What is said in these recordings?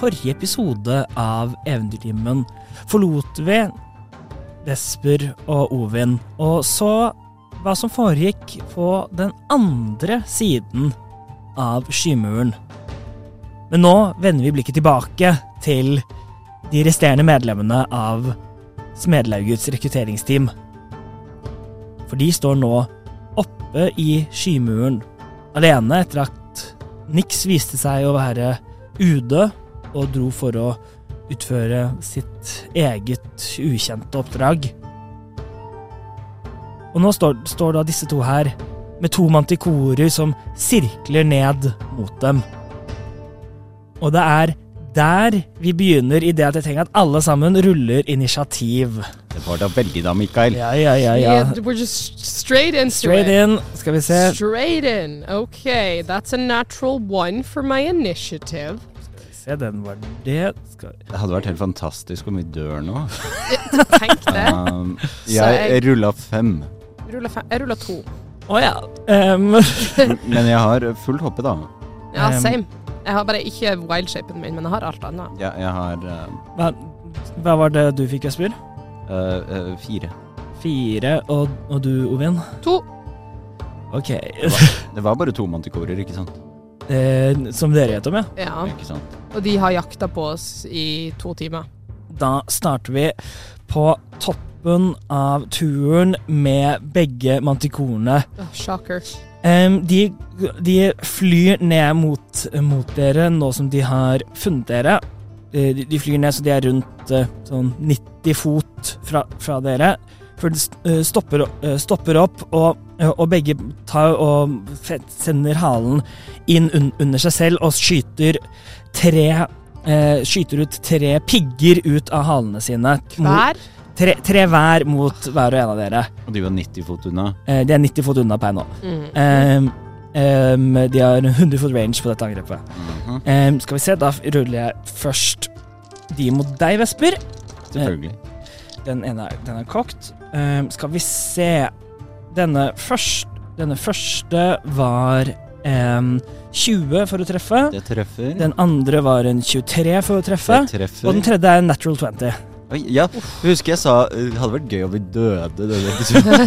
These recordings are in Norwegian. forrige episode av Eventyrtimen forlot vi Vesper og Ovin, og så hva som foregikk på den andre siden av skymuren. Men nå vender vi blikket tilbake til de resterende medlemmene av Smedelaugets rekrutteringsteam. For de står nå oppe i skymuren alene etter at Nix viste seg å være udød og dro for å utføre sitt eget ukjente oppdrag. Og nå står, står da disse to her med to mantikorer som sirkler ned mot dem. Og det er der vi begynner i det at jeg tenker at alle sammen ruller initiativ. Det var da veldig da, Mikael. Ja, ja, ja, ja. Yeah, we're just straight Uh, into Straight it. in. Skal vi se. Straight in. Okay, that's a natural one for my initiative. Se, den var det. Skal... Det hadde vært helt fantastisk om vi dør nå. Tenk det. Um, jeg- jeg rulla fem, Rulla fe- Jeg rulla to. Å ja. Em, men jeg har fullt hoppe, da. Ja, Um, same. Jeg har bare ikke wildshapen min, men jeg har alt annet. Jeg, jeg har eh, hva, hva var det du fikk, Jesper? eh, eh, fire. Fire, og, og du, Ovin? To. Ok. Det var bare to mantikorer, ikke sant? Eh, som dere vet om, ja. Ja, Ikke sant? og de har jakta på oss i to timer. Da starter vi på toppen av turen med begge mantikorene. Åh, shocker. Em, de, de flyr ned mot, mot dere nå som de har funnet dere. Eh, De, de flyr ned så de er rundt eh, sånn 90 fot fra, fra dere. Før de st- eh, stopper, o- eh, stopper opp, og, eh, og begge tar og fe- sender halen inn un, under seg selv og skyter tre eh, Skyter ut tre pigger ut av halene sine. Mot, Hver? tre, tre hver mot hver og en av dere. Og de var 90 fot unna. Eh, De er 90 fot unna per nå. Mm. Ehm, ehm, de har 100 foot range på dette angrepet. Mhm, Ehm, skal vi se, da ruller jeg først de mot deg, Vesper. Selvfølgelig. Den ene er, den er kokt. Ehm, skal vi se Denne, først, denne første var em, 20 for å treffe. Det treffer. Den andre var en 23 for å treffe. det treffer. Og den tredje er en natural 20. Oi, ja, jeg husker jeg sa eh, det hadde vært gøy om vi døde. denne episoden.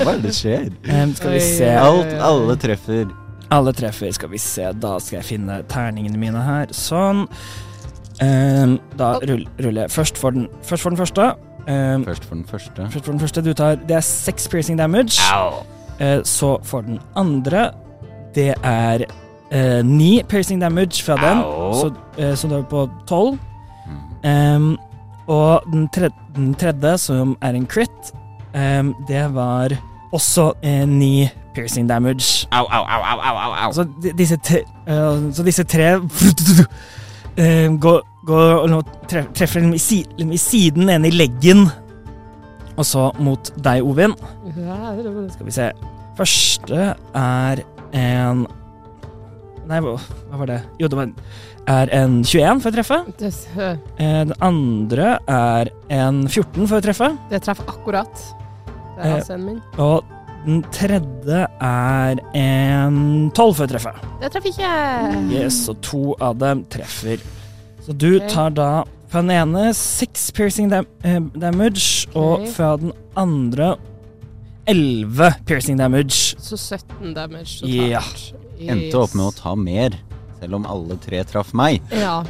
Hva er det skjer? Ehm, skal vi Oi. se Ja. Alt, alle treffer. Alle treffer. Skal vi se, da skal jeg finne terningene mine her. Sånn. Ehm, da rull, ruller jeg først for den, først for den første. Ehm, Først for den første. først for den første du tar Det er seks piercing damage. Eh, så for den andre Det er eh, ni piercing damage fra den, Au. så, eh, så da er vi på tolv. Mhm. Ehm, og den, tre den tredje, som er en crit, ehm, det var også eh, ni piercing damage. Au, au, au, au, au, au, au. Så, di- disse tre, eh, så disse tre eh, går, går og nå tre- treffer dem i, si, dem i siden, den ene i leggen, og så mot deg, Ovin. Ja, det var- Skal vi se. Første er en Nei, hva hva var det? Jo, det var en, er en 21 for å treffe. det- øh, Eh, Den andre er en 14 for å treffe. Det treffer akkurat. Det Eh. er AC-en min. Og den tredje er en 12 for å treffe. Det treffer ikke. Yes, og to av dem treffer. Så du Ok. tar da fra den ene seks piercing dam eh, damage, og Ok. fra den andre elleve piercing damage. Så 17 damage Ja. totalt. Endte opp med å ta mer, selv om alle tre traff meg. Ja.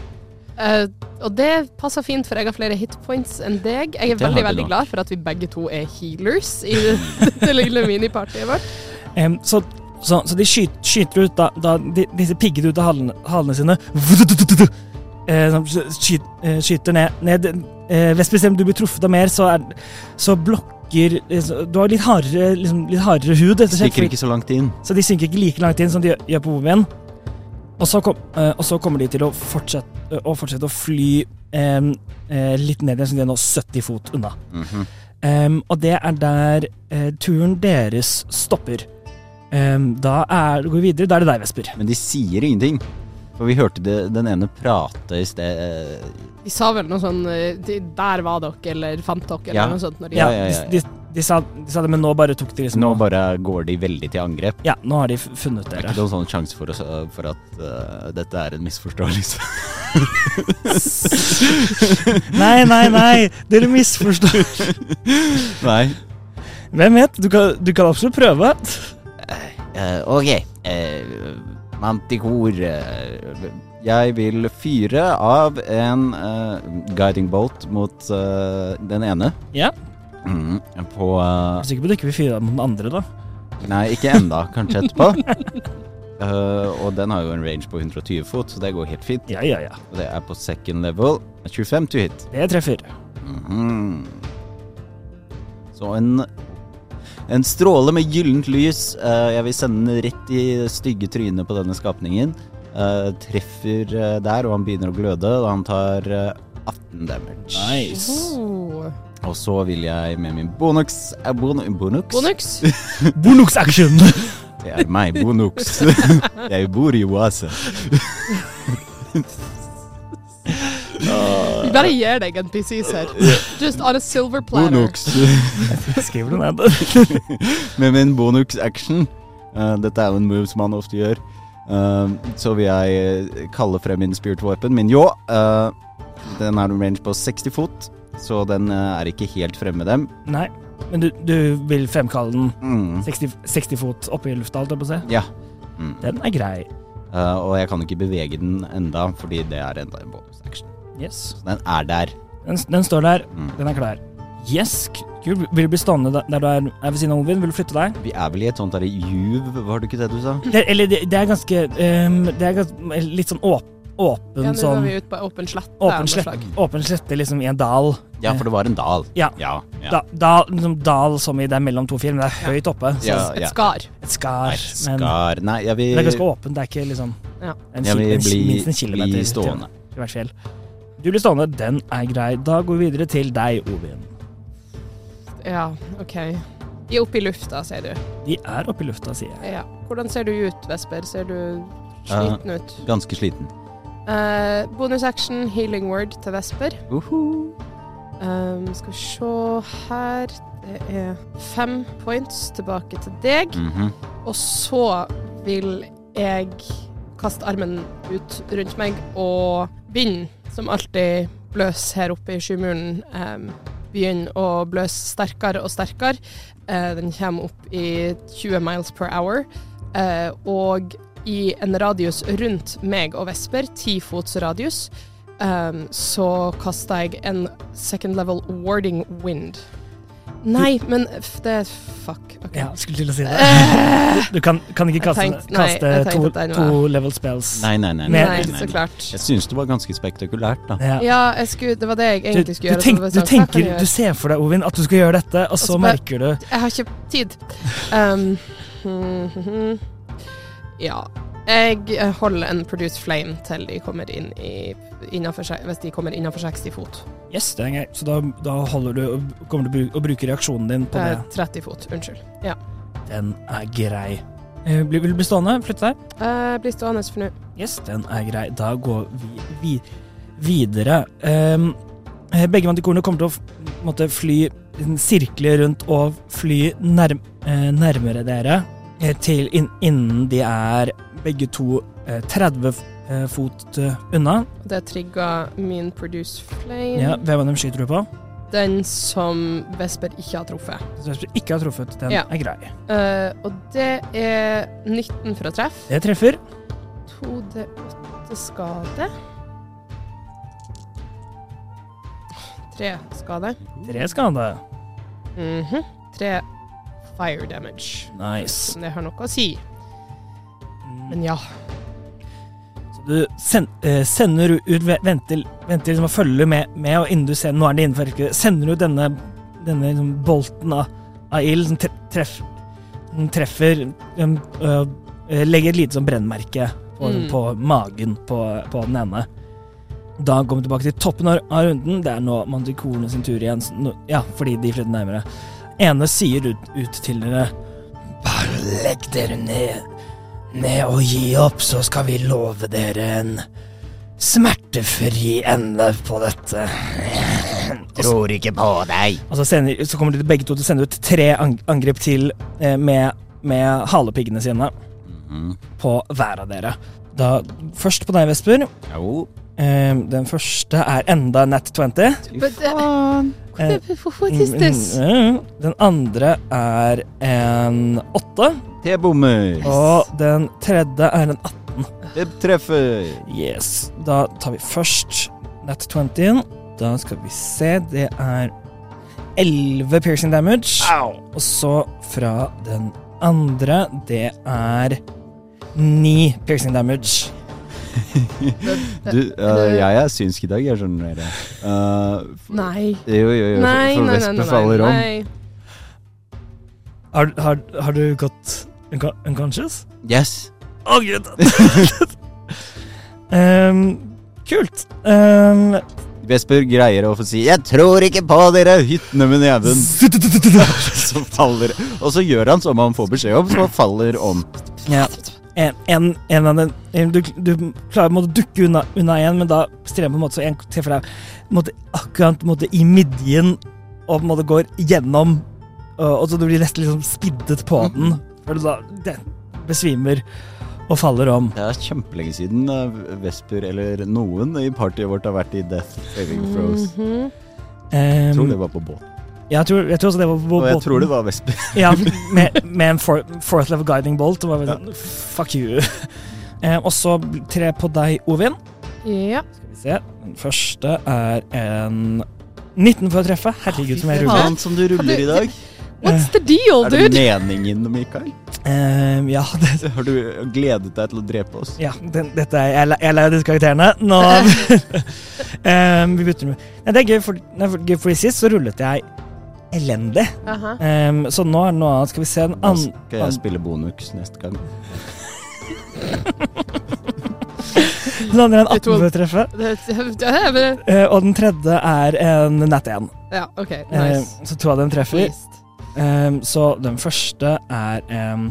Eh, og det passer fint, for jeg har flere hitpoints enn deg. Jeg er Det har veldig du veldig nok. glad for at vi begge to er healers i det, det lille minipartiet vårt. Em, så, så, så de skyter, skyter ut da, da de, disse piggene ut av halene, halene sine. Vududududu. Eh, som skyt, eh, skyter ned, ned. Eh, Vesper, selv om du blir truffet av mer, så, er, så blokker eh, så, Du har litt hardere, liksom, litt hardere hud, rett og slett, Stikker fordi- ikke så langt inn. så de synker ikke like langt inn som de gjør- gjør på Ovien. Og, så kom, eh, og så kommer de til å fortsette, å, fortsette å fly em, eh, litt ned igjen, så de er nå 70 fot unna. Mhm. Em, og det er der eh, turen deres stopper. Em, da er, går vi videre. Da er det deg, Vesper. Men de sier ingenting. For vi hørte det, den ene prate i sted. eh, De sa vel noe sånn eh, de- 'der var dere', eller 'fant dere', Ja. eller noe sånt. Når de, Ja, ja, ja, ja. De, de, de, sa, de sa det, men nå bare tok de liksom Nå bare går de veldig til angrep. Ja, nå har de f- funnet Det er dere. ikke noen sånn sjanse for, oss, for at eh, dette er en misforståelse. Nei, nei, nei, dere misforstår. Nei. Hvem vet? Du kan, du kan absolutt prøve. Eh, ok. Eh, Mantikor eh, Jeg vil fyre av en eh, guiding bolt mot eh, den ene. Ja. Mm, på eh, Jeg er sikker på at du ikke vil fyre av mot den andre, da. Nei, ikke enda. Kanskje etterpå. Eh, og den har jo en range på 120 fot, så det går helt fint. Ja, ja, ja. Og det er på second level. 25 to hit. Det treffer. Mhm. Så en En stråle med gyllent lys. eh, jeg vil sende den rett i det stygge trynet på denne skapningen. Eh, treffer eh, der, og han begynner å gløde, og han tar eh, 18 damage. Oh. Og så vil jeg med min bonux eh, bon, Bonux? Bonux. Bonux action! Det er meg, bonux. jeg bor i oase. Vi bare gir deg NPCs her. Just on a silver platter. Bonux. Skriver du ned? Med min bonus action eh, Dette er jo en move som han ofte gjør eh, Så vil jeg eh, kalle frem min spirit weapon Min jo Den har en range på 60 fot Så den eh, er ikke helt fremme dem Nei, men du, du vil fremkalle den mm. 60, 60 fot oppe i lufta, holdt jeg på å si. Ja mm. Den er grei. Eh, Og jeg kan ikke bevege den enda Fordi det er enda en bonus action Yes. Så den er der Den, den står der, Mm. den er klar. Yes, kul. Vil du bli stående der- der du er, er ved siden av Ovin? Vil du flytte deg? Vi er vel i et sånt der juv Var det ikke det du sa? Det, eller det, det er ganske ehm, Det er gans- litt sånn åp, åpen Ja, nå sånn er vi ute på åpen slette. Åpen med slette, flagg. åpen slette liksom i en dal. Ja, for det var en dal Ja. Ja, ja. Da, dal, liksom, dal som i det er mellom to fjell, men det er høyt oppe. Så Ja, Et ja. skar. et skar. Nei, Men skar Nei, jeg det er vil, ganske åpent. Det er ikke liksom Ja. en, jeg kil- vil en, bli, minst en kilometer bli til- stående til hvert fjell. Du blir stående, den er grei. Da går vi videre til deg, Ovin. Ja, OK. De er oppe i lufta, sier du. De er oppe i lufta, sier jeg. Ja. Hvordan ser du ut, Vesper? Ser du sliten ut? Ganske sliten Eh, bonus action, healing word til Vesper. Uhuh Eh, skal vi se her Det er fem points tilbake til deg. Mhm. Og så vil jeg kaste armen ut rundt meg og begynne, som alltid bløs her oppe i skymuren, um, begynne å bløse sterkere og sterkere. Eh, den kommer opp i 20 miles per hour. eh, og i en radius rundt meg og Vesper, ti fots radius, eh, så kaster jeg en second level warding wind. Nei, men f det er fuck. ok. Ja, skulle til å si det. Eh, Du kan, kan ikke Jeg kaste, tenkte- nei, jeg kaste tenkte to, at den var- to level spells. Nei, nei, nei. nei, Nei, Nei, nei, så nei, nei. klart. Jeg syns det var ganske spektakulært, da. Ja. Ja, jeg skulle, det var det jeg Du, egentlig du, skulle gjøre. så tenk, det var du sånn, hva kan tenker, jeg du gjøre? ser for deg, Ovin, at du skal gjøre dette, og så så bare- merker du Jeg har ikke tid. Ehm, hmm, hmm, hmm. ja. Jeg eh, holder en produce flame til de kommer inn i innenfor, se- Hvis de kommer innafor 60 fot. Yes, det er greit. Så da, da holder du, og kommer du å bru- å bruke reaksjonen din på Eh, det. 30 fot, unnskyld. Ja. Den er grei. Eh, Blir, vil du bli stående? Flytte deg? Eh, bli stående for nå. Yes, den er grei. Da går vi, vi videre. Ehm, eh, begge mantikorene kommer til å f- måtte fly en sirkle rundt og fly nærm, eh, nærmere dere eh, til inn, innen de er begge to eh, 30 f- eh, fot eh, unna. Det trigga min produce flame. Ja, hvem av dem skyter du på? Den som Vesper ikke har truffet. Så Hvis du ikke har truffet, den Ja. er grei. Eh, og det er 19 for å treffe. Det treffer. 2D8 skade. Tre skade. Tre skade. Mhm. Tre fire damage. Nice. Om det har noe å si. Men ja. Så du sen, eh, sender ut Venter, venter liksom å følge med, med, og innen du ser nå er det innenfor rekkevidde, sender du ut denne, denne liksom bolten av, av ild som tre- treff, den treffer um, øh, eh, Legger et lite sånn brennmerke på, Mm. på magen på, på den ene. Da kommer vi tilbake til toppen av av runden. Det er nå mantikorene sin tur igjen. så nå- Ja, fordi de flytter nærmere. Ene sier ut, ut til dere Bare legg dere ned. ned og gi opp, så skal vi love dere en smertefri ende på dette. Tror ikke på deg. Og så, sender, så kommer de begge to til å sende ut tre ang angrep til eh, med, med halepiggene sine på hver av dere. Da, først på deg, Vesper. Jo. Eh, den første er enda Nat 20. But, uh, Eh, What is this? Mm, mm. Den andre er en 8. Det bommer. Og den tredje er en 18. Det treffer. Yes. Da tar vi først Nat 20. Da skal vi se. Det er 11 piercing damage. Og så fra den andre. Det er 9 piercing damage. uh, Du, eh, jeg er synsk i dag, jeg skjønner dere. Eh, Nei. jo, jo, jo. Nei, for nei, nei. Vesper nei, faller om. nei. Har, har, har du gått unco- unconscious? Yes. Å, gud! Ehm, kult. Ehm, Vesper greier å få si 'Jeg tror ikke på dere, hyttene med neven', så faller Og så gjør han som han får beskjed om, så faller om. Ja. En, en, en av den, en, du, du klarer på en måte å dukke unna, unna en, men da strever på en måte så en treffer deg på en måte, akkurat på en måte, i midjen og på en måte går gjennom, og, og så du blir nesten liksom spiddet på Mm. den. Før du da den besvimer og faller om. Det er kjempelenge siden eh, Vesper eller noen i partyet vårt har vært i Death Saving Throws. Mhm. Ehm, Jeg tror det var på båt. jeg, tror, jeg tror også det var på Og jeg båten. tror det var Vesper. Ja, med, med en for, fourth level guiding bolt. Det var vel sånn, fuck you. Ehm, og så tre på deg, Ovin. Ja. Skal vi se. Den første er en 19 for å treffe. Herregud, som jeg ruller. Faen som du ruller i dag. What's the deal, Er det dude? meningen, Mikael? Ehm, ja, det, Har du gledet deg til å drepe oss? ja den, dette er, jeg, er lei- jeg er lei av disse karakterene. Nå Ehm, Vi bytter med Nei, Det er gøy, for, nei, for, gøy, fordi sist så rullet jeg elendig. Aha. Ehm, så nå er det noe annet. Skal vi se en Nå annen skal jeg spille bonus neste gang. Den andre er en 18 for å treffe. Det, det, det, det, Eh, og den tredje er en nat 1. ja, OK. Ehm, Nice. så to av dem treffer. Pleased. Ehm, så den første er um,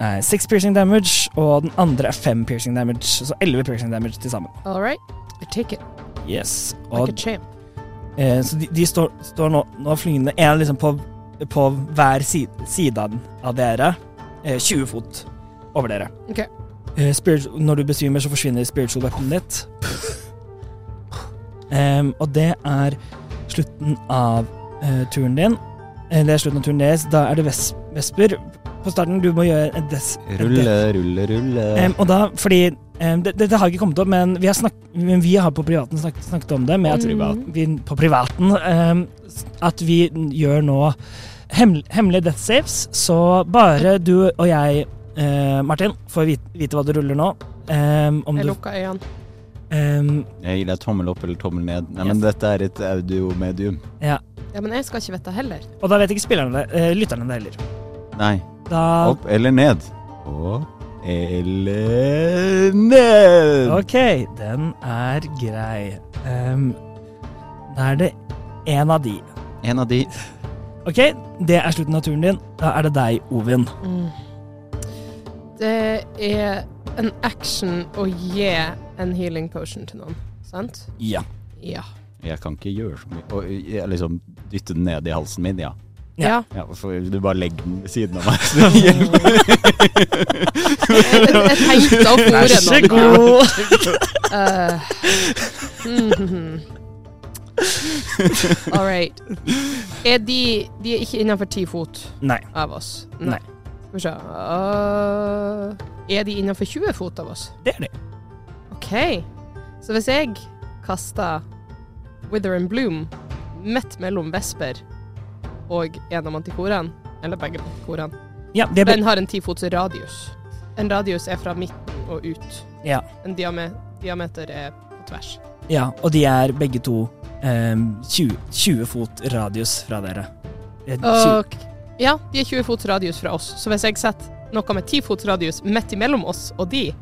eh, six piercing damage, og den andre er fem piercing damage. Så elleve piercing damage til sammen. All right. I take it Yes. like Og, a champ. eh, så de, de står, står nå, nå flyende én liksom på, på hver si- side av- av dere. eh, 20 fot over dere. Ok. Eh, spirit, når du besvimer, så forsvinner spiritual weapon ditt. Ehm, og det er slutten av eh, turen din. Eh, det er slutten av turen deres. Da er det ves Vesper. På starten, du må gjøre en des... en Rulle, rulle, rulle. Em, og da, fordi em, det- Dette har ikke kommet opp, men vi har, snakk, men vi har på privaten snakket, snakket om det. Med På at privaten. Vi, på privaten em, s- at vi gjør nå hemmel, hemmelige death saves, så bare du og jeg, eh, Martin, får vite, vite hva du ruller nå. Em, om Jeg du, lukker øynene. em, Jeg gir deg tommel opp eller tommel ned. Nei, Yes. men dette er et audiomedium. ja. Ja, men jeg skal ikke vite heller. Og da vet ikke spillerne det, eh, lytterne det heller. Nei. Da, Opp eller ned. Opp eller ned. Ok, den er grei. Em, da er det én av de. En av de Ok, det er slutten av turen din. Da er det deg, Ovin. Det er en action å gi en healing potion til noen, sant? Ja. Ja. Jeg kan ikke gjøre så mye. Og jeg liksom dytte den ned i halsen min, ja. Ja. Ja. ja for du bare legger den ved siden av meg. Så det hjelper. Jeg, jeg tenkte opp Vær ordet så god. Eh, mhm. All right. Er de De er ikke innenfor ti fot Nei. av oss? Nei. Skal vi se Eh, Er de innenfor 20 fot av oss? Det er det. OK. Så hvis jeg kaster Wither and Bloom midt mellom Vesper og en av mantikorene, eller begge mantikorene Ja, det Den blir har en ti fots radius. En radius er fra midten og ut. ja. En diame diameter er på tvers. ja, og de er begge to em, 20, 20 fot radius fra dere. Eh, Det er 20. Og ja, de er 20 fots radius fra oss, så hvis jeg setter noe med 10 fots radius midt imellom oss og de,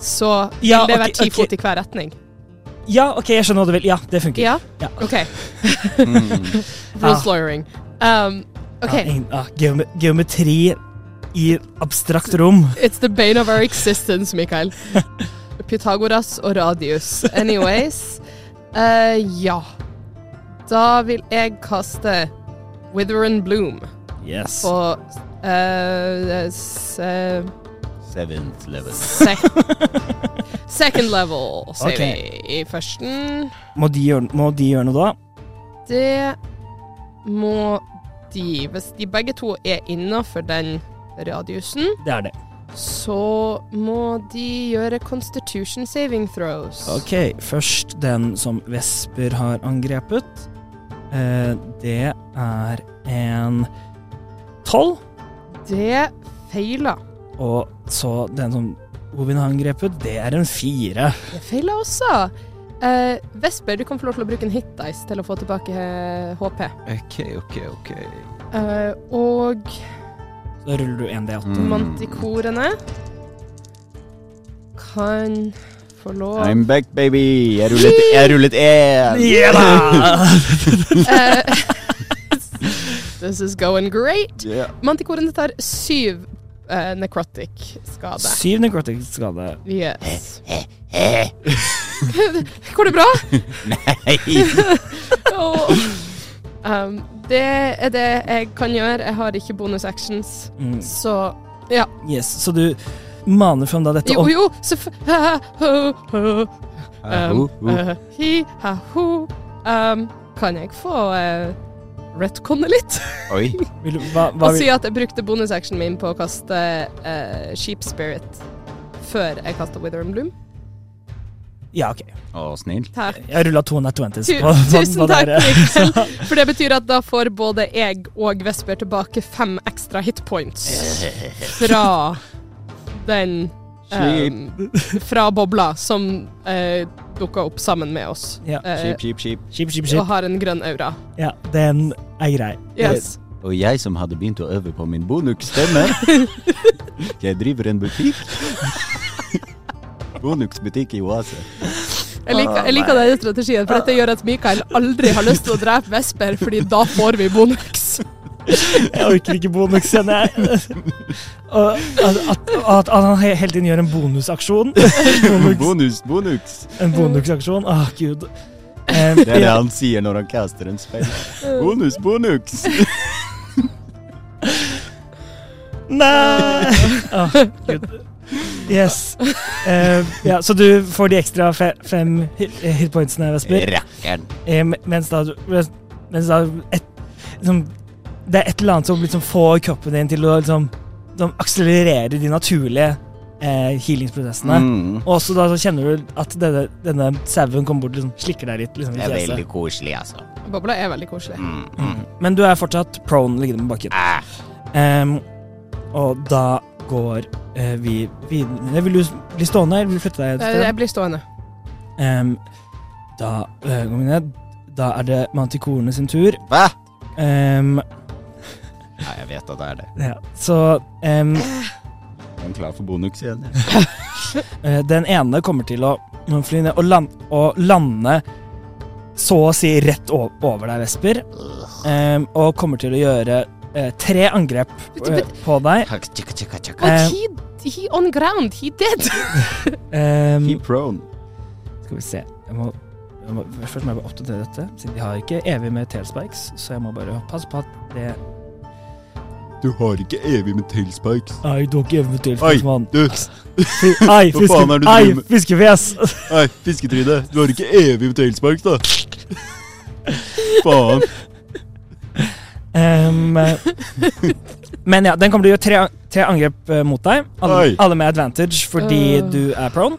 så vil Ja, det ok, være 10 ok. fot i hver retning. Ja, OK, jeg skjønner hva du vil. Ja, det funker. Ja? Ja. Ah. OK. Mm. Rules lawyering. Um, Ja, OK. ingen- ah, geome- geometri i et abstrakt rom. It's the bane of our existence, Mikael. Pythagoras og radius. Anyways. eh, ja. Da vil jeg kaste Wither and Bloom Yes. på eh, s- eh, Seventh level. sec- second level, sier Ok. vi i førsten. Må de, gjøre, må de gjøre noe da? Det må de Hvis de begge to er innafor den radiusen, Det er det. så må de gjøre constitution saving throws. Ok, først den som Vesper har angrepet. Eh, det er en tolv. Det feiler. Og så den som Ovin har angrepet, det er en fire. Det feiler også. Eh, Vesper, du kan få lov til å bruke en hit dice til å få tilbake eh, HP. Ok, ok, ok. Eh, og Da ruller du en D8. Mm. mantikorene kan få lov I'm back, baby! Jeg rullet, jeg rullet én! Ja da! Eh, This is going great. Ja. Mantikorene tar syv eh, necrotic skade. Syv necrotic skade. Yes. Går det bra? Hei. Åh. um, det er det jeg kan gjøre. Jeg har ikke bonus actions, Mm. så ja. Yes, så du maner fram da dette Jo, om... jo, selvf- ha, ho, ho. Ho, ho. Um, eh, Hi, ha, ho. Um, kan jeg få uh, retconne litt? Oi. Vil, du- hva, hva Og si vil, at jeg brukte bonusactionen min på å kaste eh, Sheep Spirit før jeg kasta Wither and Bloom. ja, ok. Å, snill. Takk. Jeg rulla 220s Tu på, på, tusen på takk, dere. Mikkel. For det betyr at da får både jeg og Vesper tilbake fem ekstra hitpoints fra den um, Fra bobla som uh, dukka opp sammen med oss. Ja. Eh, Kjip, kjip, kjip. Skip, skip, og skip. har en grønn aura. Ja, den er grei. Yes. Og jeg som hadde begynt å øve på min bonux-stemme. Jeg driver en butikk. Bonux-butikk i Oase. Jeg liker, jeg liker denne strategien, for dette gjør at Mikael aldri har lyst til å drepe Vesper, fordi da får vi bonus. Jeg orker ikke bonus igjen, jeg. Og At, at, at han he- hele tiden gjør en bonusaksjon. Bonus, Bonus, bonux. en bonusaksjon. Åh, gud. Eh, Det er det ja. han sier når han caster en spill. Bonus, bonux. Nei! Åh, gud. Yes. Eh, ja, så du får de ekstra fe fem hit hitpointsene, Vesper. Rakkeren. Eh, m- mens da, mens mens da et, liksom, Det er et eller annet som liksom får kroppen din til å liksom, som akselererer de naturlige eh, healingsprosessene. Mm. Og også da så kjenner du at denne, denne sauen kommer bort og liksom, slikker deg litt. Liksom, i Det er fjeset. veldig koselig, altså. Bobla er veldig koselig. Mm. Men du er fortsatt prone liggende på bakken. Ah. Em, og da går eh, vi videre. Vil du bli stående, eller vil du flytte deg et Eh, sted? Jeg blir stående. Em, da eh, går vi ned. Da er det mantikorene sin tur. Hva? Em, Ja, jeg vet at det er det. ja. Så em, Jeg er klar for bonux igjen. Eh, Den ene kommer til å fly ned og, land, og lande så å si rett o- over deg, Vesper. Eh, og kommer til å gjøre eh, tre angrep eh, på deg. jeg. But Eh. he, he on ground, he dead. Eh, Um, Keep prone. skal vi se jeg må, jeg må, Først må jeg bare oppdatere dette, siden de har ikke evig med tailspikes. Så jeg må bare passe på at det Du har ikke evig med tailspikes. Nei, du har ikke evig med Oi, tailspikes, mann. du. Ei, Hva faen er det du driver med? fiskefjes! Nei, fisketryne. Du har ikke evig med tailspikes, da. Faen. Ehm, eh, men ja, den kommer til å gjøre tre, tre angrep eh, mot deg. Alle, Oi. alle med advantage fordi Øh. du er prone.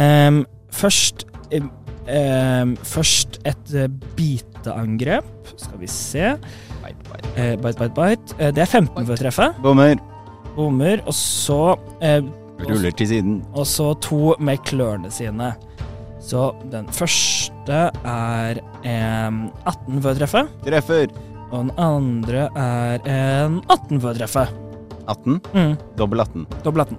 Ehm, først em, ehm, Først et eh, biteangrep. Skal vi se. Eh, bite, bite, bite. Eh, det er 15 for å treffe. Bommer. Bommer. Og så eh, Ruller til siden. Og så to med klørne sine. Så den første er em, 18 for å treffe. Treffer. Og den andre er en 18 for å treffe. 18. Mm. Dobbel 18. Dobbel 18.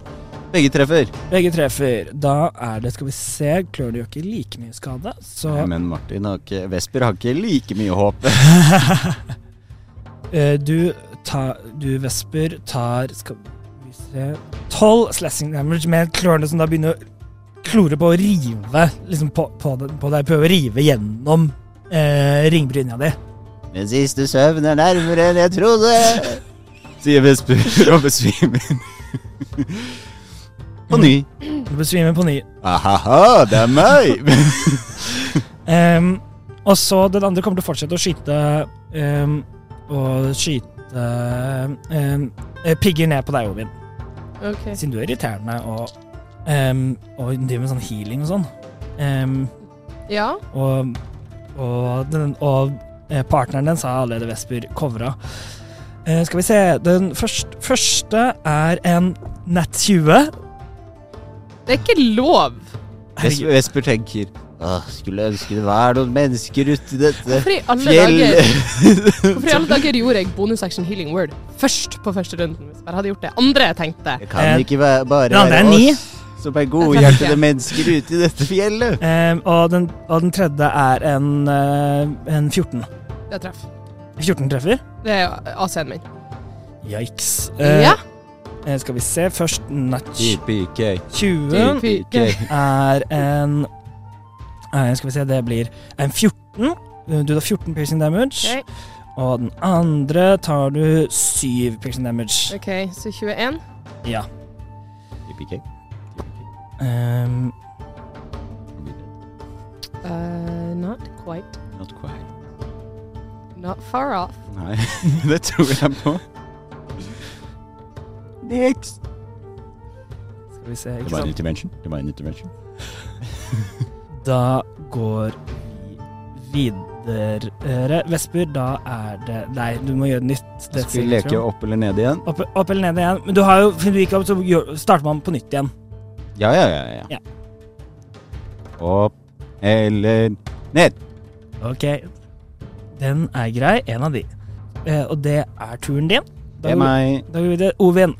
Begge treffer. Begge treffer. Da er det, skal vi se, klørne gjør ikke like mye skade, så Nei, Men Martin har ikke Vesper har ikke like mye håp. eh, du ta, du Vesper tar skal vi se, 12 slashing damage med klørne som da begynner å klore på å rive liksom på, på, den- på deg. Prøve å rive gjennom eh, ringbryna di. Min siste søvn er nærmere enn jeg trodde, sier Vesper og besvimer. På ny. Du besvimer på ny. Ahaha, det er meg! Ehm, og så den andre kommer til å fortsette å skyte ehm, Og skyte ehm, eh, pigger ned på deg, Ovin. OK. Siden du er irriterende og, ehm, og driver med sånn healing og sånn. Ehm, Ja. Og, og, den, og eh, partneren den sa allerede Vesper covra. Eh, skal vi se Den først, første er en nat 20. Det er ikke lov. Ves- Herregud. Vesper tenker Åh, skulle ønske det var noen mennesker ute i dette Hvorfor i alle dager fjellet. Hvorfor i alle dager gjorde jeg bonus action healing word først på første runden? Hvis jeg bare hadde gjort det andre jeg tenkte. Det kan ikke være, bare Den andre være Eh, er ni. oss som er godhjertede mennesker ute i dette fjellet. Eh, og, den, og den tredje er en, eh, en 14. Det treff. 14 treffer. Det er AC-en min. Yikes. ja. eh, skal vi se. Først nat Typikøy, 20 typikøy. er en eh, Skal vi se, det blir en 14. Eh, Du har 14 piercing damage. Ok. Og den andre tar du syv piercing damage. OK, så 21. Ja. Typikøy. Ehm, Uh, not quite. Not quite. Not far off. Nei, det tror jeg på. Next. skal vi se, Det ikke var en sant. intervention. Det var en intervention. Da går vi videre. Eh, Vesper, da er det Nei, du må gjøre nytt. Så Skal vi leke opp eller ned igjen? opp, opp eller ned igjen. Men du har jo, for du gikk opp, så gjør- starter man på nytt igjen. Ja, ja, ja. Ja. ja. Opp eller ned. Ok. Den er grei. En av de. Eh, og det er turen din. Det er meg. Da går vi videre. Ovin,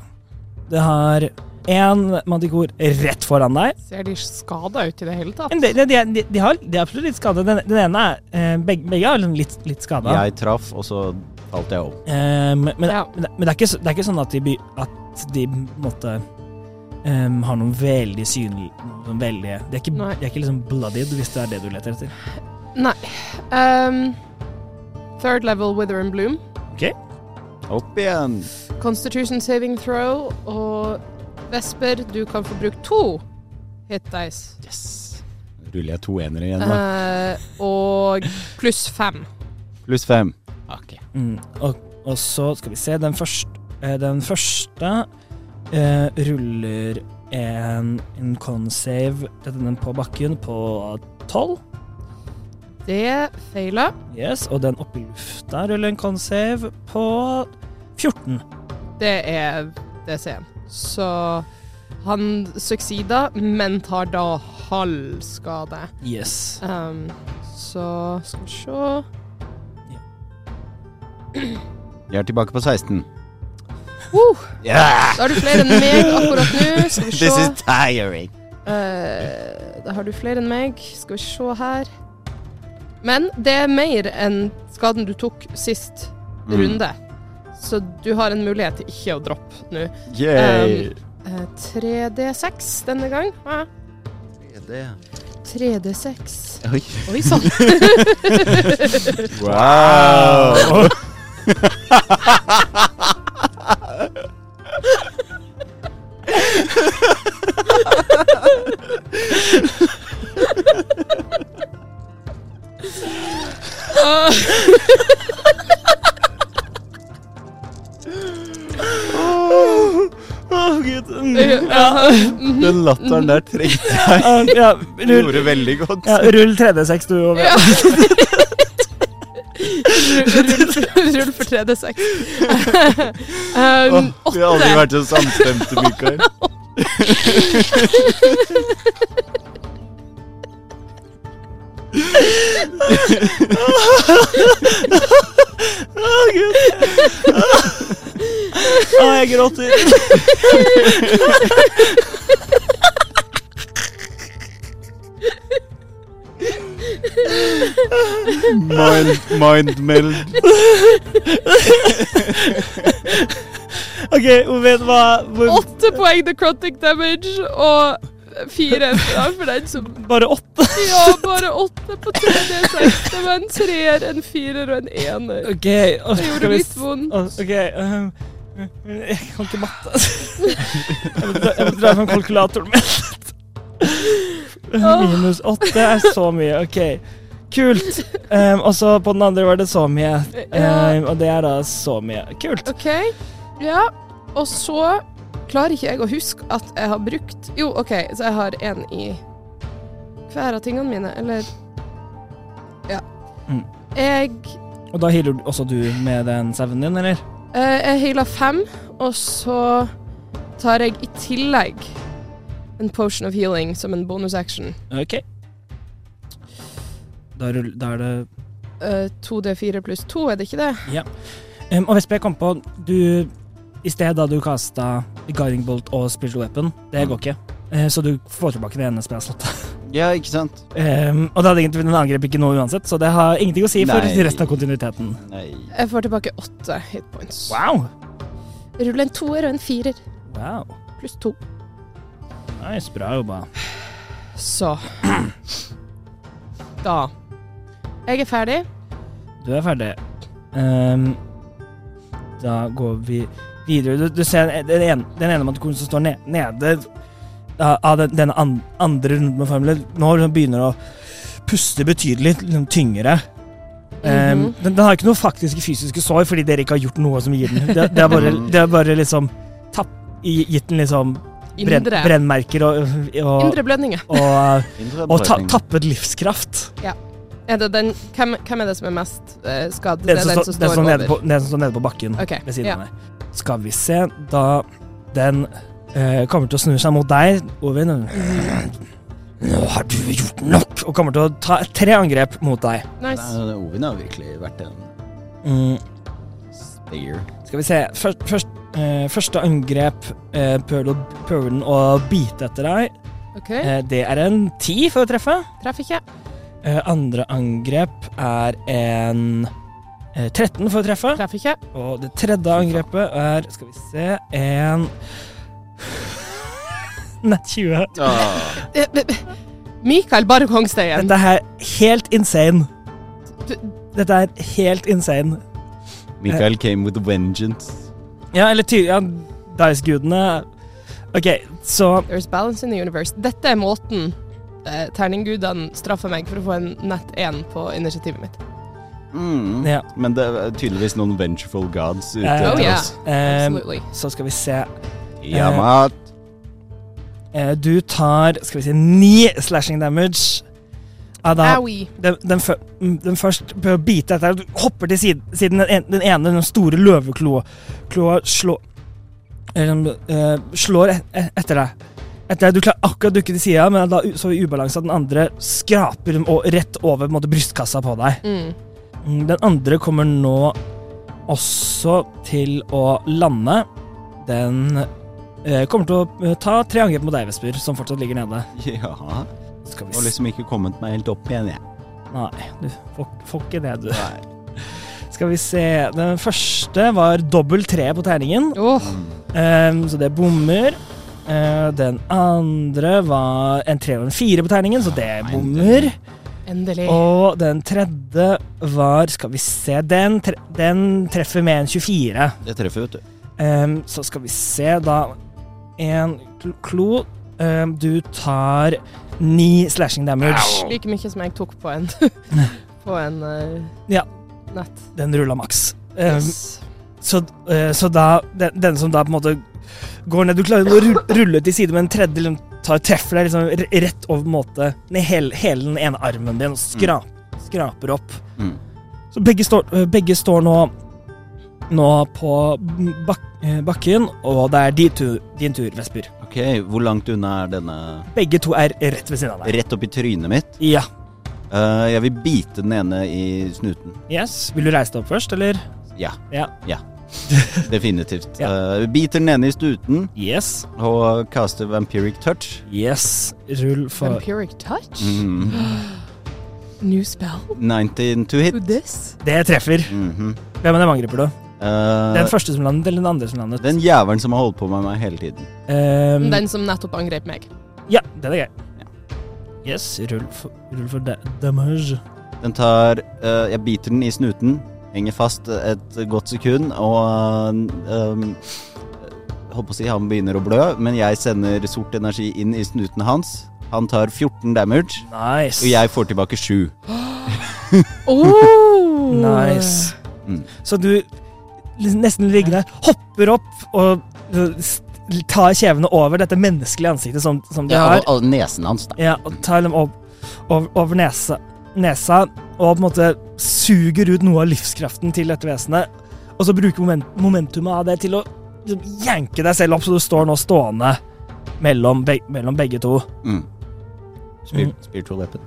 det har én mantikor rett foran deg. Ser de skada ut i det hele tatt? Men De, de, de, de, har, de er absolutt litt skada. Den, den ene er eh, begge, begge er liksom litt, litt skada. Jeg traff, og så falt jeg opp. men, men, Ja. men det men det er ikke, så- det er ikke sånn at de, by, at de på en måte em, har noen veldig synlige noen veldig, de, er ikke, Nei. de er ikke liksom bloodied, hvis det er det du leter etter. Nei. Um, third level wither and bloom. Opp igjen. Constitution saving throw og Vesper, du kan få brukt to hit dice. Yes. Ruller jeg to enere igjen, da. Eh, og pluss fem. Pluss fem. Ok. Mm. Og, og så skal vi se Den første, eh, den første eh, ruller en, en con-save Dette er den på bakken på tolv. Det feiler. Yes, og den oppe i lufta ruller en con-save på 14. Det er DC-en. Så han succeeder, men tar da halv skade. Yes. Um, så skal vi se Jeg er tilbake på 16. Woo! Yeah! Uh, Da har du flere enn meg akkurat nå. Skal vi se. This is tiring. Eh, da har du flere enn meg. Skal vi se her. Men det er mer enn skaden du tok sist Mm. runde. Så du har en mulighet til ikke å droppe nå. Eh, Yay. 3D6 denne gang. Ja. 3D6. Oi. Oi sann. Wow. Gud. Ja. Den latteren der trengte jeg. Ah, ja, Mhm. rull, Gjorde veldig godt. ja, rull 3D6, du. Over. Ja. Rull for- Rull for 3D6. Åh, Um, vi har aldri åtte. vært så samstemte, Mikael. Å, Gud. Å, jeg gråter. Mind, mind meld. OK, Oven, hva hvor, Åtte poeng necrotic damage og fire ja, for den som Bare åtte? Ja, bare åtte på 3D6. Det var en treer, en firer og en ener. OK. og Det skal gjorde vi litt s- vondt. og- OK. ehm, jeg kan ikke matte. Jeg må dra- jeg må dra fram kalkulatoren min. Minus åtte er så mye. OK, kult. Ehm, og så på den andre var det så mye. Ja, Ehm, og det er da så mye. Kult. OK. Ja, og så klarer ikke jeg å huske at jeg har brukt Jo, OK, så jeg har én i hver av tingene mine, eller Ja. Mm. Jeg Og da healer du- også du med den sauen din, eller? Eh, jeg healer fem, og så tar jeg i tillegg en potion of healing som en bonus action. OK. Da, rull, da er det Eh, 2D4 pluss 2, er det ikke det? Ehm, Og Vespe, jeg kom på du I sted da du kasta Guiding Bolt og Spiritual Weapon, det går ikke. Eh, Så du får tilbake det ene spillslottet. Ja, ikke sant? Ehm, og det hadde egentlig den angrep ikke noe uansett, så det har ingenting å si for Nei. resten av kontinuiteten. Nei. Jeg får tilbake åtte hit points. Wow! Rull en toer og en firer Wow. pluss to. Nice, bra jobba. Så Da. Jeg er ferdig. Du er ferdig. Ehm, da går vi videre. Du, du ser den ene, den ene matrikonen som står ne- nede av av den, denne an, andre runden med formelen, nå liksom begynner å puste betydelig liksom, tyngre. Ehm, Mhm. den, den har ikke noe faktiske fysiske sår, fordi dere ikke har gjort noe som gir den Det, det, er, bare, det er bare liksom tapp, i- gitt den liksom brenn, Indre. brennmerker og, og, Indre blødninger. og, Indre og ta, blødning. tappet livskraft. Er det den, hvem, hvem er det som er mest eh, skadd? Den som, står- den som over. nede på, den som står nede på bakken OK. ved siden Ja. av meg. Skal vi se, da den eh, kommer til å snu seg mot deg, Ovin. Nå har du gjort nok! Og kommer til å ta tre angrep mot deg. Nice. Nei, Ovin har virkelig vært en Mm, stayer. skal vi se. Først, først, eh, første angrep eh, prøver å- prøver den å bite etter deg. OK. Eh, det er en ti for å treffe. Treff ikke. Eh, andre angrep er en eh, 13 for å treffe. Treff ikke. Og det tredje angrepet er Skal vi se En Nett 20. Ah, Eh, eh, eh. Mikael bare Kongstein. Dette er helt insane. Du- Dette er helt insane. Mikael came with a vengeance. Ja, eller ty... Ja, Dice-gudene OK, så There's balance in the universe. Dette er måten eh, terninggudene straffer meg for å få en nett 1 på initiativet mitt. Mm. Ja. Men det er tydeligvis noen vengeful gods ute Eh, etter Oh, yeah. oss. eh, Absolutely. Så skal vi se. Ja, mat. Eh, du tar skal vi si, ni slashing damage. Ja, da, Owie. den, den, fø- mm, den først prøver å bite etter deg, og du hopper til siden, siden den, en, den ene, den store løvekloa, kloa slår eh, slår et, et, etter deg. Etter deg, Du klarer akkurat å dukke til sida, men er da u- så i ubalanse at den andre skraper dem o- rett over på en måte, brystkassa på deg. Mm. Mm, Den andre kommer nå også til å lande. Den eh, kommer til å eh, ta tre angrep mot deg, Vesper, som fortsatt ligger nede. Ja. Skal vi Og se liksom ikke kommet meg helt opp igjen, jeg. Nei, du får, får ikke det, du. Nei. Skal vi se Den første var dobbel tre på terningen, Åh, Mm. ehm, så det bommer. Eh, den andre var en tre og en fire på terningen, så det Nei, bommer. endelig. Og den tredje var Skal vi se Den, tre, den treffer med en 24. Det treffer, vet du. Ehm, så skal vi se, da En kl- klo. Ehm, du tar ni slashing damage. Like mye som jeg tok på en På en eh, Ja. nett. Den rulla maks. Ehm, Yes. Så, eh, så da den, den som da på en måte går ned Du klarer å rulle, rulle til side, men den tredje liksom, tar, treffer deg liksom r- rett over på en måte ned hele, hele den ene armen din og skrap, skraper opp. Mm. Så begge står, eh, begge står nå Nå på bak, eh, bakken, og det er din tur, din tur, Vesper. Ok, hvor langt unna er denne Begge to er rett ved siden av deg. Rett opp i trynet mitt. Ja. Eh, jeg vil bite den ene i snuten. Yes. Vil du reise deg opp først, eller? Ja. Ja. Definitivt. Ja. Eh, biter den ene i snuten Yes. og caster vampiric touch. Yes. Rull for Mm. Vampiric touch? Mm. New spell. 19 to hit. Do this. Det treffer. Mhm. Hvem av dem angriper du? Eh, Den første som landet, eller den andre som landet? den jævelen som har holdt på med meg hele tiden. Ehm, Den som nettopp angrep meg. Ja, den er grei. Yes, rull for, rull for da damage. Den tar eh, Jeg biter den i snuten, henger fast et godt sekund, og um, Holdt på å si han begynner å blø, men jeg sender sort energi inn i snuten hans. Han tar 14 damage, Nice. og jeg får tilbake 7. Oh. Nice. Mm. Så du liksom nesten ligger der, hopper opp og øh, s- tar kjevene over dette menneskelige ansiktet som, som de har. og, og nesen hans, da. Ja, og tar dem opp over, over nesa, nesa og på en måte suger ut noe av livskraften til dette vesenet. Og så bruker moment, momentumet av det til å liksom jenke deg selv opp, så du står nå stående mellom, beg- mellom begge to. Mm. Spir Mm. Spiritual weapon.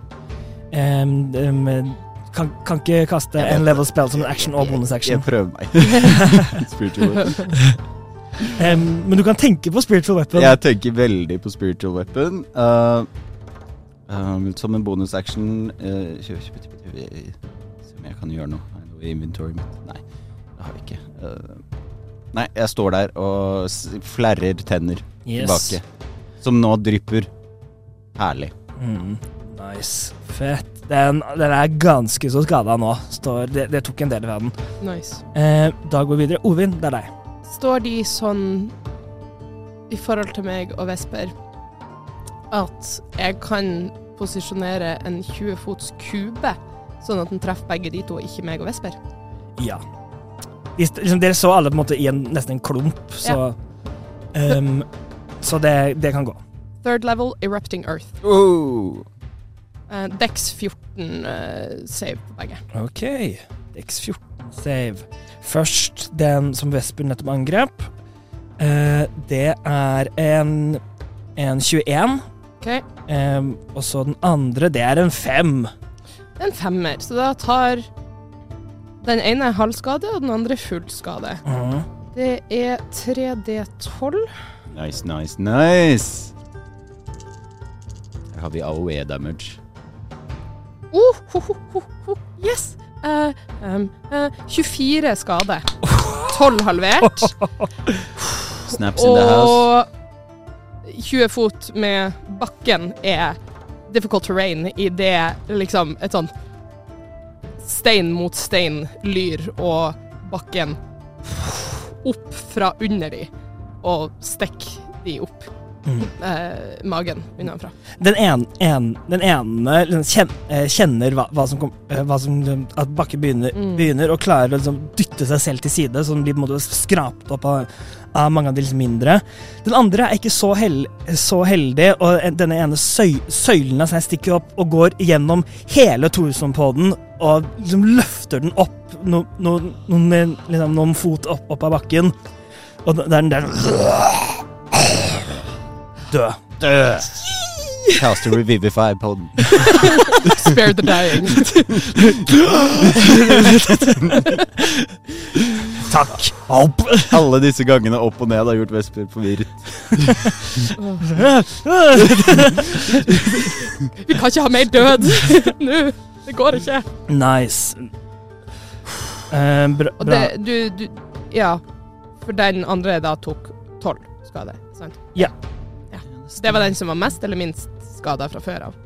Em, em, kan, kan ikke kaste Jeg vet en level spell som en action og bonus Jeg action. prøver meg. spiritual weapon. Em, men du kan tenke på spiritual weapon. Jeg tenker veldig på spiritual weapon. eh, eh, som en bonusaction eh, kjø- kjø- kjø- kjø- kjø- Se om jeg kan gjøre noe. Er det noe i inventoryet mitt? Nei, det har jeg ikke. Eh, nei, jeg står der og s- flerrer tenner Yes. tilbake. Som nå drypper. Herlig. Mm, nice. Fett. Den, den er ganske så skada nå. Står, det, det tok en del fra den. nice. Eh, da går vi videre. Ovin, det er deg. Står de sånn i forhold til meg og Vesper at jeg kan posisjonere en 20 fots kube, sånn at den treffer begge de to, og ikke meg og Vesper? Ja. De, st- liksom, dere så alle på en måte i en, nesten en klump, så Ehm, Så det, det kan gå. Third level, erupting earth. Oh. Eh, Dex 14 eh, save på begge. OK. X14 save. Først den som Vesper nettopp angrep. Eh, det er en, en 21. Ok. Ehm, og så den andre, det er en 5. Det er En femmer, så da tar den ene er halv skade, og den andre full skade. Mhm. Det er 3D12. Nice, nice, nice. Der har vi AOE damage. Oh, ho, ho, ho, ho. Yes! Eh, em, eh, 24 skade. 12 halvert. Snaps in the house. Og 20 fot med bakken er difficult terrain i det liksom et sånn stein mot stein lyr og bakken opp fra under de og stikk de opp Mm. eh, magen unnafra. Den, en, en, den ene liksom, kjen, eh, kjenner hva, hva som, kom, eh, hva som eh, At Bakke begynner, Mm. begynner og klarer å liksom, dytte seg selv til side, så den blir på en måte skrapt opp av, av mange av de liksom, mindre. Den andre er ikke så, hell, så heldig, og en- denne ene søy, søylen av seg stikker opp og går gjennom hele torsoen på den og liksom, løfter den opp no, no, noen, eh, liksom, noen fot opp, opp av bakken, og da- der den der Død. Cast a revivify på den. Spare the dying. Takk. Opp. Alle disse gangene opp og ned har gjort Vesper forvirret. Vi kan ikke ha mer død nå. Det går ikke. Nice. Eh, bra. Og bra. det, du, du Ja. For den andre da tok 12 skade, sant? Ja. ja. Det var den som var mest eller minst skada fra før av.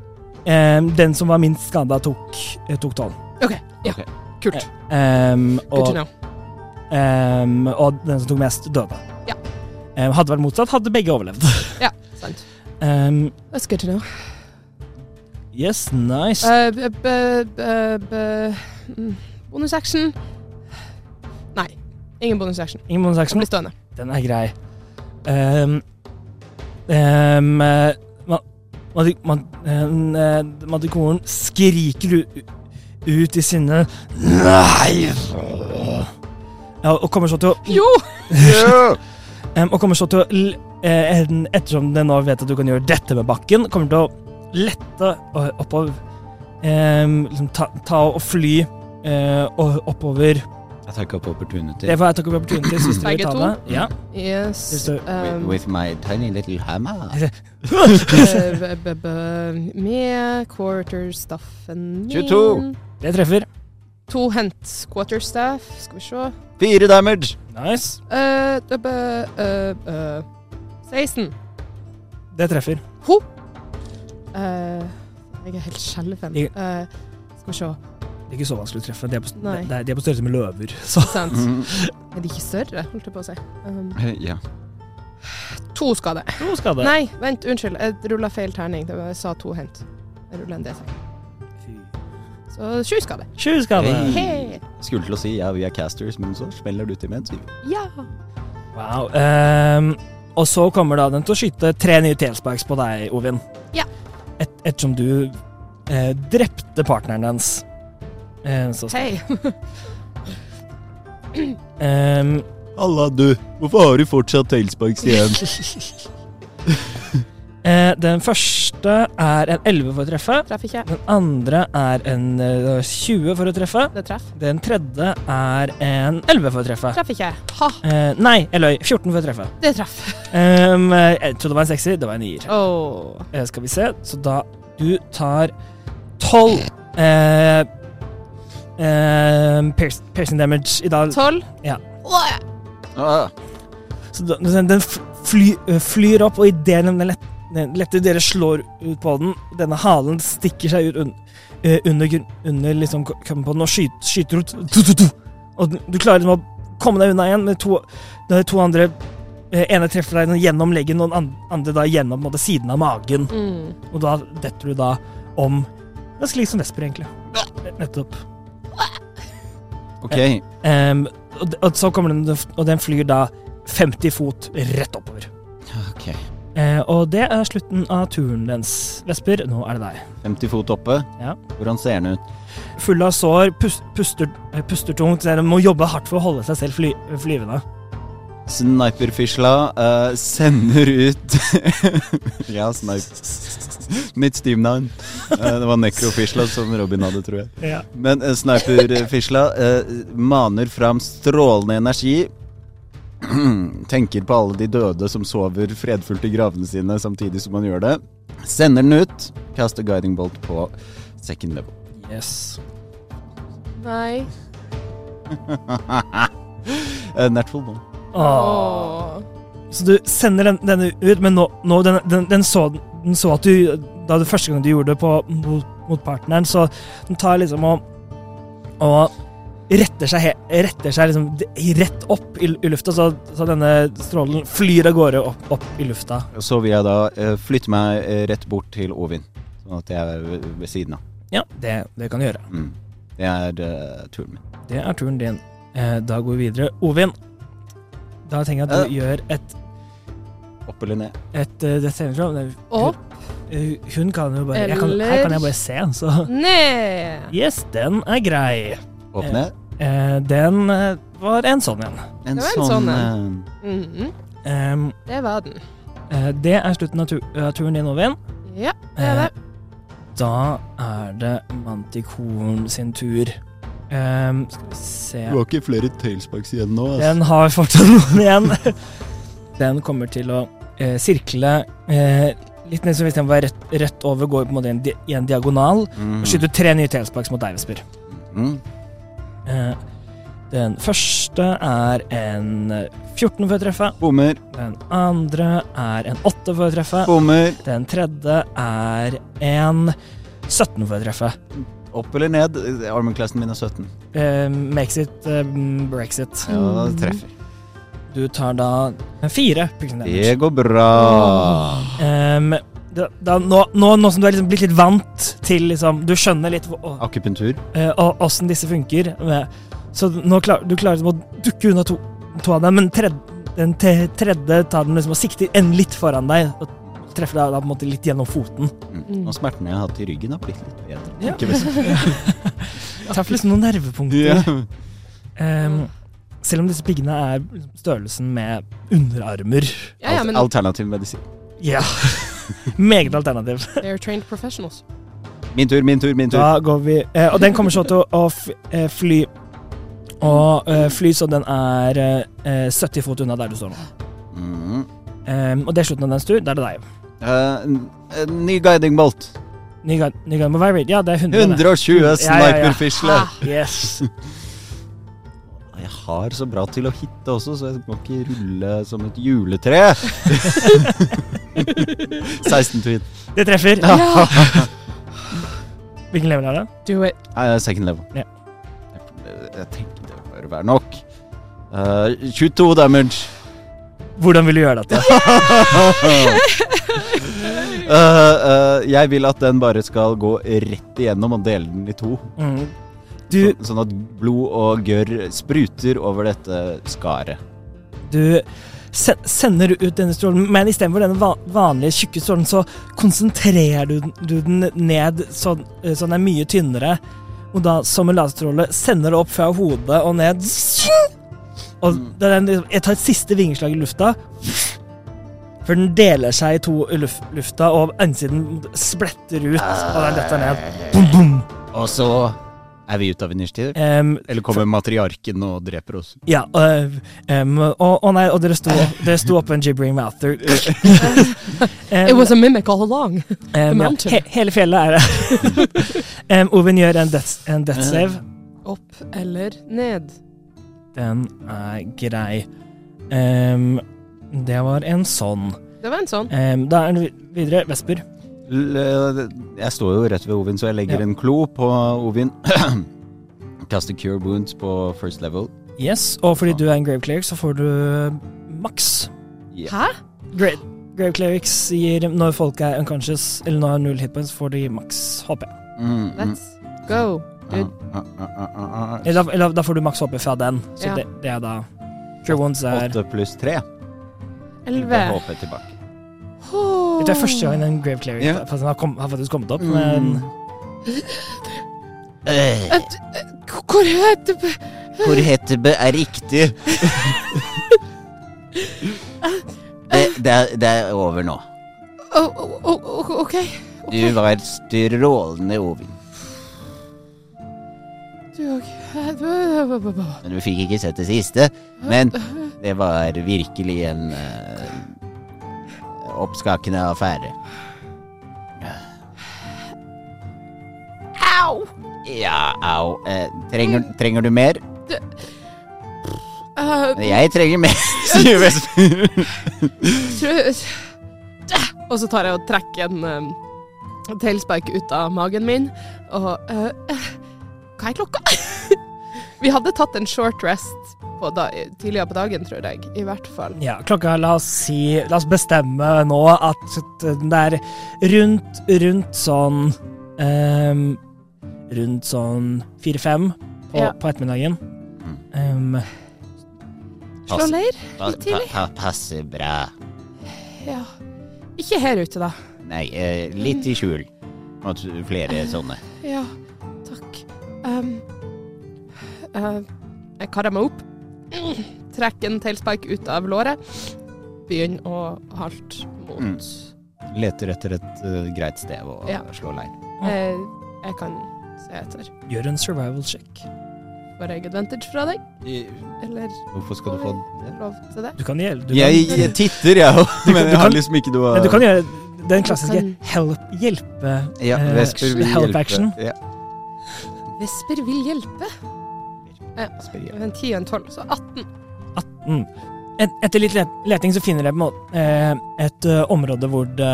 Eh, den som var minst skada, tok, eh, tok tolv. OK. Eh, Ja. Ok. Kult. Ehm, Good to og, know. ehm, og den som tok mest, døde. Ja. Ehm, hadde vært motsatt, hadde begge overlevd. Sant. Ehm, That's good to know. yes, nice. Eh, b, b, b, b, mm, bonus action Nei. Ingen bonus action. Ingen bonus action. Den blir stående. Den er grei. Ehm, ehm, eh, ma- madik- man- en, eh, Madikoren skriker u- ut i sinne Nei! Ja, og kommer så til å Jo! Em, og kommer så til å l- eh, en- Ettersom den nå vet at du kan gjøre dette med bakken, kommer til å lette eh, oppover em, liksom ta, ta og fly eh, og oppover Jeg tar ikke opp opportunity. Det var jeg tok opp opportunity, synes du vil Begge ta to? det? Ja. Yes. Hvis With, Um, with my tiny little hammer. eh, b- b- b- med quarterstaffen min 22. Det treffer. To hent quarterstaff. Skal vi se. Fire damage! Nice. Eh, d- b- eh, eh, 16. Det treffer. Ho! Eh, jeg er helt skjelven. Jeg- Eh, skal vi se. Det er ikke så vanskelig å treffe. De er på, Nei. det er- de er på størrelse med løver. Så. Sant? Mm. Er de ikke større, holdt jeg på å si. Um, Ja. to skade. To skader. Nei, vent, unnskyld. Jeg rulla feil terning. Det var- Jeg sa to hent. Jeg rulla en D6. Så sju skade. Sju skader. Hey. Hei! Skulle til å si ja, vi er casters, men så smeller du til med en syv. Ja! Wow. ehm, og så kommer da den til å skyte tre nye tailspikes på deg, Ovin. Ja. Et, ettersom du eh, drepte partneren dens. Eh, så, Hei! ehm, Alla, du. Hvorfor har du fortsatt tailspikes igjen? eh, den første er en 11 for å treffe. Treffer ikke. Den andre er en eh, 20 for å treffe. Det treff. Den tredje er en 11 for å treffe. Treffer ikke. Ha! Eh, nei, jeg løy. 14 for å treffe. Det treff. Ehm, jeg trodde det var en sekser, det var en nier. Åh. Eh, skal vi se. Så da du tar tolv eh, eh, pierc- piercing damage i dag. Tolv. Ja. Åh. Ah, Så da- den, den f- fly, eh, flyr opp, og idet den lett, den lette dere slår ut på den, denne halen stikker seg ut un, eh, under, grunn- under liksom k- kroppen på den og skyter, skyter ut. Tu, tu, tu. Og den- du klarer liksom å komme deg unna igjen med to, de to andre eh, ene treffer deg gjennom leggen, og den an- andre da gjennom på en måte, siden av magen. Mm. Og da detter du da om Ganske lik som Vesper, egentlig. Nettopp. ok. Ehm, og, d- og så kommer den, og den flyr da 50 fot rett oppover. ok. Eh, og det er slutten av turen dens, Vesper. Nå er det deg. 50 fot oppe. Ja. Hvordan ser den ut? Full av sår, pus, puster, eh, puster tungt, så den må jobbe hardt for å holde seg selv fly, flyvende. Sniperfisla eh, sender ut Ja, snipe. Mitt steamnavn. Eh, det var nekrofisla som Robin hadde, tror jeg. Ja. Men eh, sniperfisla eh, maner fram strålende energi. Tenker på alle de døde som sover fredfullt i gravene sine samtidig som man gjør det. Sender den ut. Kaster guiding bolt på second level. Yes. Nei. Eh, natural one. Åh. Åh. Så du sender den, denne ut, men nå, nå den, den, den, så, den så at du Da du første gang du gjorde det på, mot, mot partneren, så den tar liksom og Og retter seg, he- retter seg liksom d- rett opp i, i lufta, så, så denne strålen flyr av gårde opp, opp i lufta. Og Så vil jeg da eh, flytte meg eh, rett bort til Ovin, sånn at jeg er ved- ved siden av. Ja, det, det kan du gjøre. Mm. Det er eh, turen min. Det er turen din. Eh, da går vi videre. Ovin, da tenker jeg at du gjør et, Opp eller ned? et eh, det ser ut som- det- Opp. Eh, Hun kan jo bare jeg kan, Her kan jeg bare se, så Ned. Yes, den er grei. Opp Eh, ned? Eh, den eh, var en sånn en. En det var sånn, en sånn Mhm. Ehm, Det var den. eh, det er slutten av tu av turen din, Ovin. Eh, Ja, det er det. da er det Manticoren sin tur. Ehm, skal vi se har ikke flere tailsparks igjen nå, altså. Den har fortsatt noen igjen. Den kommer til å eh, sirkle eh, litt ned, så hvis den var rett, rett over, går på en måte i en di- i en diagonal. og Skyter tre nye tailspikes mot deg, Vesper. Mm. Eh, den første er en 14 for å treffe. Bommer, Den andre er en 8 for å treffe. bommer. Den tredje er en 17 for å treffe. Opp eller ned? Armenklassen min er 17. Eh, makes it, eh, breaks it. Ja, da treffer. Du tar da fire pixel Det damage. går bra. Ehm, da, da, nå, nå, nå som du er liksom blitt litt vant til liksom, Du skjønner litt hva- Akupunktur. eh, og åssen disse funker. eh, Så nå klar, du klarer liksom å dukke unna to, to av dem, men tredje, den te- tredje tar den liksom og sikter en litt foran deg. Og treffer deg da på en måte litt gjennom foten. Mm. Og smertene jeg har hatt i ryggen, har blitt litt bedre. Ja. Ikke best. Traff liksom noen nervepunkter. Ja. Ehm, selv om disse piggene er liksom størrelsen med underarmer. Ja, ja, Al- men Alternativ medisin. Ja. Meget alternativ. they're trained professionals. Min tur, min tur, min tur. Da går vi eh, Og den kommer så til å, å f- eh, fly Og eh, fly så den er eh, 70 fot unna der du står nå. Mm. Em, og det er slutten av dens tur. Da er det deg. Eh, n- en ny guiding bolt. Ny gang, ny gang med Vibrate. Ja, det er 100. det. 120 Ja, Ah. ja, ja. sniperfisle. Yes. Ah, Jeg har så bra til å hitte også, så jeg må ikke rulle som et juletre. 16 to hit. Det treffer. Ja. Hvilken level er det? Do it. Nei, det er second level. Ja. Jeg, jeg tenker det bør være nok. Eh, 22 damage. Hvordan vil du gjøre dette? Eh, eh, jeg vil at den bare skal gå rett igjennom og dele den i to. Mm. Du, Så, sånn at blod og gørr spruter over dette skaret. du sen sender ut denne strålen, men istedenfor denne va vanlige tjukke strålen, så konsentrerer du, den- du den ned så, eh, så den er mye tynnere. Og da, som en laserstråle, sender det opp fra hodet og ned. Og det er den, liksom- jeg tar et siste vingeslag i lufta. For den deler seg i to i luf lufta, og innsiden spretter ut, og den detter ned. Boom, boom. Og så er vi ute av initiativ. Em, Eller kommer matriarken og dreper oss? Ja, øh, em, og, og nei, og dere sto, dere sto oppe en gibbering mouther. Em, It was a mimic all along. em, Eh, ja, mountain. he, hele fjellet er det. Em, Ovin gjør en death, en Eh, death save. Opp eller ned. Den er grei. Em, det var en sånn. Det var en sånn. Em, da er det vi- videre Vesper. L- eh, Jeg står jo rett ved Ovin, så jeg legger Ja. en klo på Ovin. Kaster cure wounds på first level. Yes, Og fordi du er en grave cleric, så får du maks. Ja. Hæ? Grave, grave clerics gir når folk er unconscious eller når null hitpoints, får de maks HP. Mm, mm. Let's go. Good. Ah, ah, ah, ah, ah. Eller, eller da får du maks HP fra den. Så Ja. det, det er da True ones er Åtte pluss tre. Elleve. Da håper jeg tilbake. Dette er første gangen en Grave Cleric Ja. Mm. faktisk har, kom, har faktisk kommet opp, men Eh, Et- et- Hvor heter det? Hvor Hetebe er riktig. Det, det, er, det er over nå. Å, å, å, å, OK. Du var strålende, Ovin. Du òg. Men du fikk ikke sett det siste. Men det var virkelig en eh, oppskakende affære. Au! Ja, au. Eh, trenger, trenger du mer? Eh, Jeg trenger mer, sier Vesper. tror- Dæ! Og så tar jeg og trekker en um, tailspike ut av magen min, og eh, eh, Hva er klokka? Vi hadde tatt en short rest på da, tidligere på dagen, tror jeg. I hvert fall. ja, klokka La oss si La oss bestemme nå at eh, det er rundt, rundt sånn ehm, Rundt sånn fire-fem på, Ja. på ettermiddagen. Mm. Ehm, Slå leir? Pa, Litt tidlig. pa, pa, passer bra. Ja. Ikke her ute, da. Nei, eh, litt i skjul. Og t- flere sånne. Ja, takk. Ehm, eh, jeg karer meg opp, trekker en tailspike ut av låret, begynner å halte mot Mm. Leter etter et eh, greit sted å Ja. slå leir. eh, Jeg kan se etter. gjør en survival check. Får jeg advantage fra deg? Eller Hvorfor skal du få det? lov til det? Du kan gjøre du Jeg, kan, jeg titter, jeg òg, Du kan- men du jeg har kan- liksom ikke noe Nei, du kan gjøre den klassiske Du kan- help, hjelpe Ja, eh, Vesper vil help hjelpe. action. Ja. Vesper vil hjelpe. Vesper hjelper. En 10 og en 12, så 18. Mm. Et, etter litt let leting så finner jeg på en måte eh, et eh, område hvor det,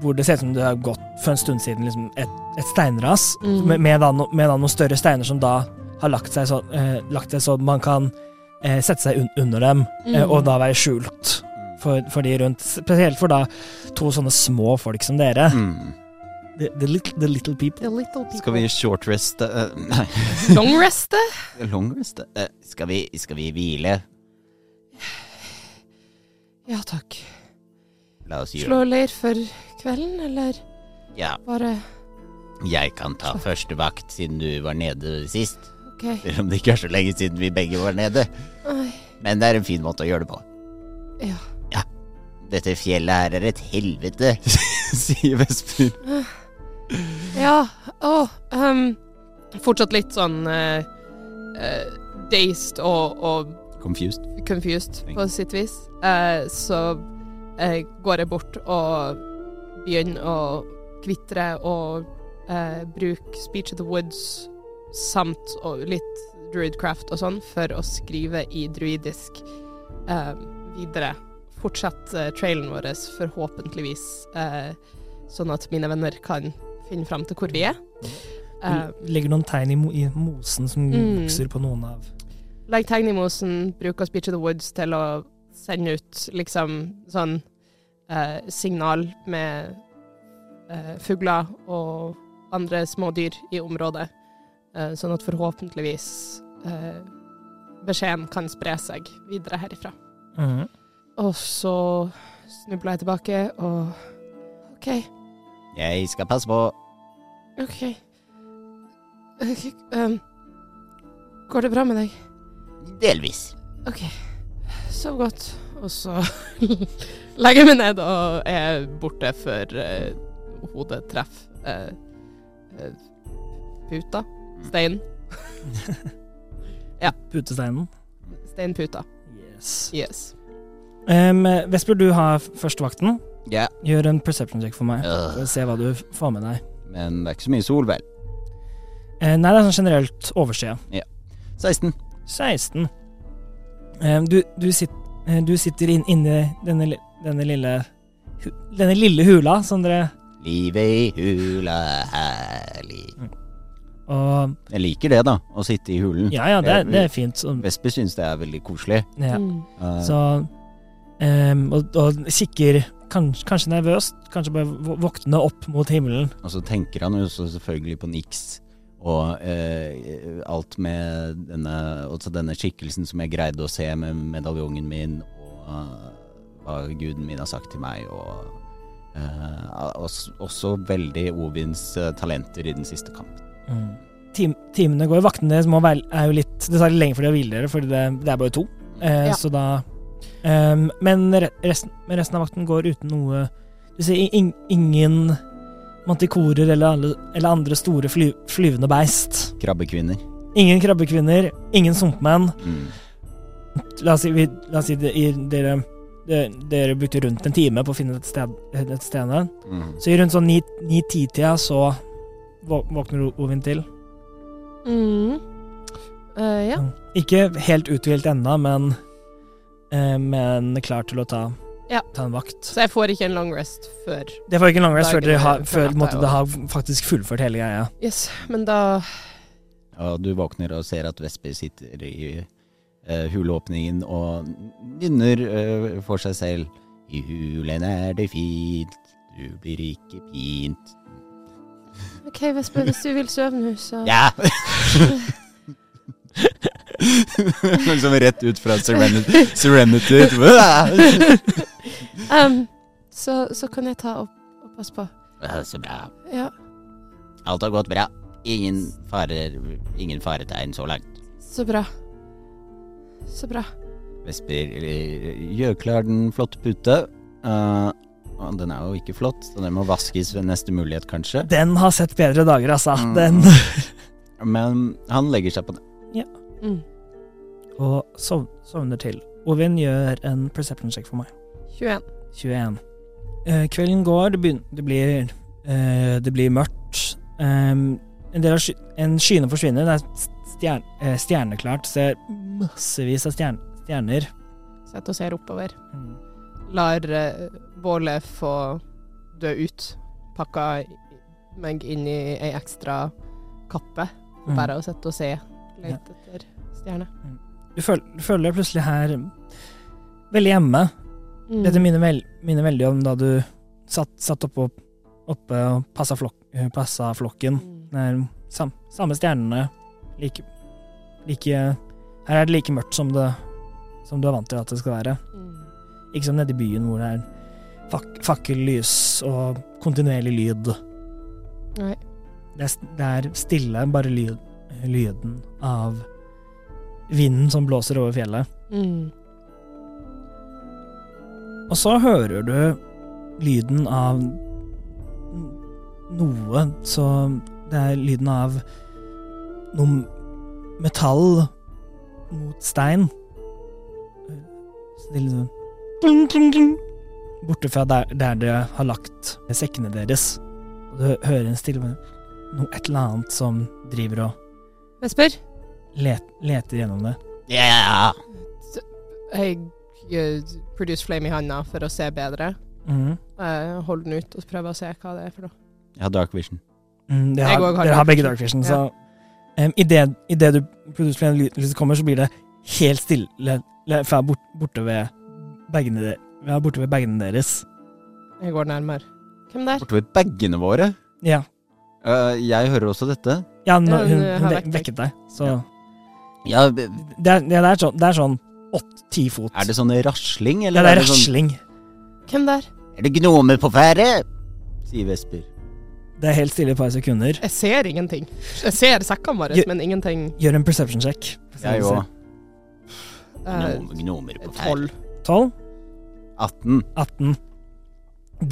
hvor det ser ut som det har gått for en stund siden liksom et, et steinras, Mhm. med, med, da no, med da noen større steiner som da har lagt seg så, eh, lagt seg så man kan eh, sette seg un under dem, eh, Mm. og da være skjult for, for de rundt. Spesielt for da to sånne små folk som dere. Mm. The, the, little, the little people. The little people. Skal vi short rest eh, Nei, Long reste? long rest? eh, skal, vi, skal vi hvile? Ja takk. La oss gjøre Slå leir for kvelden, eller Ja, bare jeg kan ta første vakt siden du var nede sist. OK. Selv om det ikke er så lenge siden vi begge var nede. Ai, Men det er en fin måte å gjøre det på. ja. Dette fjellet her er et helvete, sier Vesper. Ja, å ehm, Fortsatt litt sånn eh, eh, dazed og, og Confused. confused på sitt vis, eh, så eh, går jeg bort og begynner å kvitre og eh, bruke Speech of the Woods samt og litt druidcraft og sånn for å skrive i druidisk eh, videre. Fortsett eh, trailen vår, forhåpentligvis, eh, sånn at mine venner kan finne fram til hvor vi er. Eh, Legger noen tegn i, mo i mosen som Mm. vokser på noen av Legg tegn i mosen, bruk av Speech of the Woods til å sende ut liksom sånn eh, signal med eh, fugler og andre smådyr i området, eh, sånn at forhåpentligvis eh, beskjeden kan spre seg videre herifra. Mhm. Og så snubla jeg tilbake og OK, Jeg skal passe på. OK. Ok, ehm, går det bra med deg? Delvis. OK. Sov godt. Og så legger jeg meg ned og er borte før eh, hodet treffer eh, eh, puta. Stein. putesteinen. Steinputa. Yes. Yes. Em, Vesper, du har f- førstevakten. Ja. Gjør en perception check for meg. Øh. Skal vi se hva du f- får med deg. Men det er ikke så mye sol, vel. Eh, Nei, det er sånn generelt oversida. 16. 16. Em, Du, du, sit, eh, du sitter inn, inni denne, li- denne lille hu- Denne lille hula som dere Livet i hula er herlig. Og Jeg liker det, da. Å sitte i hulen. Ja ja, det, er- det er fint. Så, Vesper syns det er veldig koselig. ja. Mm. Eh, så em, og, og kikker kanskje, kanskje nervøst, kanskje bare vå- våkne opp mot himmelen. Og så tenker han jo så selvfølgelig på Nix og eh, alt med denne, også denne skikkelsen som jeg greide å se med medaljongen min, og eh, hva guden min har sagt til meg, og eh, også, også veldig Ovins eh, talenter i den siste kampen. Tim, timene går, vaktene deres må være, er jo litt Det tar litt lenger for de å hvile dere, for det, det er bare to. Eh, Ja. Så da ehm, Men re- resten, men resten av vakten går uten noe Du ser i- ing- ingen mantikorer eller, alle, eller andre store fly, flyvende beist. Krabbekvinner. Ingen krabbekvinner, ingen sumpmenn. Mm. La oss si, vi, la oss si det, i, dere, de- dere brukte rundt en time på å finne et sted. Et sted. Mm. Så i rundt sånn ni- ni-ti-tida så vå- våkner Ovin til. Mm. Eh, ja. Ikke helt uthvilt ennå, men, eh, men klar til å ta, Ja. ta en vakt. Så jeg får ikke en long rest før Det var ikke en lang rest før Dagen dere har, er- før, natta er måtte, over. det har faktisk fullført hele greia. Yes, men da Og du våkner og ser at Vesper sitter i eh, huleåpningen og nynner eh, for seg selv. I hulen er det fint, du blir ikke pint. OK, Vespe, hvis du vil sove nå, så Ja! liksom rett ut fra Serenity. Serenity. Ehm, så, så kan jeg ta og, og passe på. Ah, Så bra. Ja. Alt har gått bra. Ingen farer, ingen faretegn så langt. Så bra. Så bra. Vesper eh, gjør klar den flotte pute. Eh, og den er jo ikke flott, så den må vaskes ved neste mulighet, kanskje. Den har sett bedre dager, altså. Mm. Den. Men han legger seg på det. Mm. Og sov, sovner til. Ovin gjør en perception check for meg. 21. 21. Eh, kvelden går, det, begyn- det, blir, eh, det blir mørkt. Em, en del av sky en skyene forsvinner. Det er stjern eh, stjerneklart. Ser massevis av stjern stjerner. Sett og ser oppover. lar eh, bålet få dø ut. Pakka i- meg inn i ei ekstra kappe. Mm. Bare å sitte og se. Lete etter stjerner. Du føler, du føler deg plutselig her veldig hjemme. Mm. Dette minner, vel, minner veldig om da du satt, satt oppe, og- oppe og passa, flok, eh, passa flokken. Mm. Det er sam, samme stjernene. Like, like Her er det like mørkt som, det, som du er vant til at det skal være. Mm. Ikke som nede i byen hvor det er fak, fakkellys og kontinuerlig lyd. Nei. Det er, s- det er stille, bare lyd, lyden av vinden som blåser over fjellet. Mm. Og så hører du lyden av n- noe, så det er lyden av noe metall mot stein. Så det er litt sånn kling, kling, kling. Borte fra der, der dere har lagt sekkene deres. Og du hører en stille noe et eller annet som driver og Vesper? let, leter gjennom det. Ja! Jeg eh, produce flame i handa for å se bedre. Mhm. Eh, Hold den ut og prøve å se hva det er for noe. Jeg har dark vision. Mm, det Jeg har, også har dere har dark begge vision. dark vision, så um, Idet idet du produserer flere lyd- lyd kommer, så blir det helt stille le- fra bort, borte ved bagene de- ja, borte ved bagene deres. Jeg går nærmere. Hvem der? Bortover bagene våre. Ja, Eh, jeg hører også dette. ja nå- Ja, hun hun, har hun vekket vek- vekket deg, så Ja. Ja, b- det, er, det, er sånn, det er sånn åtte-ti fot. er det sånn rasling, ja, eller det er sånn rasling. Hvem der? Er det gnomer på ferde? sier Vesper. Det er helt stille i et par sekunder. Jeg ser ingenting. Jeg ser sekkene våre, Jeg- men ingenting. Gjør en perception check. Jeg òg. Eh, Gnomer på ferde. Tolv. 12, 18. 18.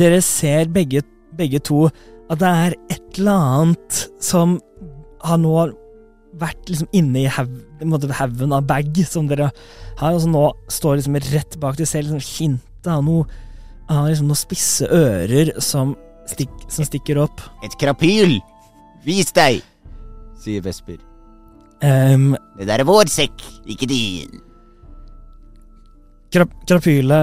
Dere ser begge, begge to at det er et eller annet som har nå vært liksom inne i haug- på en måte haugen av bag som dere har, og som nå står liksom rett bak dere selv, liksom hintet av noe av liksom noen spisse ører som, stikk, som stikker opp. Et krapyl! Vis deg! sier Vesper. Um, Det der er vår sekk, ikke din. krap krapyle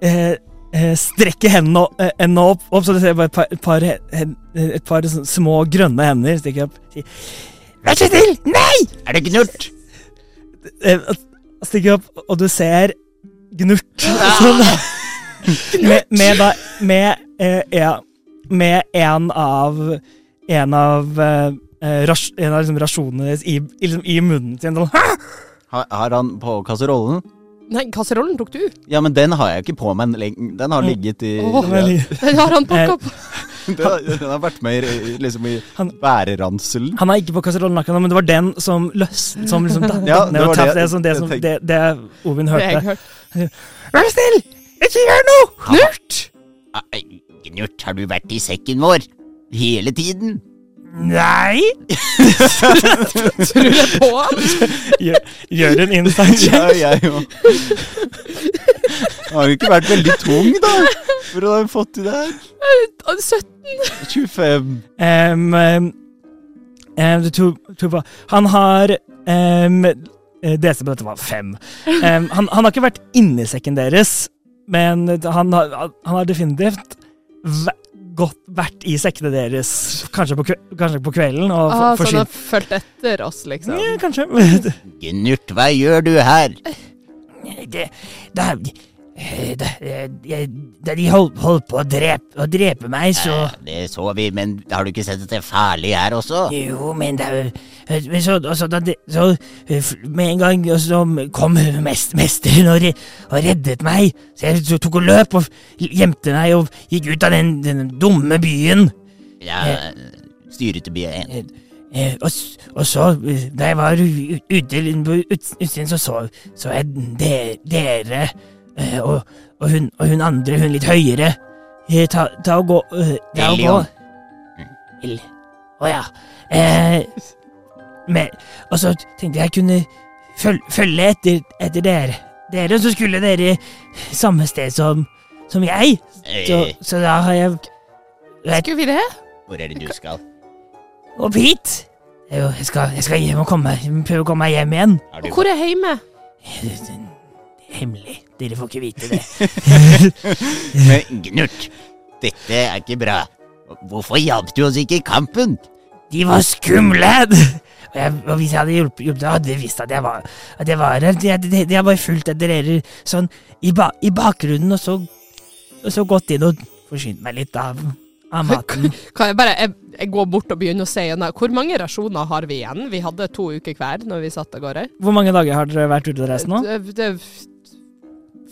eh, eh, strekker hendene, o- eh, hendene opp, opp, så du ser bare et par, et par, he- hen- et par sånn små grønne hender stikker opp. sier, Vær så snill! Nei! Er det gnurt? Eh, og stikker opp, og du ser Gnurt. Sånn, med, med da med, eh, ja, med en av En av eh, eh, ras, en av liksom rasjonene deres i, i liksom, i munnen sin. Sånn, «Hæ?» Har, har han på kasserollen? Nei, kasserollen tok du. Ja, men den har jeg ikke på meg. lenge. Den har ligget i Åh, ja. Den har han pakka opp. den, har, den har vært med i, i- liksom i Han- bæreranselen. Han er ikke på kasserollen akkurat nå, men det var den som løs... Som liksom datt Ja, ned det og var traff det det, som det, jeg som, tenkte. det, det Ovin Det jeg hørte. hørte. Vær så snill! Ikke gjør noe! Knurt! Gnurt, Ah, har du vært i sekken vår? Hele tiden? Nei! Tror jeg på han? Gjør, gjør en inside check. Ja, jeg òg. Har jo ikke vært veldig tung, da, for å ha fått til det her. Han er 17. 25. Em, em, em, du tror, tror på Han har um, DC på dette var fem. Em, han, han har ikke vært inni sekken deres, men han har, han har definitivt væ- gått, vært i sekkene deres, kanskje på, kve- kanskje på kvelden, og Ah, for- forsynt så han har fulgt etter oss, liksom. Ja, kanskje. Gnurt, hva gjør du her? Det, det, er- eh, det, jeg- da de holdt, holdt på å drepe, å drepe meg, så Det så vi, men har du ikke sett at det er farlig her også? Jo, men det er jo- men så, og så, da, de- så eh, f- Med en gang og så kom mest, mesteren og, re, og reddet meg. Så jeg så tok og løp og gjemte meg og gikk ut av den, den dumme byen. Ja, styrete bien. Eh, eh, Og, s- og så, eh, da jeg var u- ute på ut- utsiden, så så, så jeg de, dere eh, og, og, hun, og hun andre, hun litt høyere. Eh, Ta, ta og gå eh, ta og gå. Elion. El- Å ja. Eh, men- og så tenkte jeg kunne føl, følge etter, etter dere. Dere, så skulle dere samme sted som, som jeg. Så, Eh, så da har jeg Skulle vi det? Hvor er det du skal? Opp hit! Det er jo- Jeg skal, jeg skal hjem og komme, prøve å komme meg hjem igjen. Har Og du hvor er hjemme? Det er Hemmelig. Dere får ikke vite det. Men Gnurt, dette er ikke bra. Hvorfor hjalp du oss ikke i kampen? De var skumle! Og, jeg, og hvis jeg hadde hjulpet, hjulpet hadde jeg visst at jeg var at jeg var her. De, de, de, har bare fulgt etter dere sånn i, ba, i bakgrunnen, og så, og så gått inn og forsynt meg litt av, av maten. Kan jeg bare jeg, jeg går bort og begynner å se igjen. da. Hvor mange rasjoner har vi igjen? Vi hadde to uker hver når vi satt av gårde. Hvor mange dager har dere vært ute og reist nå? Det, det,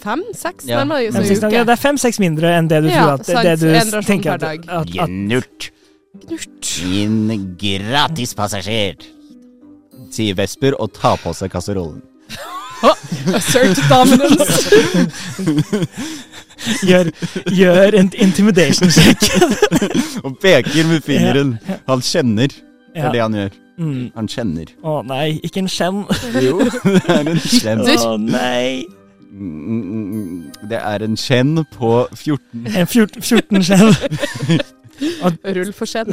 Fem-seks, Ja. nærmere. Fem, Så seks dager. uke. Det er fem-seks mindre enn det du Ja, tror at sant. det En du rasjon tenker per at, dag. at, at Gnurt, Knurt. din gratispassasjer. Sier Vesper og tar på seg kasserollen. Assert dominance. gjør, gjør en intimidation check. Og peker med fingeren. Han kjenner, det Ja. er det han gjør. Mm. Han kjenner. Å nei, ikke en skjenn. Jo, det er en kjenn. Du- Å nei. Mm, mm, mm. Det er en kjenn på 14. En 14 14-skjenn. Rull for sen.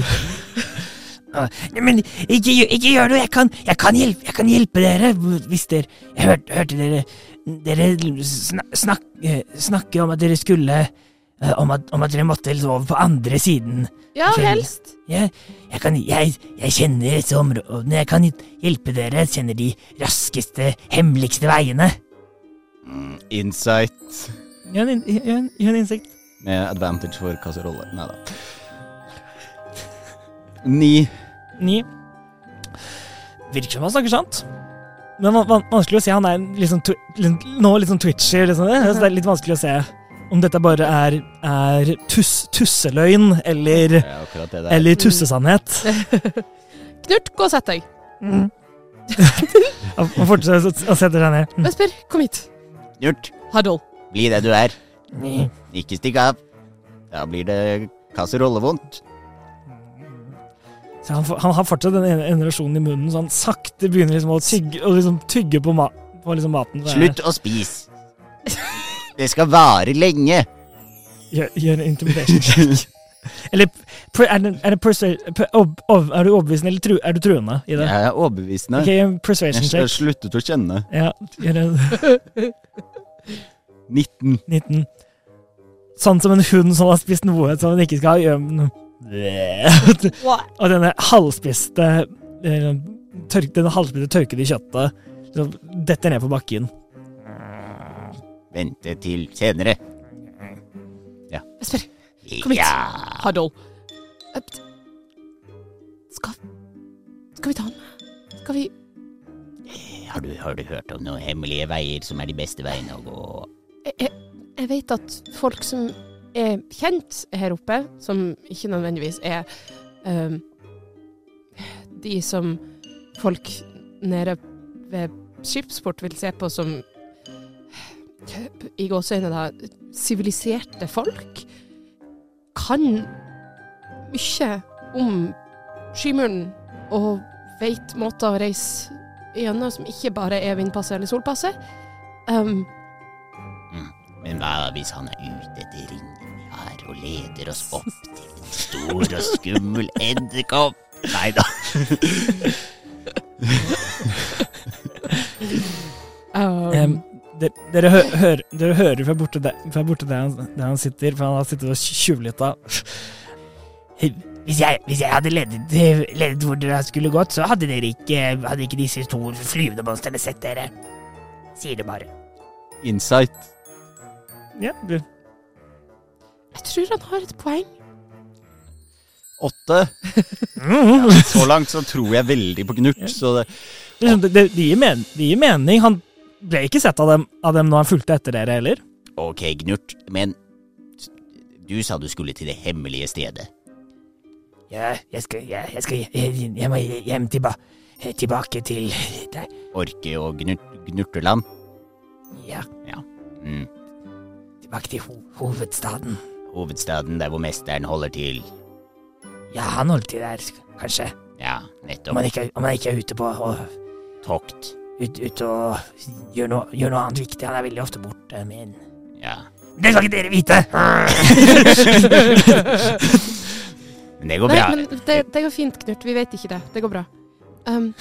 Nei, Men ikke, gjø- ikke gjør noe, jeg kan, jeg, kan hjelpe, jeg kan hjelpe dere hvis dere Jeg hørte, hørte dere Dere snak, snak, eh, snakke om at dere skulle eh, om at, om at dere måtte liksom over på andre siden. Ja, Kjell. helst. Jeg, jeg, kan, jeg, jeg kjenner disse områdene, jeg kan hjelpe dere. Jeg kjenner de raskeste, hemmeligste veiene. Mm, Insight Gjør en, innsikt. med advantage for kasserolle. Nei da. Ni. Ni. Virker som han snakker sant. Men van, van, vanskelig å se. Han er liksom twi- liksom- nå litt sånn twitchy, liksom. det, så det er litt vanskelig å se om dette bare er, er tuss, tusseløgn eller, Det er akkurat det der. eller tussesannhet. Knut, gå og sett deg. Han han fortsetter å- å sette seg ned. Vesper, kom hit. Gjort. Huddle. Bli det du er. Ni. Ikke stikk av. Da blir det kasserollevondt. Så han, får- han har fortsatt den ene ene rasjonen i munnen, så han sakte begynner liksom å tygge, å liksom tygge på, ma på liksom maten. Så jeg- Slutt å spise. Det skal vare lenge. Gjør, gjør en intimidation check. eller per, er, det, er, det persuade, per, ob, ob, er du overbevisende eller tru, er du truende i det? Jeg er overbevisende. Ok, en persuasion Jeg har check. sluttet å kjenne. Ja, gjør en 19. 19. Sånn som en hund som har spist noe som den ikke skal ha. gjør den- Og denne halvspiste eh, tørk, denne halvspiste tørkede kjøttet liksom detter ned på bakken. Vente til senere. Vesper, Kom hit. Ja. huddle. Øpt. Skal Skal vi ta den med? Skal vi Har du, har du hørt om noen hemmelige veier som er de beste veiene å gå? jeg, jeg- jeg vet at folk som er kjent her oppe, som ikke nødvendigvis er ehm, de som folk nede ved skipsport vil se på som i gåseøyne da siviliserte folk, kan mye om skymuren og veit måter å reise gjennom som ikke bare er vindpasset eller solpasset. Um, Men hva hvis han er ute etter ringen vi har, og leder oss opp til en stor og skummel edderkopp? Nei da. Um, Em, de, dere, hø, hører- dere hører fra borte, der, fra borte der, han, der han sitter, for han har sittet og tjuvlytta. Hvis, jeg- hvis jeg hadde ledet, ledet hvor dere skulle gått, så hadde dere ikke, hadde ikke disse to flyvende monstrene sett dere. Sier det bare. Insight. Ja, du. jeg tror han har et poeng. Åtte. Mm. Så langt så tror jeg veldig på Knurt, så det Liksom, Det, det, det, gir men, det gir mening. Han ble ikke sett av dem, av dem når han fulgte etter dere heller. Ok, Knurt, men du sa du skulle til det hemmelige stedet. Ja, jeg skal, må hjem tilbake til deg. Orke og gnurt, Gnurteland. Ja, Mm. tilbake til hovedstaden. Hovedstaden der hvor mesteren holder til. Ja, han holdt til der, kanskje. Ja, Om nettopp. han ikke, om han ikke er ute på og, Tokt. ut, ut og gjør noe, gjør noe annet viktig. Han er veldig ofte borte, men Ja. Det skal ikke dere vite! Men det går Nei, bra. men det, det går fint, Knut. Vi vet ikke det. Det går bra. Um,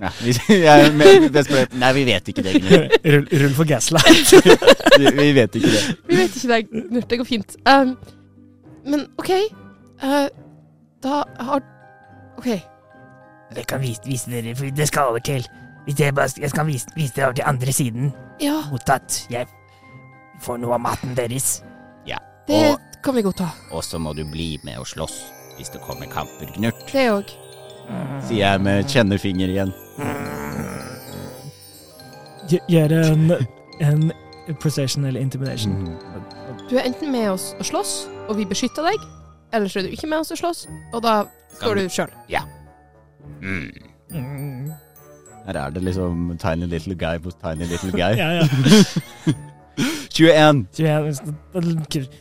Ja, hvis, jeg, men, det spør, nei, vi vet ikke det, Knut. Rull, for Gasla. Vi, vi vet ikke det. vi vet ikke det, Knut. Det går fint. Um, men OK. Uh, da har OK. Jeg kan vise, vise dere, for det skal over til Hvis dere bare, Jeg skal vise, vise dere over til andre siden, Ja, mot at jeg får noe av maten deres. det Og- kan vi godta. Og så må du bli med og slåss hvis det kommer kamper, Knurt. Det òg. Sier jeg med kjennefinger igjen. Gjøre en, en procession eller intimidation. Du er enten med oss og slåss, og vi beskytter deg. Eller så er du ikke med oss og slåss, og da Kan- står du sjøl. Mm. Mm. Her er det liksom tiny little guy på tiny little guy. Ja, ja. 21. Så jeg-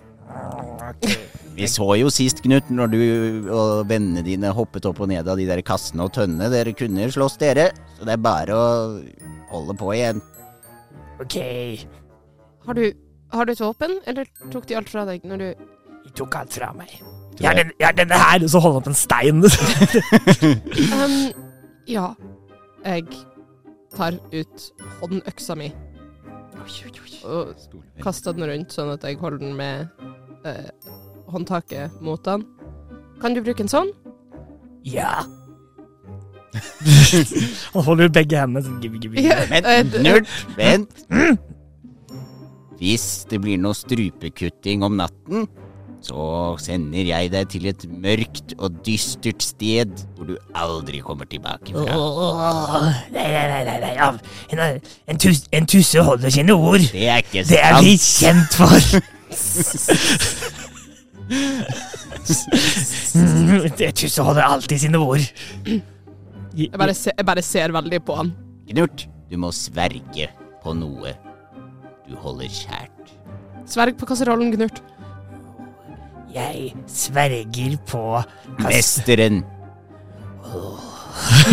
Vi så jo sist, Knut, når du og vennene dine hoppet opp og ned av de der kassene og tønnene. Dere kunne slåss, dere. Så det er bare å holde på igjen. Ok, de Har du, har du et våpen, eller tok de alt fra deg når du tok alt fra meg. Tror Jeg er, jeg. den, jeg er denne her, og så holder han opp en stein. Ehm, Ja. Jeg tar ut håndøksa mi og kaster den rundt, sånn at jeg holder den med eh, håndtaket mot den. Kan du bruke en sånn? ja. han holder ut begge hendene. Sånn, gibbe, gibbe, gibbe. Vent, eh, nerd, mm. vent. Hvis det blir noe strupekutting om natten, så sender jeg deg til et mørkt og dystert sted hvor du aldri kommer tilbake Åh, fra. Nei, nei, nei, nei, nei. av- En, en, tus, en tusse holder sine ord. Det er ikke Det er sant. vi kjent for. Mm, det- Tusse holder alltid sine ord. Jeg bare, se, jeg bare ser veldig på han. Knurt, du må sverge på noe du holder kjært. Sverg på kasserollen, Gnurt. Jeg sverger på Mesteren.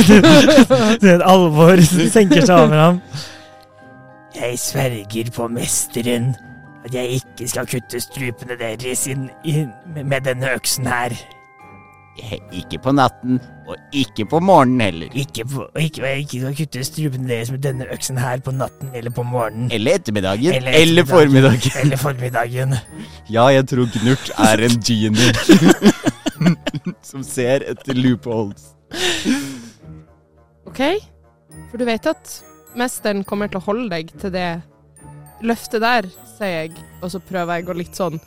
Det er et alvor som senker seg over ham. Jeg sverger på mesteren at jeg ikke skal kutte strupene deres inn, inn med denne øksen her. Ikke på natten, og ikke på morgenen heller. Ikke, på, ikke, og jeg ikke skal kutte strupene deres med denne øksen her på natten eller på morgenen. Eller ettermiddagen. Eller, ettermiddagen, formiddagen. Eller formiddagen. Ja, jeg tror Knurt er en genie som ser etter loopholes. OK? For du vet at mesteren kommer til å holde deg til det løftet der, sier jeg, og så prøver jeg å litt sånn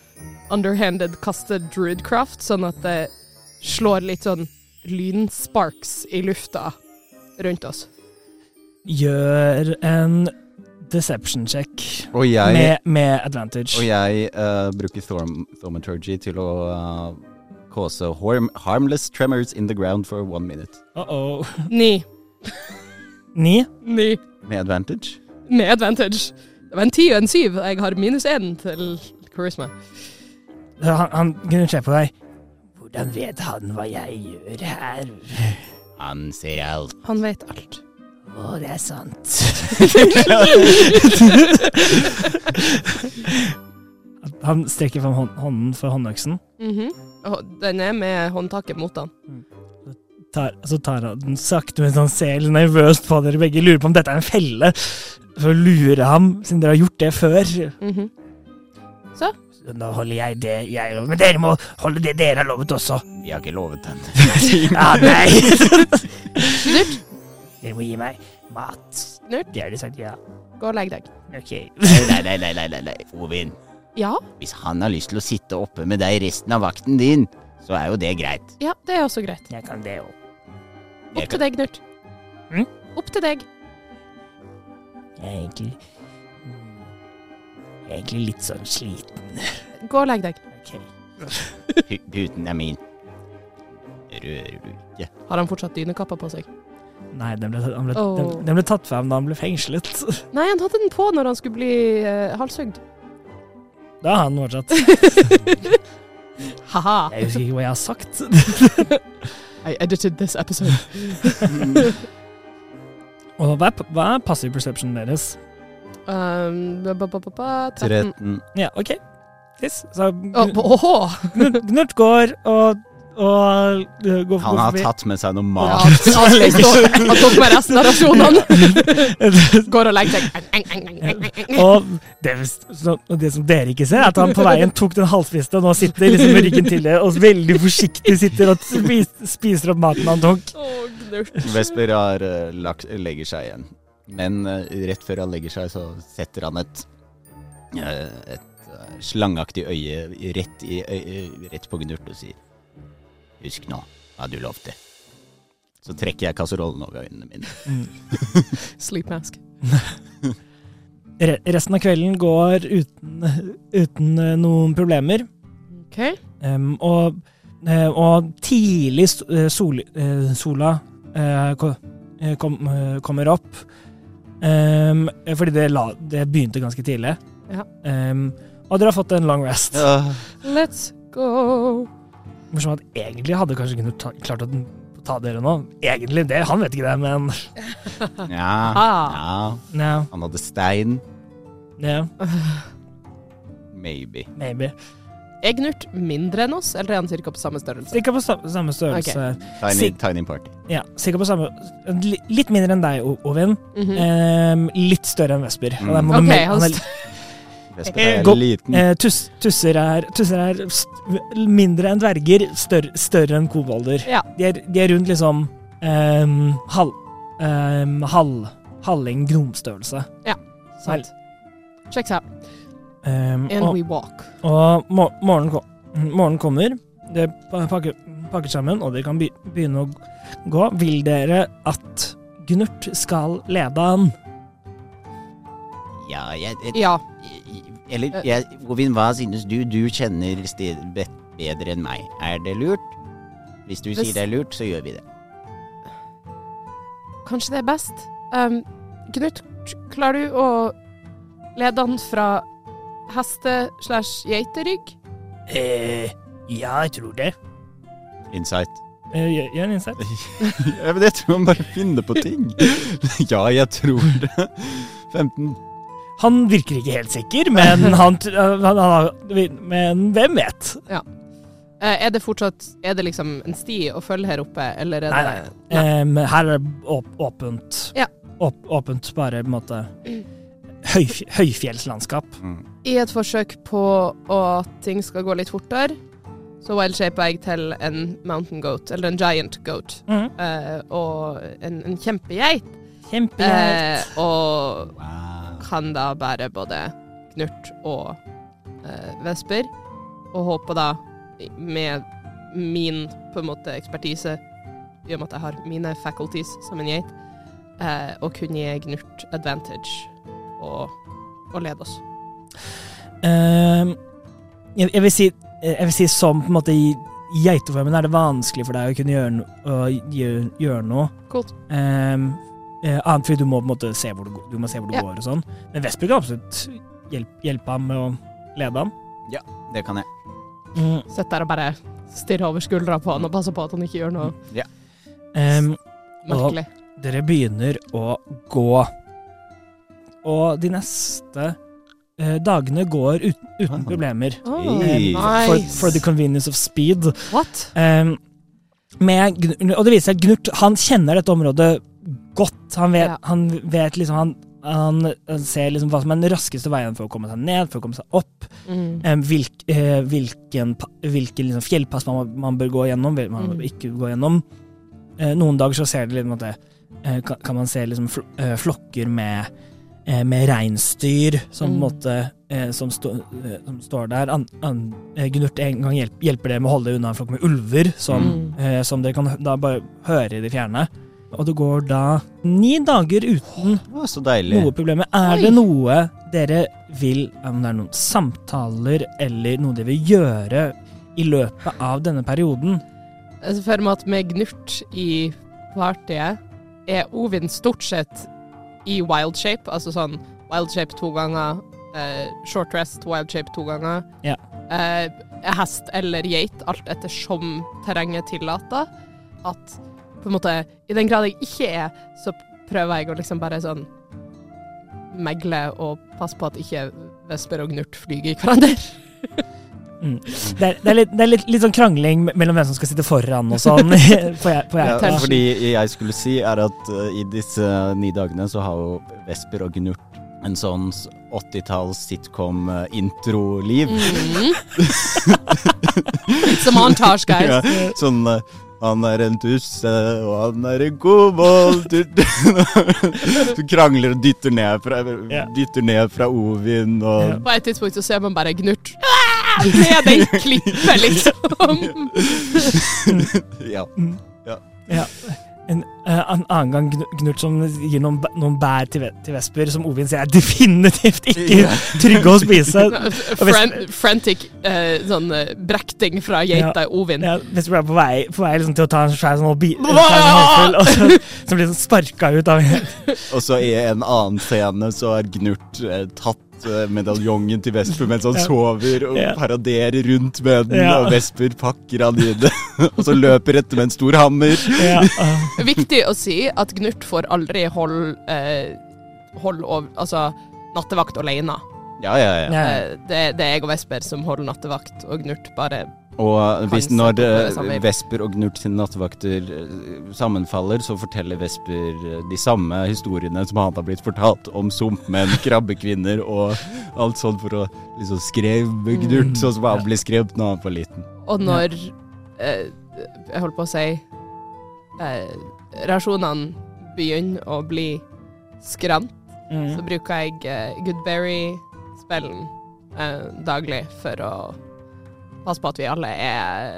underhanded kaste druidcraft, sånn at det slår litt sånn lynsparks i lufta rundt oss. Gjør en deception check Og jeg, med, med advantage. og jeg eh, bruker thorm, thaumaturgy til å eh, cause harm, harmless tremors in the ground for one minute. Uh -oh. Ni. Ni. Ni. Med advantage. Med advantage. Det var en ti og en syv. Jeg har minus én til charisma. Han, han kunne se på deg. Hvordan vet han hva jeg gjør her? Han ser alt. Han vet alt. Å, det er sant. Han strekker fram hånd- hånden for håndøksen, Mhm. Og den er med håndtaket mot han. tar, så tar han den sakte mens han ser litt nervøst på dere begge, lurer på om dette er en felle, for å lure ham, siden dere har gjort det før. Mhm. Så Nå holder jeg det jeg lover, men dere må holde det dere har lovet også. Vi har ikke lovet den. Ja, nei. Knut, Dere må gi meg mat. Knut, Det har de sagt, ja. gå og legg deg. Ok. Nei, nei, nei, nei, nei, nei. Ovin. Ja, Hvis han har lyst til å sitte oppe med deg resten av vakten din, så er jo det greit. ja, det er også greit. Jeg kan det òg. Opp Jeg til deg, Knut. Mm? Opp til deg. Jeg er egentlig mm, Jeg er egentlig litt sånn sliten. Gå og legg deg. Ok. kan- Pu- Puten er min. Rører du ikke? Har han fortsatt dynekappa på seg? Nei, den ble, han ble, Åh. den, den ble tatt fra ham da han ble fengslet. Nei, han hadde den på når han skulle bli uh, halshugd. Da har han fortsatt. Ha-ha. Jeg husker ikke hva jeg har sagt. I edited this episode. Og hva er, p- hva er passive perception deres? Um, ba, ba, ba, ba, ba, 13. 13. Ja, OK. Yes. Så Å, Gnurt åhå. Gnurt går og, og uh, går Han går har forbi. tatt med seg noe Ja, mat. han står- han tok med resten av rasjonene. Går og legger seg. Eng, eng, eng, eng, eng, eng. Og det, så, og det som dere ikke ser, er at han på veien tok den halvspiste og nå sitter liksom med ryggen til det og veldig forsiktig sitter og spis, spiser opp maten han tok. Å, Knut. Vesper har, eh, lagt, legger seg igjen. Men eh, rett før han legger seg, så setter han et eh, et eh, slangeaktig øye rett, i, øye, rett på Gnurt og sier Husk nå hva du lovte. Så trekker jeg kasserollen over øynene mine. Sleep mask. Re resten av kvelden går uten, uten eh, noen problemer. OK. Em, og, eh, og tidlig st- eh, sol, eh, sola eh, ko- eh, kom, eh, kommer opp. Em, eh, fordi det, la, det begynte ganske tidlig. Ja. Em, og dere har fått en long rest. Ja. Let's go. Morsomt at egentlig hadde jeg kanskje kunnet ta, klart å ta dere nå. Egentlig, det, han vet ikke det, men Ja, Ah. ja. no, Han hadde stein. no, Maybe. maybe. Ah. Er Gnurt mindre enn oss, eller er han cirka på samme størrelse? Sikkert på sa- samme størrelse. Tiny, Sig- tiny party. Ja, sikkert på samme li- Litt mindre enn deg, O- Ovin. Mhm. Em, litt større enn Vesper. Mm. Og der må du Ok, mel- han han er- st- Vesper er Gå- liten. eh, tus, tusser er, tusser er st mindre enn dverger, større, større enn kobolder. Ja. De, er, de er rundt liksom ehm, em, halv, em, halv, halvling gnomstørrelse. sant. Checks out. Em, Ehm, And Mm, og we walk. og mor morgenen, ko morgenen kommer, det pa- pakker, pakker sammen, og dere kan be begynne å g- gå. Vil dere at Gnurt skal lede han? Ja, jeg, jeg, Ja. Eller, jeg, Ovin, hva synes du? Du kjenner sted be- bedre enn meg. Er det lurt? Hvis du Hvis- sier det er lurt, så gjør vi det. Kanskje det er best. Um, Knut, klarer du å lede han fra heste slash geiterygg? Eh, ja, jeg tror det. Insight. Eh, Gjør en innsats. ja, men jeg tror man bare finner på ting. ja, jeg tror det. 15. Han virker ikke helt sikker, men, han, tr- han, han, har- men hvem vet? Eh, er det fortsatt Er det liksom en sti å følge her oppe, eller er Nei, det Em, her er det åp åpent. Ja. Mm. Åp åpent, bare på en måte høyf høyfjellslandskap. I et forsøk på å at ting skal gå litt fortere, så wildshaper jeg til en mountain goat, eller en giant goat, Mm. eh, og en, en kjempegeit. Kjempegeit. Eh, og Wow. kan da bære både knurt og eh, vesper, og håper da med min på en måte ekspertise, i og med at jeg har mine faculties som en geit, eh, å kunne gi knurt advantage og, og lede oss. Ehm, jeg, jeg, vil si, jeg vil si som på en måte i geiteformen er det vanskelig for deg å kunne gjøre, no- å gjøre, gjøre noe. Coolt. Ehm, eh, annet fordi du må på en måte se hvor du, går- du, må se hvor du Ja. går og sånn. Men Vesper kan absolutt hjelpe, hjelpe ham med å lede ham. Det kan jeg. Mm, Sitter der og bare stirrer over skuldra på han og passer på at han ikke gjør noe ehm, merkelig. dere begynner å gå. Og de neste eh, dagene går uten, uten Ah. problemer. Oh, Hey. For, nice. for the convenience of speed. What? Ehm, med, Gnu- og det viser seg at Gnurt han kjenner dette området godt. Han vet, Ja. han vet liksom han, han, han ser liksom hva som er den raskeste veien for å komme seg ned, for å komme seg opp. Mm. Em, hvilk, eh, hvilken pa- hvilken liksom fjellpass man, man bør gå gjennom, hvilken man Mm. ikke gå gjennom. Eh, noen dager så ser det litt, på en måte, eh, kan, kan man se liksom fl eh, flokker med eh, med reinsdyr som, på en Mm. måte, eh, som, stå, eh, som står der. An, an, eh, Gnurt en gang hjelp, hjelper det med å holde deg unna en flokk med ulver, som, Mm. eh, som dere kan hø- da bare høre i det fjerne. Og det går da ni dager uten Det var så deilig. noe problemer. Er Oi. det noe dere vil Om det er noen samtaler eller noe dere vil gjøre i løpet av denne perioden? Jeg ser Altså, for meg at med Gnurt i partyet er Ovin stort sett i wild shape, altså sånn wild shape to ganger, eh, short rest wild shape to ganger, Ja. eh, hest eller geit, alt etter som terrenget tillater. At på en måte, i den grad jeg ikke er, så prøver jeg å liksom bare sånn megle og passe på at ikke vesper og gnurt flyger i hverandre. Mm. Det er, det er, litt, det er litt, litt sånn krangling me- mellom hvem som skal sitte foran og sånn. på jeg, på Ja, jeg, tension. fordi jeg skulle si er at eh, i disse ni dagene så har jo Vesper og Gnurt en sånn 80-talls eh, sitcom-intro-liv. Mm. Som montage, guys. Ja, sånn eh, Han er en tusse, og han er en kobold Du du krangler og dytter ned fra, Ja. dytter ned fra Ovin og På et tidspunkt så ser man bare Gnurt «Ah!» ned den klippet, liksom. Ja. En, eh, en annen gang Gnu- Gnurt som gir noen, bæ- noen bær til, ve- til vesper, som Ovin sier er definitivt ikke trygge å spise. Fran frantic eh, sånn eh, brekting fra geita Ovin. Ja, Vesper er på vei, på vei liksom, til å ta en svær sånn hobi- en svær sånn håndfull, og så, så blir han sparka ut av Og så i en annen scene så er Gnurt eh, tatt rundt eh, medaljongen til Vesper mens han Ja. sover, og Ja. paraderer rundt med den, Ja. og Vesper pakker han i det, og så løper etter med en stor hammer. Ja, ah, Viktig å si at Gnurt får aldri hold, eh, hold over, altså nattevakt alene. Ja, ja, ja. ja. Eh, det, det er jeg og Vesper som holder nattevakt, og Gnurt bare Og hvis Kan når sette opp, eh, eh, samvær. Vesper og Gnurt sine nattevakter eh, sammenfaller, så forteller Vesper eh, de samme historiene som han har blitt fortalt om sumpmenn, krabbekvinner og alt sånt for å liksom skremme Gnurt, Mm. sånn som Ja. han ble skremt når han var liten. Og når eh, Jeg holdt på å si eh, Rasjonene begynner å bli skrant, så mm. bruker jeg eh, Goodberry-spillen eh, daglig for å passe på at vi alle er,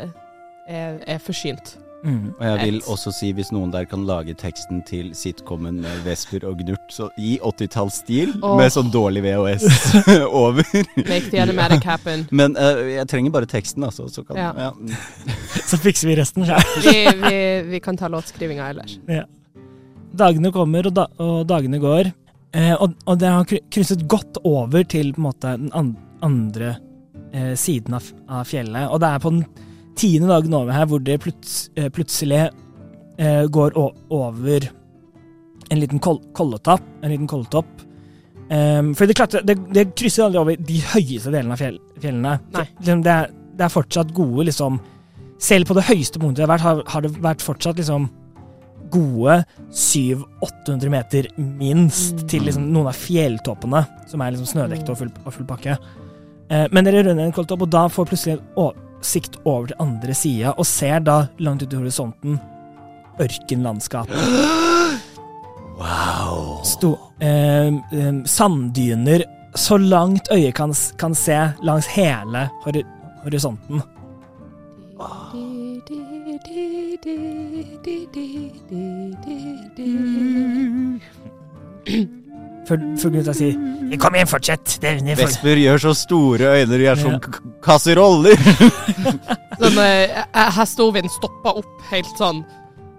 er, er forsynt. Mm. Og jeg vil Et. også si, hvis noen der kan lage teksten til sitcomen med Vesper og Gnurt så i 80-tallsstil, Åh. med sånn dårlig VHS over. Make the animatic happen. Men eh, jeg trenger bare teksten, altså. Så kan, Ja. ja. Så fikser vi resten sjøl. Vi, vi, vi kan ta låtskrivinga ellers. Dagene kommer, og, da, og dagene går. Eh, og, og det har kry- krysset godt over til på en måte, den an- andre eh, siden av, av fjellet. Og det er på den tiende dagen over her hvor det pluts, eh, plutselig eh, går o over en liten kol kolletapp. En liten kolletopp. Em, for det, klatre, det, det krysser aldri over de høyeste delene av fjell, fjellene. Nei. Liksom, Det, er, det er fortsatt gode liksom Selv på det høyeste punktet det har vært, har, har det vært fortsatt liksom gode 700-800 meter minst Mm. til liksom noen av fjelltoppene, som er liksom snødekte Mm. og full, og full pakke. Eh, men dere runder en kolletopp, og da får plutselig en å- sikt over til andre sida, og ser da langt ut i horisonten ørkenlandskap. Wow. Sto, em, em, sanddyner så langt øyet kan, s- kan se langs hele hori horisonten. Før, før gutta sier 'Kom igjen, fortsett'. Det, det, for, Vesper gjør så store øyne, de er som Ja. k- k- kasseroller. Sånn, eh, Hestehoven stopper opp helt sånn.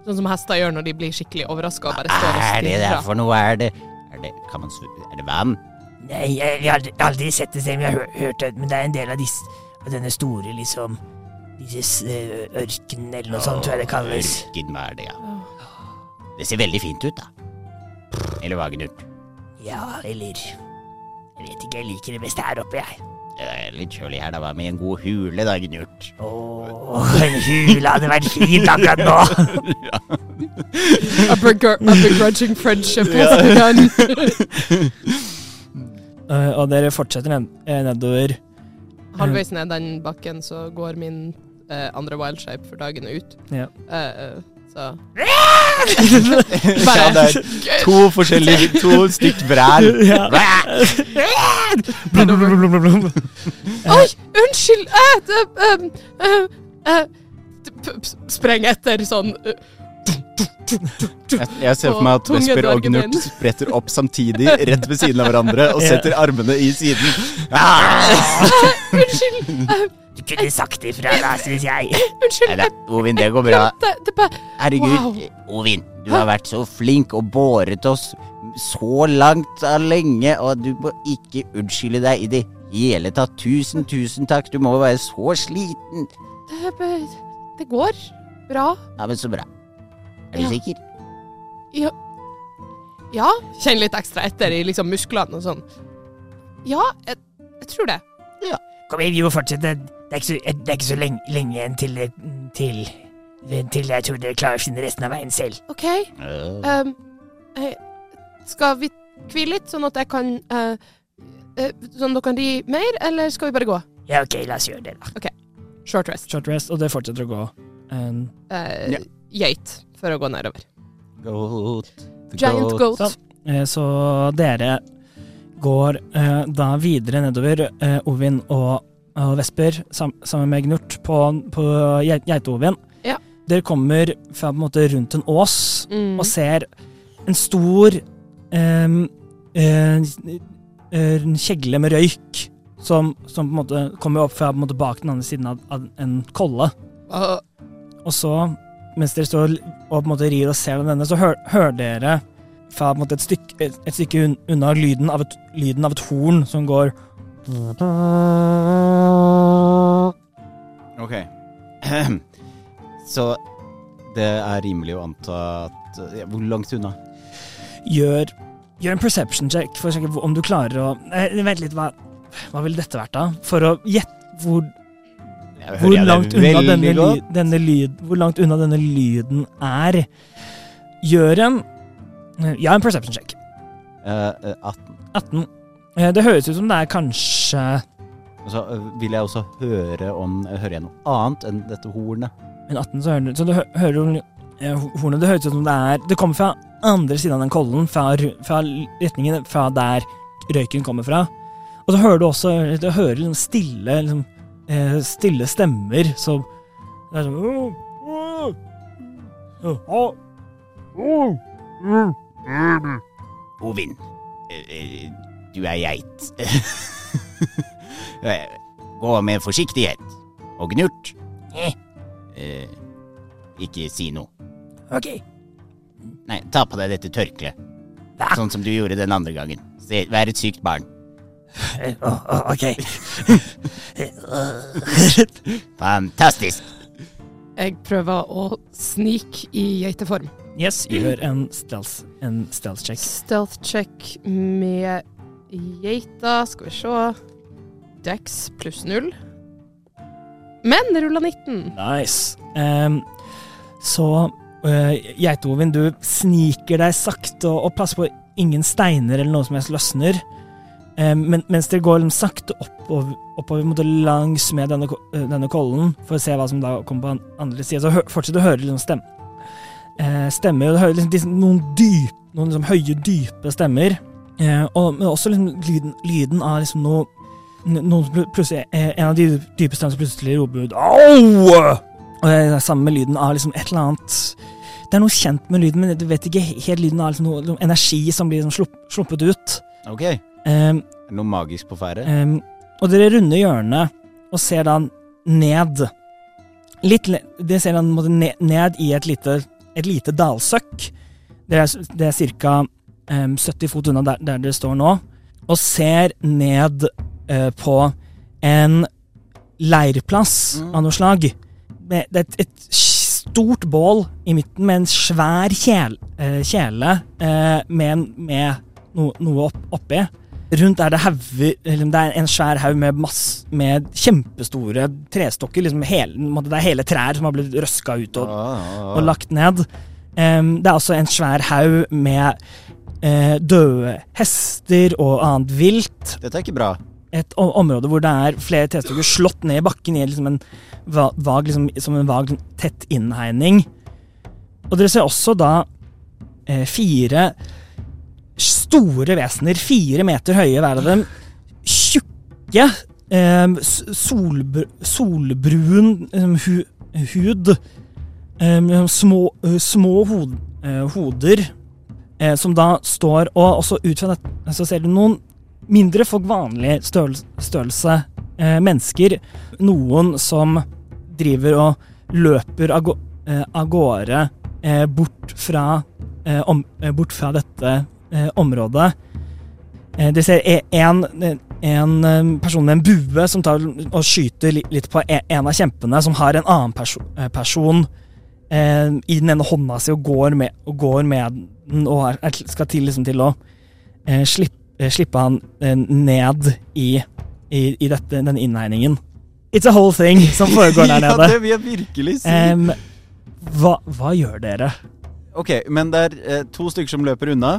Sånn som hester gjør når de blir skikkelig overraska og bare står og stirrer. for noe? Er det, er det Kan man svu... Er det vann? Nei, jeg, jeg har aldri, aldri sett det selv, men jeg har hø- hørt det. Men det er en del av, disse, av denne store liksom disse s- eh, ørkenen eller noe sånt, tror jeg det kalles. Ørken, hva er det, ja. Det ser veldig fint ut, da. Eller hva, Gnurt? Ja, eller Jeg vet ikke, jeg liker det best her oppe, jeg. Det er litt kjølig her, da. Hva med en god hule, da, Gnurt? Åh, en hule hadde vært fint akkurat nå. A, begru- a begrudging friendship has begun. Eh, og dere fortsetter ned, eh, nedover. Halvveis ned den bakken så går min eh, andre wild shape for dagen ut. Ja. Eh, eh, så Ja, det er to forskjellige To stykk vræl. Blum, blum, blum, blum, blum, blum. Oi, unnskyld! eh, det, em, eh, eh, det p- p- Spreng etter sånn eh, Jeg, jeg ser for meg at Og tunge Vesper og dvergen Gnurt min. spretter opp samtidig, rett ved siden av hverandre, og Ja. setter armene i siden. Ah! Unnskyld! Du kunne sagt ifra, da, syns jeg. Unnskyld! Nei da, Ovin, det går jeg bra. glemte det bare Herregud, Wow. Ovin, du har vært så flink og båret oss så langt av lenge, og du må ikke unnskylde deg i det hele tatt. Tusen, tusen takk, du må være så sliten. det, b- Eh, det går bra. Ja, men så bra. Er du Ja. sikker? Ja. ja. Kjenn litt ekstra etter i liksom musklene og sånn. Ja, jeg, jeg tror det. Kom igjen, vi må fortsette. Det er ikke så, det er ikke så lenge, lenge igjen til, det- til til jeg tror dere klarer å finne resten av veien selv. OK. Ehm, eh, skal vi hvile litt, sånn at jeg kan eh, eh, Sånn at dere kan ri mer, eller skal vi bare gå? Ja, ok, la oss gjøre det, da. Short rest. Short rest, og det fortsetter å gå. Um, Eh, Ja. Geit, for å gå nedover. Goat. Giant goat. Sånn. eh, så dere går eh, da videre nedover, eh, Ovin og, og Vesper, sam, sammen med Gnurt, på, på geit- Geite-Ovin. Ja. Dere kommer fra, på en måte, rundt en ås. Mm. og ser en stor em, eh, eh, en kjegle med røyk som, som på en måte kommer opp fra på en måte, bak den andre siden av, av en kolle. Og- Og så, mens dere står og på en måte rir og ser den denne, så hø- hører dere fra på en måte et stykke, et, et stykke un- unna lyden av, et, lyden av et horn som går Ok. Så det er rimelig å anta at ja, Hvor langt unna? Gjør, gjør en perception check for å sjekke hvor- om du klarer å eh, Vent litt, hva, hva ville dette vært, da? For å gjette hvor, Jeg hvor langt unna veldig denne, ly, godt. denne lyd, Hvor langt unna denne lyden er. Gjør en Ja, en perception check. Eh, eh, 18. 18. Eh, Det høres ut som det er kanskje Og så eh, vil jeg også høre om Hører jeg noe annet enn dette hornet? Men 18 så hører du Så du hø- hører jo eh, ho- hornet Det høres ut som det er Det kommer fra andre siden av den kollen, fra, ru- fra l- retningen fra der røyken kommer fra. Og så hører du også Du hører liksom stille liksom, eh, Stille stemmer som Det er sånn «Åh, åh, åh, åh, åh, åh». Ovin, eh, eh, du er geit. Eh, Gå med forsiktighet. Og gnurt. Eh. Eh, Ikke si noe. OK. Nei, ta på deg dette tørkleet. Hva? Sånn som du gjorde den andre gangen. Se, vær et sykt barn. Eh, åh, åh, OK. Fantastisk! Jeg prøver å snike i geiteform. Yes, gjør en stealth, en stealth check. Stealth check med geita. Skal vi se. Dex pluss null. Men det rulla 19. Nice. Ehm, så uh, Geitovin, du sniker deg sakte og, og passer på ingen steiner eller noe som helst løsner. Ehm, men, mens dere går liksom sakte oppover, oppover mot langs med denne, ko- eh, denne kollen for å se hva som da kommer på den andre sida, så hø fortsetter du å høre liksom stem eh, stemmer. Og du hører liksom, disse- noen dyp, noen liksom høye, dype stemmer. Eh, og, men også liksom lyden, lyden av liksom noe noen som pl- plutselig, eh, en av de dype stemmene som plutselig roper ut Au! Og det er det samme med lyden av liksom et eller annet Det er noe kjent med lyden, men du vet ikke he- helt lyden av liksom noe, noe energi som blir liksom slupp, sluppet ut. Ok. Er Ehm, det noe magisk på ferde? ehm, og dere runder hjørnet og ser da ned. Litt, le- dere ser da på en måte ne- ned i et lite, et lite dalsøkk. Det er, s- det er ca. 70 fot unna der, der dere står nå. Og ser ned eh, på en leirplass Mm. av noe slag. Med, det er et, et stort bål i midten med en svær kjel, eh, kjele eh, med, en- med no, noe opp, oppi. Rundt er det hauger eller Det er en svær haug med, mass- med kjempestore trestokker. Liksom hele, på en måte, det er hele trær som har blitt røska ut og, og lagt ned. Em, det er også en svær haug med eh, døde hester og annet vilt. Dette er ikke bra. Et o- område hvor det er flere trestokker slått ned i bakken i liksom en va- vag, liksom, som en vag tett innhegning. Og dere ser også da eh, fire store vesener, fire meter høye hver av dem, tjukke, eh, s- solbr solbrun eh, hu hud, eh, med små, eh, små hod eh, hoder, eh, som da står Og også ut fra dette så ser du noen mindre folk vanlig størrelse, størrelse eh, mennesker. Noen som driver og løper av gå- eh, av gårde eh, bort fra, eh, om, eh, bort fra dette eh, området. Eh, dere ser e- en, en eh, person med en bue som tar og skyter li- litt på e- en av kjempene, som har en annen perso eh, person eh, i den ene hånda si og går med, og går med den og er, er, skal til, liksom, til å eh, slippe, eh, slippe han eh, ned i, i, i dette, denne innhegningen. It's a whole thing som foregår der ja, nede. det vil jeg virkelig si. Em, hva, hva gjør dere? ok, men det er eh, to stykker som løper unna.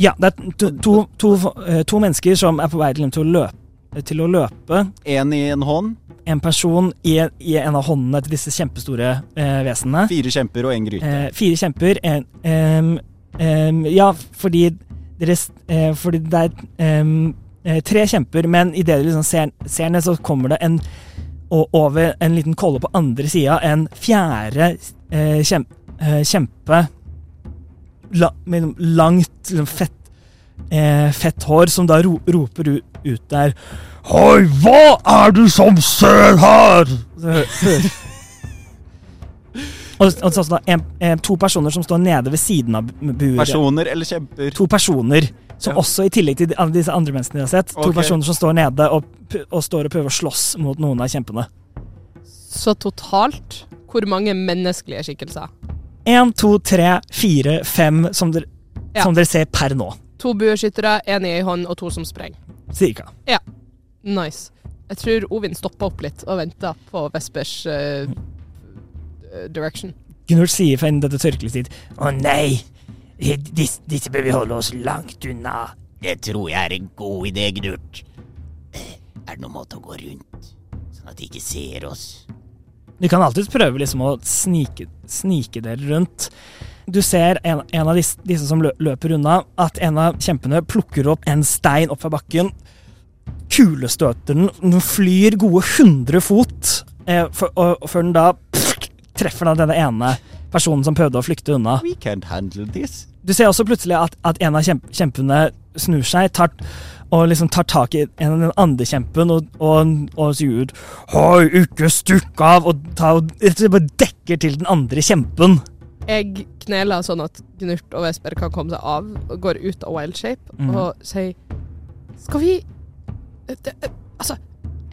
Ja, det er to, to, to, eh, to mennesker som er på vei til, til, å, løpe, til å løpe. Én i en hånd, En person i, i en av håndene til disse kjempestore eh, vesenene. fire kjemper og én gryte. Eh, fire kjemper. En, em, em, ja, fordi deres eh, Fordi det er em, eh, tre kjemper, men idet dere liksom ser, ser ned, så kommer det en og over en liten kolle på andre sida en fjerde eh, kjem, eh, kjempe la, med langt, liksom fett eh, fett hår, som da ro, roper u- ut der Hei, hva er du som ser her? Så hø- hø- Og, og så, så da, en, en, to personer som står nede ved siden av bu- buret. Personer eller kjemper? To personer som Ja. også, i tillegg til de, alle disse andre menneskene de har sett, to Ok. personer som står nede og, p- og står og prøver å slåss mot noen av kjempene. Så totalt, hvor mange menneskelige skikkelser? Én, to, tre, fire, fem, som dere, Ja. som dere ser per nå. To bueskyttere, én i ei hånd og to som sprenger. Cirka. Nice. Jeg tror Ovin stoppa opp litt og venta på Vespers eh, direction. Gunvor sier fra innen dette tørkleet sitt Å nei, disse, disse bør vi holde oss langt unna. Det tror jeg er en god idé, Gnurt. Er det noen måte å gå rundt, sånn at de ikke ser oss? Du kan alltids prøve liksom å snike, snike dere rundt. Du ser en, en av disse, disse som lø- løper unna, at en av kjempene plukker opp en stein opp fra bakken, kulestøter den, den flyr gode 100 fot, eh, for, og, og før den da pff, treffer da denne ene personen som prøvde å flykte unna. We can't handle this. Du ser også plutselig at, at en av kjemp kjempene snur seg tar, og liksom tar tak i en av den andre kjempen og, og, og sier ut Hei, ikke stukk av! Og, ta, og rett og slett bare dekker til den andre kjempen. Jeg kneler sånn at Gnurt og Vesper kan komme seg av, og går ut av wild shape Mhm. og sier Skal vi det, Altså,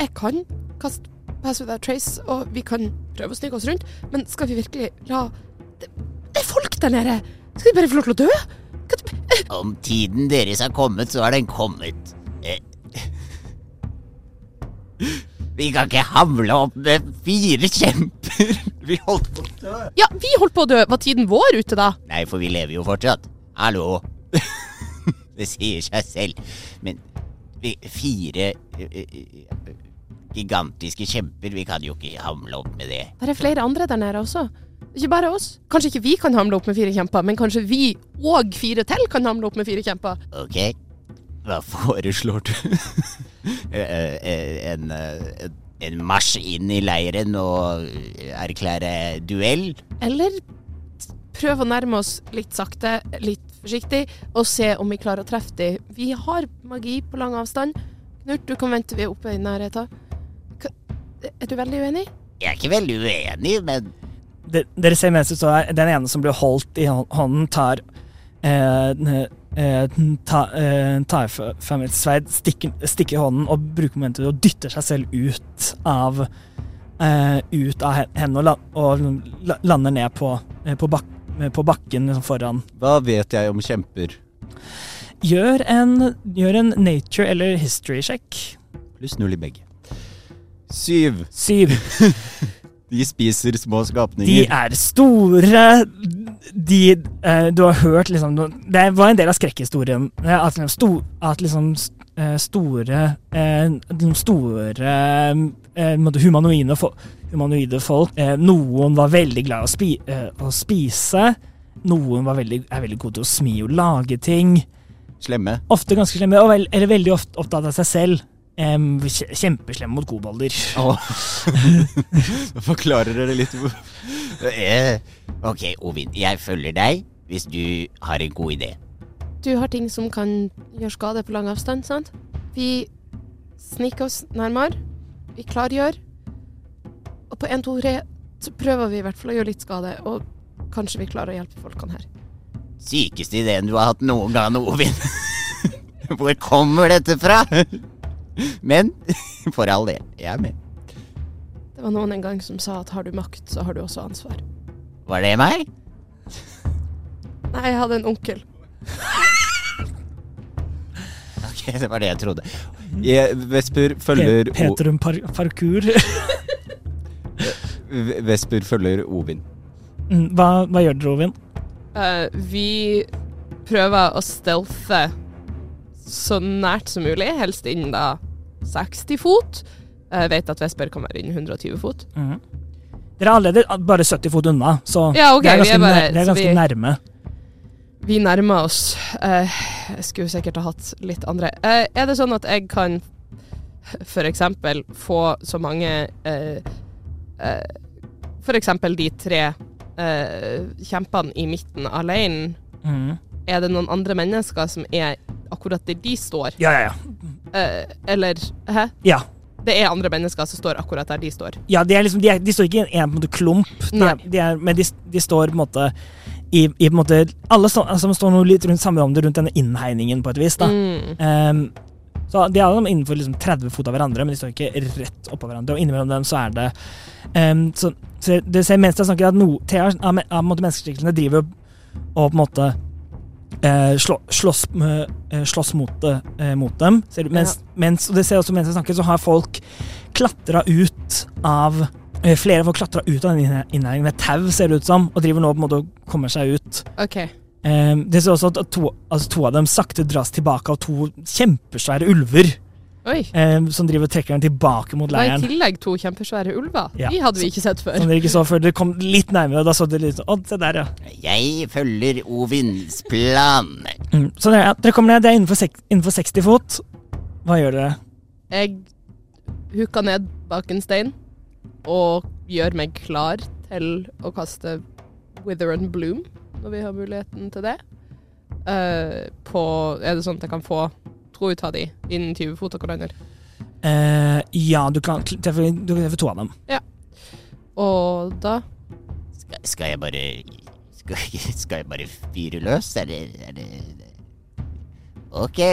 jeg kan kaste Pass Without Trace, og vi kan prøve å snike oss rundt, men skal vi virkelig la Det, det er folk der nede! Skal vi bare få lov til å dø? Hva- Om tiden deres har kommet, så har den kommet. Eh. Vi kan ikke hamle opp med fire kjemper. Vi holdt på å dø. Ja, vi holdt på å dø! Var tiden vår ute da? Nei, for vi lever jo fortsatt. Hallo. Det sier seg selv. Men vi, fire eh, eh, eh, gigantiske kjemper, vi kan jo ikke hamle opp med det. Det er flere andre der nede også. Ikke bare oss. Kanskje ikke vi kan hamle opp med fire kjemper, men kanskje vi og fire til kan hamle opp med fire kjemper. Ok? Hva foreslår du? Eh, eh, en, eh, en marsj inn i leiren og erklære duell? Eller prøve å nærme oss litt sakte, litt forsiktig, og se om vi klarer å treffe dem. Vi har magi på lang avstand. Knut, du kan vente vi er oppe i nærheten. Hva- Er du veldig uenig? Jeg er ikke veldig uenig, men De, dere ser mens det står her, den ene som blir holdt i hå- hånden, tar eh, n- eh, n- ta- eh, Tar fra fram et sverd, stikker, stikker hånden og bruker momentet og dytter seg selv ut av eh, Ut av he- henne og, la, og la, lander ned på, eh, på, bak, eh, på bakken liksom foran. Hva vet jeg om kjemper? Gjør en, gjør en nature- eller history-sjekk. Pluss null i begge. Syv. Syv. De spiser små De skapninger. er store. De eh, Du har hørt liksom du- Det var en del av skrekkhistorien. eh, At liksom, sto, at liksom s- eh, store eh, liksom Store eh, på en måte humanoide, fo humanoide folk. Eh, noen var veldig glad i å, spi eh, å spise. Noen var veldig, er veldig gode til å smi og lage ting. Slemme. Ofte ganske slemme, og vel, eller veldig ofte opptatt av seg selv. Em, kje- kjempeslemme mot kobolder. Forklarer dere litt hvor eh, Ok, Ovin, jeg følger deg hvis du har en god idé. Du har ting som kan gjøre skade på lang avstand, sant? Vi sniker oss nærmere. Vi klargjør. Og på 1, 2, 3 så prøver vi i hvert fall å gjøre litt skade, og kanskje vi klarer å hjelpe folkene her. Sykeste ideen du har hatt noen gang, Ovin. Hvor kommer dette fra? Men for all del, jeg er med. Det var noen en gang som sa at har du makt, så har du også ansvar. Var det meg? Nei, jeg hadde en onkel. Ok, det var det jeg trodde. jeg, Vesper følger, o Petrum par parkour. V- Vesper følger Ovin. Mm, Hva, hva gjør dere, Ovin? Eh, vi prøver å stealthe så nært som mulig, helst innen da 60 fot. Jeg vet at Vesper kan være innen 120 fot. Mhm. Dere er allerede bare 70 fot unna, så Ja, ok, det er vi er ganske, bare- nær- det er så ganske vi- nærme. Vi nærmer oss. Eh, jeg skulle sikkert ha hatt litt andre. Eh, er det sånn at jeg kan f.eks. få så mange eh, eh, F.eks. de tre eh, kjempene i midten av leiren. Mhm. Er det noen andre mennesker som er akkurat der de står? Ja, ja, ja. Eh, eller Hæ? ja. Det er andre mennesker som står akkurat der de står. Ja, de, er liksom, de, er, de står ikke i en, en på en måte klump, de Nei. er, de er, men de, de står på en måte i, i på en måte Alle som altså, står nå litt rundt samme område, rundt denne innhegningen, på et vis. da. Mm. Ehm, så De er alle innenfor liksom 30 fot av hverandre, men de står ikke rett oppå hverandre. Og innimellom dem så er det ehm, så, så det ser Mens jeg snakker at no, Thea av, me- av på en måte menneskeskikkelsene driver og på en måte eh, slå, slåss, med- eh, slåss mot, det, eh, mot dem. Ser du? Mens, mens, og det ser jeg også mens jeg snakker, så har folk klatra ut av eh, Flere folk klatra ut av den inne- innhegningen med tau, ser det ut som, og driver nå på en måte og kommer seg ut. OK. Eh, det ser også at to, altså to av dem sakte dras tilbake av to kjempesvære ulver Oi. eh, som driver og trekker dem tilbake mot Det var i leiren. tillegg to kjempesvære ulver. Ja. De hadde vi ikke sett før. Som dere ikke så før dere kom litt nærmere. og Da så dere litt sånn, Å, se der, ja. Jeg følger Ovins plan. Mm. Så dere, dere kommer ned, det er innenfor, sek, innenfor 60 fot. Hva gjør dere? Jeg huka ned bak en stein og gjør meg klar til å kaste Wither and Bloom når vi har muligheten til det. Eh, på Er det sånn at jeg kan få to ut av de innen 20 fot av hverandre? Eh, ja, du kan kl- treffe, du kan treffe to av dem. Og da Skal, skal jeg bare skal, skal jeg bare fyre løs, eller er det Ok.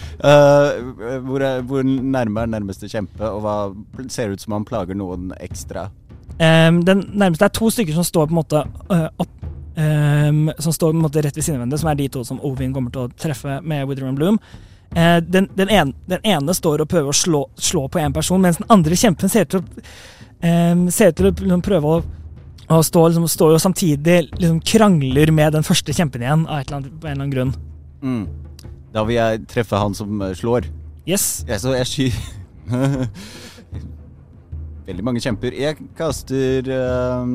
Eh, hvor, er, hvor nærme er nærmeste kjempe, og hva ser ut som han plager noen ekstra? Ehm, den nærmeste er to stykker som står på en måte øh, opp ehm, Som står på en måte rett ved siden av hverandre, som er de to som Ovin kommer til å treffe med Wither and Bloom. Eh, den, den, ene, den ene står og prøver å slå, slå på én person, mens den andre kjempen ser til å, ehm, ser til å liksom prøve å å stå liksom, står jo samtidig liksom krangler med den første kjempen igjen, av et eller annet, på en eller annen grunn. Mm. Da vil jeg treffe han som eh, slår. Yes. Jeg, så jeg skyr Veldig mange kjemper. Jeg kaster ehm,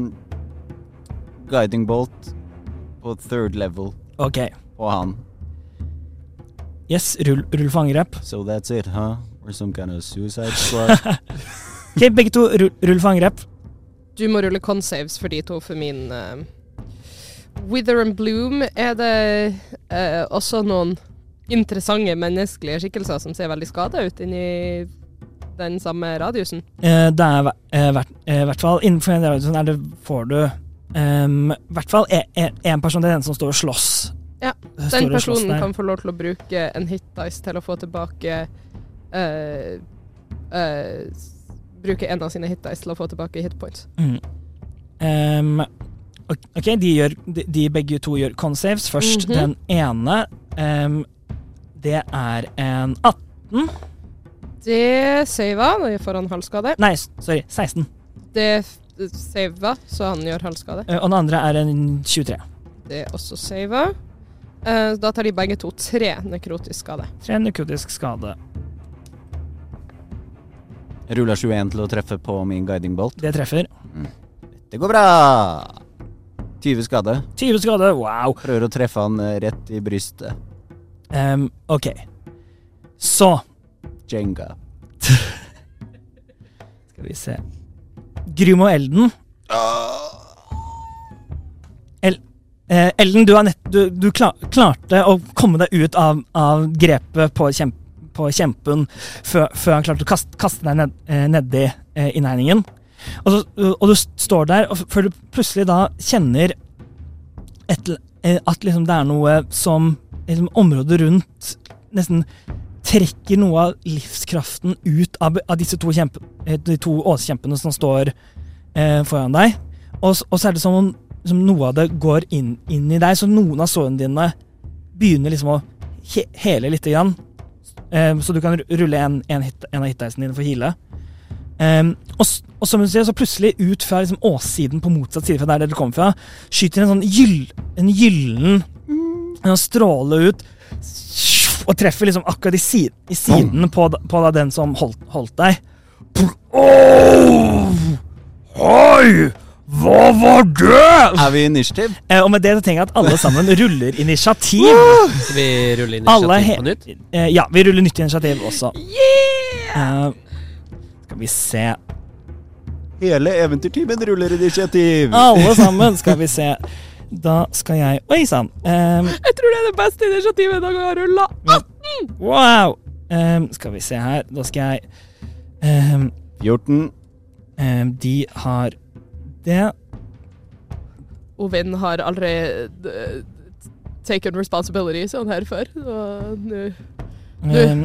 guiding bolt på third level Ok. på han. Yes, rull, rull for angrep. So that's it, huh? We're some kind of suicide squad. Ok, Begge to rull, rull for angrep. Du må rulle consaves for de to for min eh, Wither and Bloom er det eh, også noen interessante menneskelige skikkelser som ser veldig skada ut inni den samme radiusen. Eh, Det er hver- eh, hvert eh, hvert fall innenfor den radioen er det får du ehm, hvert fall én person. Det er den som står og slåss. Ja, Står Den og slåss personen der. kan få lov til å bruke en hit dice til å få tilbake eh, eh, s- Bruke en av sine hit dice til å få tilbake hit points. Mm. Ehm, ok- ok, de, gjør, de, de begge to gjør consaves. Først Mhm. den ene. ehm, det er en 18 Det saver, da får han halvskade. Nei, s- sorry, 16. Det f- saver, så han gjør halvskade. Eh, og den andre er en 23. Det er også sava. Eh, da tar de begge to tre nekrotisk skade. 3 nekrotisk skade. Jeg rulla 21 til å treffe på min guiding bolt. Det treffer. Det går bra! 20 skade. 20 skade, wow. Prøver å treffe han eh, rett i brystet. Ehm, ok. Så Jenga. Skal vi se Grym og Elden. El, eh, Elden, du, har nett, du, du kla- klarte å komme deg ut av, av grepet på, kjemp, på kjempen før, før han klarte å kaste, kaste deg ned, eh, nedi eh, innhegningen. Og, så, og du står der, og f- før du plutselig da kjenner et, l- eh, at liksom det er noe som liksom området rundt nesten trekker noe av livskraften ut av, av disse to, kjempe, eh, de to åskjempene som står eh, foran deg. Og, s- og så er det som om som noe av det går inn, inn i deg, så noen av sårene dine begynner liksom å he hele litt. Grann. Eh, så du kan ru- rulle en, en, hit, en av hitdeisene dine for å heale. Ehm, og, s- og som hun sier, så plutselig ut fra liksom, åssiden på motsatt side fra der dere kommer fra, skyter en sånn gyll, en gyllen en sånn stråle ut og treffer liksom akkurat i, si- i siden på, da- på da den som holdt, holdt deg. Oh! Hei! Hva var det?! Er vi i initiativ? Eh, og med det så tenker jeg at alle sammen ruller initiativ. Så vi ruller Alle initiativ he- på nytt. Eh, ja, vi ruller nytt initiativ også. Eh, skal vi se Hele eventyrtimen ruller initiativ. Alle sammen, skal vi se. Da skal jeg Oi sann! Eh, Jeg tror det er det beste initiativet dere har rulla. wow! Ehm, skal vi se her, da skal jeg ehm, 14. ehm, De har det. Ovin har aldri eh, taken responsibility sånn her før. Og nå Du, Ehm,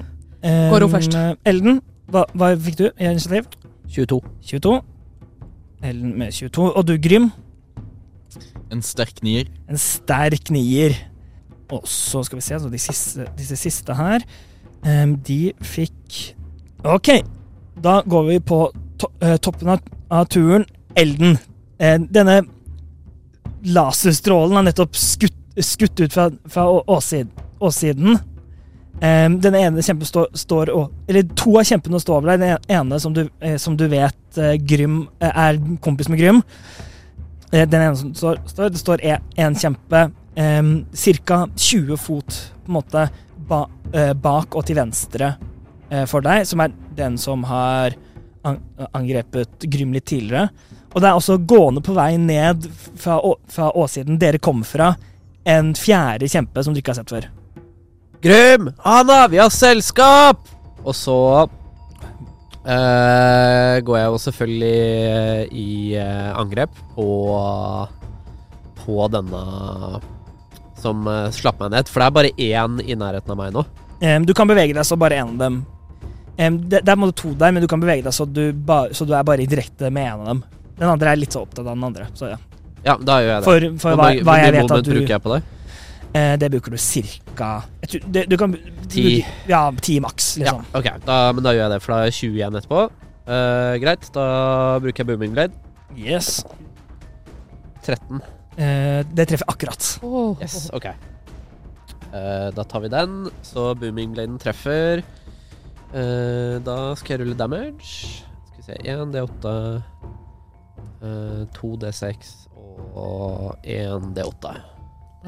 ehm, går hun først? Elden, hva, hva fikk du i initiativ? 22. 22. Ellen med 22. Og du, Grym? En sterk nier. En sterk nier. Og så skal vi se, så de siste, disse siste her em, De fikk Ok, da går vi på to eh, toppen av, av turen. Elden. Eh, denne laserstrålen har nettopp skutt, skutt ut fra, fra å- åssiden. åssiden. Em, den ene kjempen står, står og Eller to av kjempene står over deg. Den ene som du, eh, som du vet eh, Grym, eh, er kompis med Grym. Eh, Den ene som står, står Det står e- en kjempe um, Cirka 20 fot På en måte ba, eh, Bak og til venstre eh, For deg Som er den som har an, Angrepet Grym litt tidligere Og det er også gående på vei ned Fra, å- fra åsiden dere kom fra En fjerde kjempe som du ikke har sett før Grym! Anna, vi har selskap! Og så eh, går jeg jo selvfølgelig i eh, angrep på På denne som eh, slapp meg ned. For det er bare én i nærheten av meg nå. Em, Du kan bevege deg så bare en av dem Em, det, det er på en måte to der Men du kan bevege deg så du, ba, så du er bare i direkte med en av dem Den andre er litt så opptatt av den andre Så ja Ja, da gjør jeg det. For, for hva, mange- hva jeg mye vet at moment du bruker jeg på det? eh, Det bruker du cirka jeg tror, det, Du kan Ti. du- Ja, ti maks, liksom. Ja, ok, da, men da gjør jeg det, for da er 20 igjen etterpå. Eh, greit, da bruker jeg booming blade. Yes. 13. Eh, det treffer akkurat. Åh. Yes, ok. Eh, da tar vi den, så booming bladen treffer. Eh, da skal jeg rulle damage. Skal vi se 1 D8, eh, 2 D6 og 1 D8.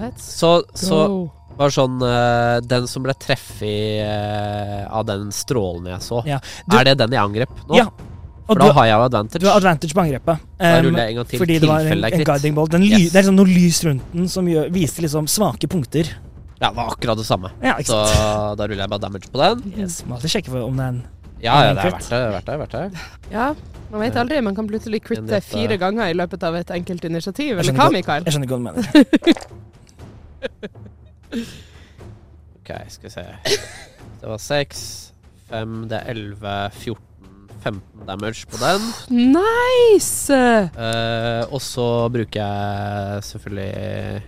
Let's Så, så go. bare sånn eh, Den som ble treffet eh, av den strålen jeg så, Ja, du- er det den jeg angrep nå? Ja, Og For du, da har jeg jo advantage. du har advantage på angrepet. da Em, ruller jeg en gang til. fordi det var en, Tilfelle en er kritt. guiding bolt. Den ly, Yes. Det er liksom noe lys rundt den som gjør, viser liksom svake punkter. Ja, det var akkurat det samme. Ja, ikke Så sant? da ruller jeg bare damage på den. Yes, må alltid sjekke for om det er en Ja, ja, det er Kritt. verdt det. verdt det, verdt det. Ja, man vet aldri. Man kan plutselig Men critte dette- fire ganger i løpet av et enkelt initiativ. eh, Jeg skjønner Eller hva, godt. Mikael? Jeg skjønner ikke hva du mener. Ok, skal vi se. Det var 6, 5, det er 11, 14, 15 damage på den. Nice! Eh, og så bruker jeg selvfølgelig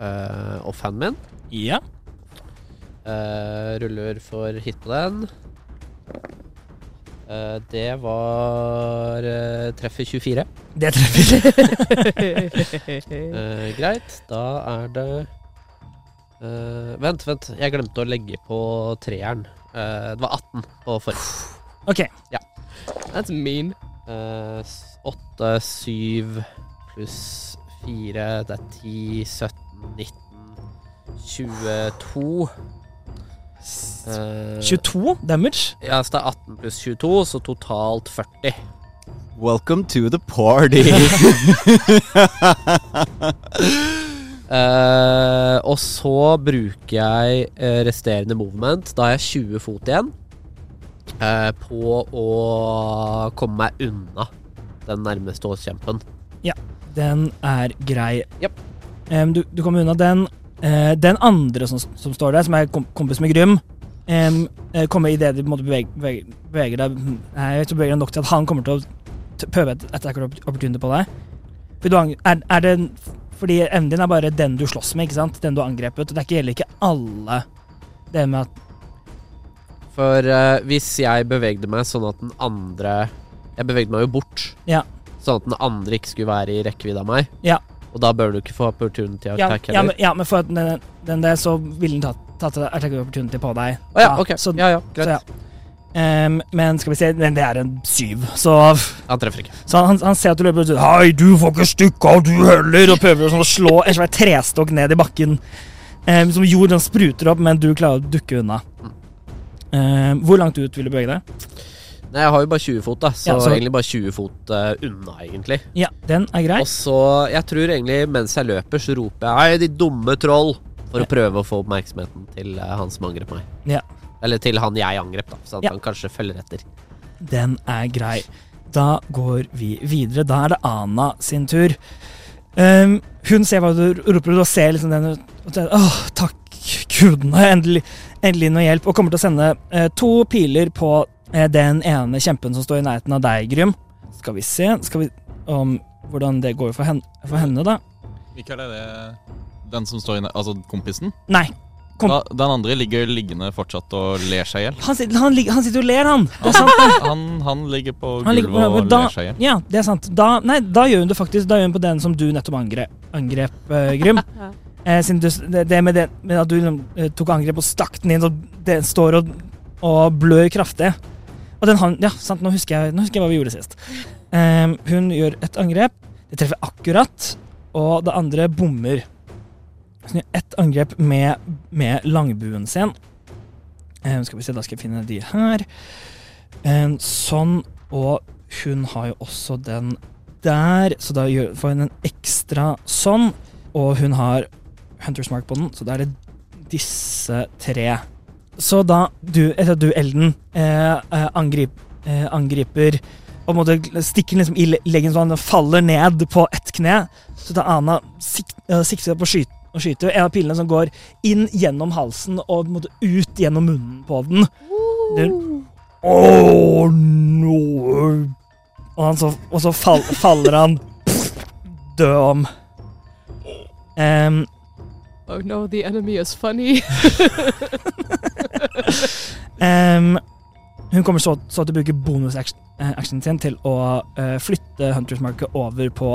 uh, off-handen min. Ja. Eh, ruller for hit på den. Eh, det var eh, treffer 24. Det treffer. Eh, greit, da er det eh, Vent, vent. Jeg glemte å legge på treeren. Eh, det var 18 på forrige. OK. That's mean. Eh, s- 8, 7 pluss 4 Det er 10, 17, 19, 22. Eh, 22 damage. Ja, så det er 18 pluss 22, så totalt 40. Welcome to the party. Eh, og så bruker jeg eh, resterende movement. Da har jeg 20 fot igjen. eh, på å komme meg unna den nærmeste åskjempen. Den er grei. Japp. Em, du, du kommer unna den. Eh, den andre som, som står der, som er kom, kompis med Grym, em, eh, kommer idet du på en måte beveger, beveger, beveger deg Nei, jeg vet ikke, beveger deg nok til at han kommer til å t- prøve et attack opp- opportunity på deg. Fordi, du, ang- er, er det, fordi evnen din er bare den du slåss med, ikke sant? den du har angrepet. og Det er ikke, gjelder ikke alle. Det med at For eh, hvis jeg bevegde meg sånn at den andre Jeg bevegde meg jo bort. Ja. Sånn at den andre ikke skulle være i rekkevidde av meg. Ja. Og da bør du ikke få opportunity ja, attack ja, men, heller. ja, men for at den, den der, så ville den tatt, tatt attack opportunity på deg. Å ja, ok. så, ja, ja, greit. så ja. Em, men skal vi se, den- det er en syv, så Han treffer ikke. Så han, han ser at du løper ut og sier, Hei, du får ikke stikke av, du heller! Og prøver sånn å slå en svær trestokk ned i bakken. Eh, som jord den spruter opp, men du klarer å dukke unna. Eh, hvor langt ut vil du bevege deg? Nei, jeg har jo bare 20 fot, da. Så, Ja, så- egentlig bare 20 fot eh, unna, egentlig. Ja, den er grei. Og så, jeg tror egentlig mens jeg løper, så roper jeg 'Hei, de dumme troll!' For å prøve å få oppmerksomheten til eh, han som angrep meg. Eller til han jeg angrep, da, så at Ja. han kanskje følger etter. Den er grei. Da går vi videre. Da er det Ana sin tur. Ehm, hun ser hva du roper, og ser liksom den og tenker, Åh, takk gudene, endelig, endelig noe hjelp. Og kommer til å sende eh, to piler på eh, den ene kjempen som står i nærheten av deg, Grym. Skal vi se skal vi, om hvordan det går for henne, for henne da. Mikael, er det den som står inne Altså kompisen? Nei, Kom. Da, den andre ligger liggende fortsatt og ler seg i hjel. han sitter, han, ligger- han sitter og ler, han. Det er sant. Han, han ligger på Han ligger på gulvet og gulvet, da- ler seg i hjel. Ja, det er sant. Da, nei, da gjør hun det faktisk. Da gjør hun på den som du nettopp angrep, angrep eh, Grym. Eh, siden du, s- det, det med det med at du eh, tok angrep og stakk den inn, og den står og, og blør kraftig. Og den har Ja, sant, nå husker jeg, nå husker jeg hva vi gjorde sist. Eh, hun gjør et angrep. Det treffer akkurat, og det andre bommer. Så hun gjør ett angrep med, med langbuen sin. Eh, skal vi se, da skal jeg finne de her. Eh, sånn, og hun har jo også den der, så da gjør- får hun en ekstra sånn. Og hun har Hunters Mark på den, så da er det disse tre. Så da du, etter at du, Elden, eh, eh, angrip, eh, angriper og måtte stikke den liksom i le- leggen så han faller ned på ett kne, så da Ana sik eh, sikter på å skyte, og skyter en av pilene som går inn gjennom halsen og på en måte ut gjennom munnen på den. Den- Åh, no. Og, han så, og så fall, faller han død om. Em, Oh no, the enemy is funny. em, hun kommer så, så til å bruke bonusactionen sin til å eh, flytte Hunters-market over på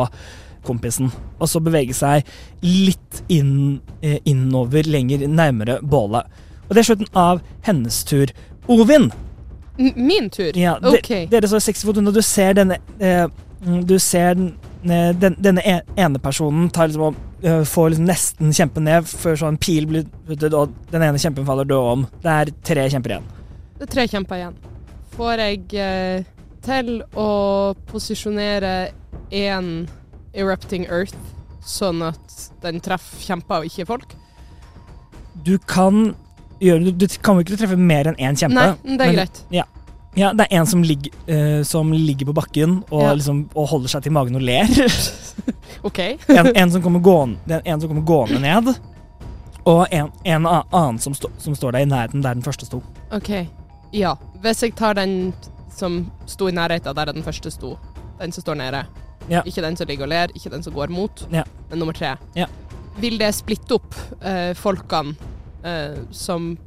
kompisen, og så bevege seg litt inn, eh, innover, lenger nærmere bålet. Og det er slutten av hennes tur. Ovin, N- Min tur? Ja, de, OK. Dere som er 60 fot unna, du ser denne eh, mm, Du ser den, eh, den, denne e- ene personen tar liksom og eh, får liksom nesten kjempen ned før sånn pil blir puttet, og den ene kjempen faller død om. Det er tre kjemper igjen. Det er tre kjemper igjen. Får jeg eh, til å posisjonere én Erupting Earth, sånn at den treffer kjemper og ikke folk? Du kan gjøre Du, du kan jo ikke treffe mer enn én kjempe. Nei, det er men- greit. Ja, det er en som, ligger- eh, som ligger på bakken og, Ja. liksom, og holder seg til magen og ler. OK. En, en, som kommer gående, det er en som kommer gående ned, og en, en a- annen som, stå, som står der i nærheten der den første sto. ok. Ja. Hvis jeg tar den som sto i nærheten der den første sto, den som står nede, Ja. ikke den som ligger og ler, ikke den som går mot, Ja. men nummer tre, Ja. vil det splitte opp eh, folkene eh, som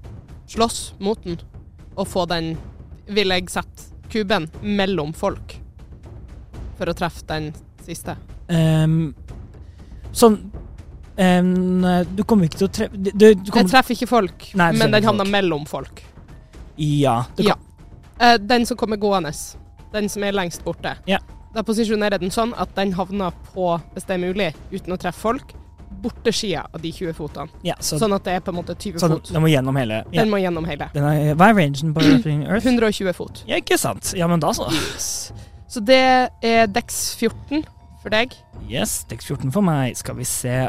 slåss mot den, og få den Vil jeg sette kuben mellom folk for å treffe den siste? Ehm, sånn ehm, Du kommer ikke til å treffe du, du, du Den kommer, treffer ikke folk, Nei, den men treffer den havner folk. mellom folk. Ja. Du Ja. Kom, Eh, den som kommer gående. Den som er lengst borte. Ja. Da posisjonerer jeg den sånn at den havner på, hvis det er mulig, uten å treffe folk, bortesida av de 20 fotene. ja så, Sånn at det er på en måte 20 så den- fot. den må gjennom hele ja. Den må gjennom hele. den er, Hva er rangen på Rapping Earth? 120 fot. Ja, ikke sant. Ja, men da så. Yes. Så det er Dex 14 for deg. Yes, Dex 14 for meg. Skal vi se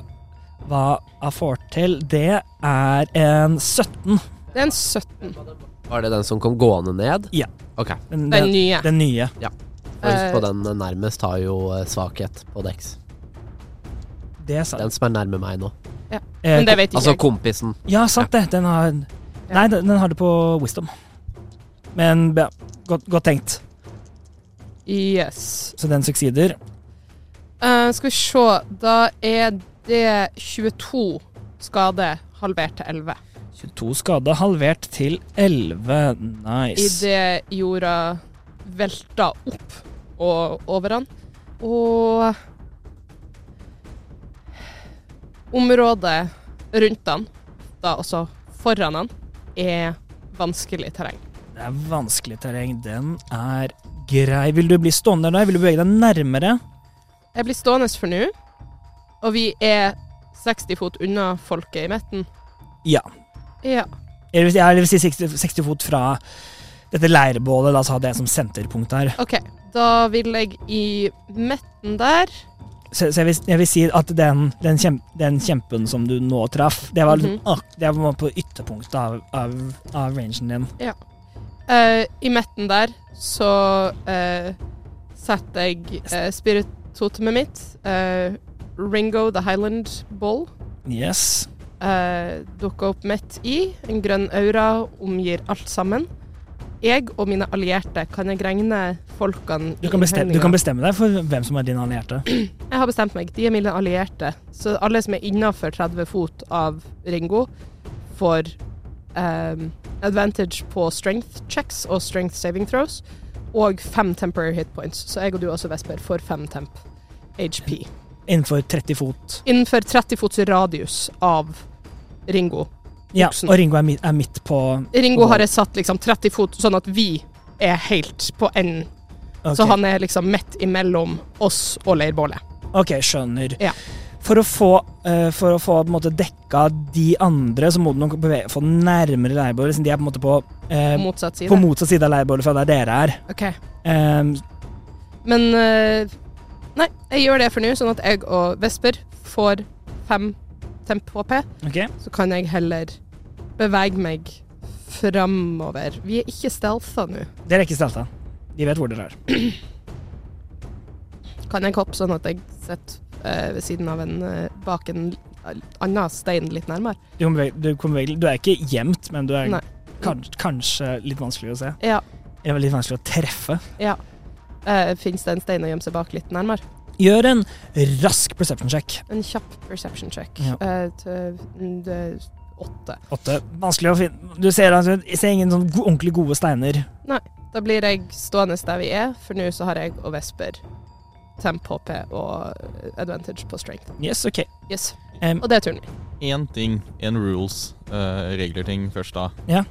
hva jeg får til. Det er en 17. Det er en 17. Var det den som kom gående ned? Ja. Ok. Den, Den den, nye. den nye. For husk på Eh, den nærmest har jo eh, svakhet på Dex. Det er sant. Den som er nærme meg nå. Eh, Men det vet ikke Altså jeg. kompisen. Ja, sant det. Den har Nei, den, den har det på Wisdom. Men ja, godt, godt tenkt. Yes. Så den succeeder. Eh, skal vi se. Da er det 22 skade halvert til 11. 22 skade, halvert til 11. Nice. idet jorda velta opp og over han. Og området rundt han, da også foran han, er vanskelig terreng. Det er vanskelig terreng. Den er grei. Vil du bli stående der? Vil du bevege deg nærmere? Jeg blir stående for nå, og vi er 60 fot unna folket i midten. Ja. Ja. Eller hvis- ja, eller hvis jeg vil si 60, 60 fot fra dette leirbålet. La oss ha det som senterpunkt her. OK. Da vil jeg i midten der Så, så jeg, vil, jeg vil si at den, den, kjem, den kjempen som du nå traff, det var, liksom ak- det var på ytterpunktet av, av, av rangen din. Eh, I midten der så eh, setter jeg uh, spiritotemet mitt, eh, Ringo the Highland Ball, Yes. eh, dukker opp midt i. En grønn aura omgir alt sammen. Jeg og mine allierte, kan jeg regne folkene Du i kan, bestemme, du innhegningen? kan bestemme deg for hvem som er din allierte. Jeg har bestemt meg. De er mine allierte. Så alle som er innafor 30 fot av Ringo, får ehm, advantage på strength checks og strength saving throws. Og fem temporary hit points. Så jeg og du også, Vesper, får fem temp HP. Innenfor 30 fot. Innenfor 30 fots radius av Ringo. Ja, Voksen. og Ringo er midt, er midt på Ringo har jeg satt liksom 30 fot, sånn at vi er helt på enden. Ok. Så han er liksom midt imellom oss og leirbålet. Ok, skjønner. Ja. For å få, eh, for å få på en måte, dekka de andre, så må du nok bevege, få den nærmere leirbålet. Siden de er på en måte på, eh, På motsatt på side. motsatt side av leirbålet fra der dere er. Ok. Eh, Men eh, Nei, jeg gjør det for nå, sånn at jeg og Vesper får fem tempo-HP. ok, Så kan jeg heller bevege meg framover. Vi er ikke stealtha nå. Dere er ikke stelta. De vet hvor dere er. Kan jeg hoppe sånn at jeg sitter eh, ved siden av en eh, bak en annen stein litt nærmere? Du, kan bevege, du, kan bevege, du er ikke gjemt, men du er Nei. kan, kanskje litt vanskelig å se. Ja. Eller litt vanskelig å treffe. Uh, Fins det en stein å gjemme seg bak litt nærmere? Gjør en rask perception check. En kjapp perception check. Ja. Eh, til, mm, det er åtte. Åtte. Vanskelig å finne Du ser, altså, jeg ser ingen sånn go ordentlig gode steiner. Da blir jeg stående der vi er, for nå så har jeg og Vesper temp-HP og advantage på strength. Yes, OK. Yes. Em, Og det er turen min. Én ting, en rules, uh, regler-ting først da. Ja.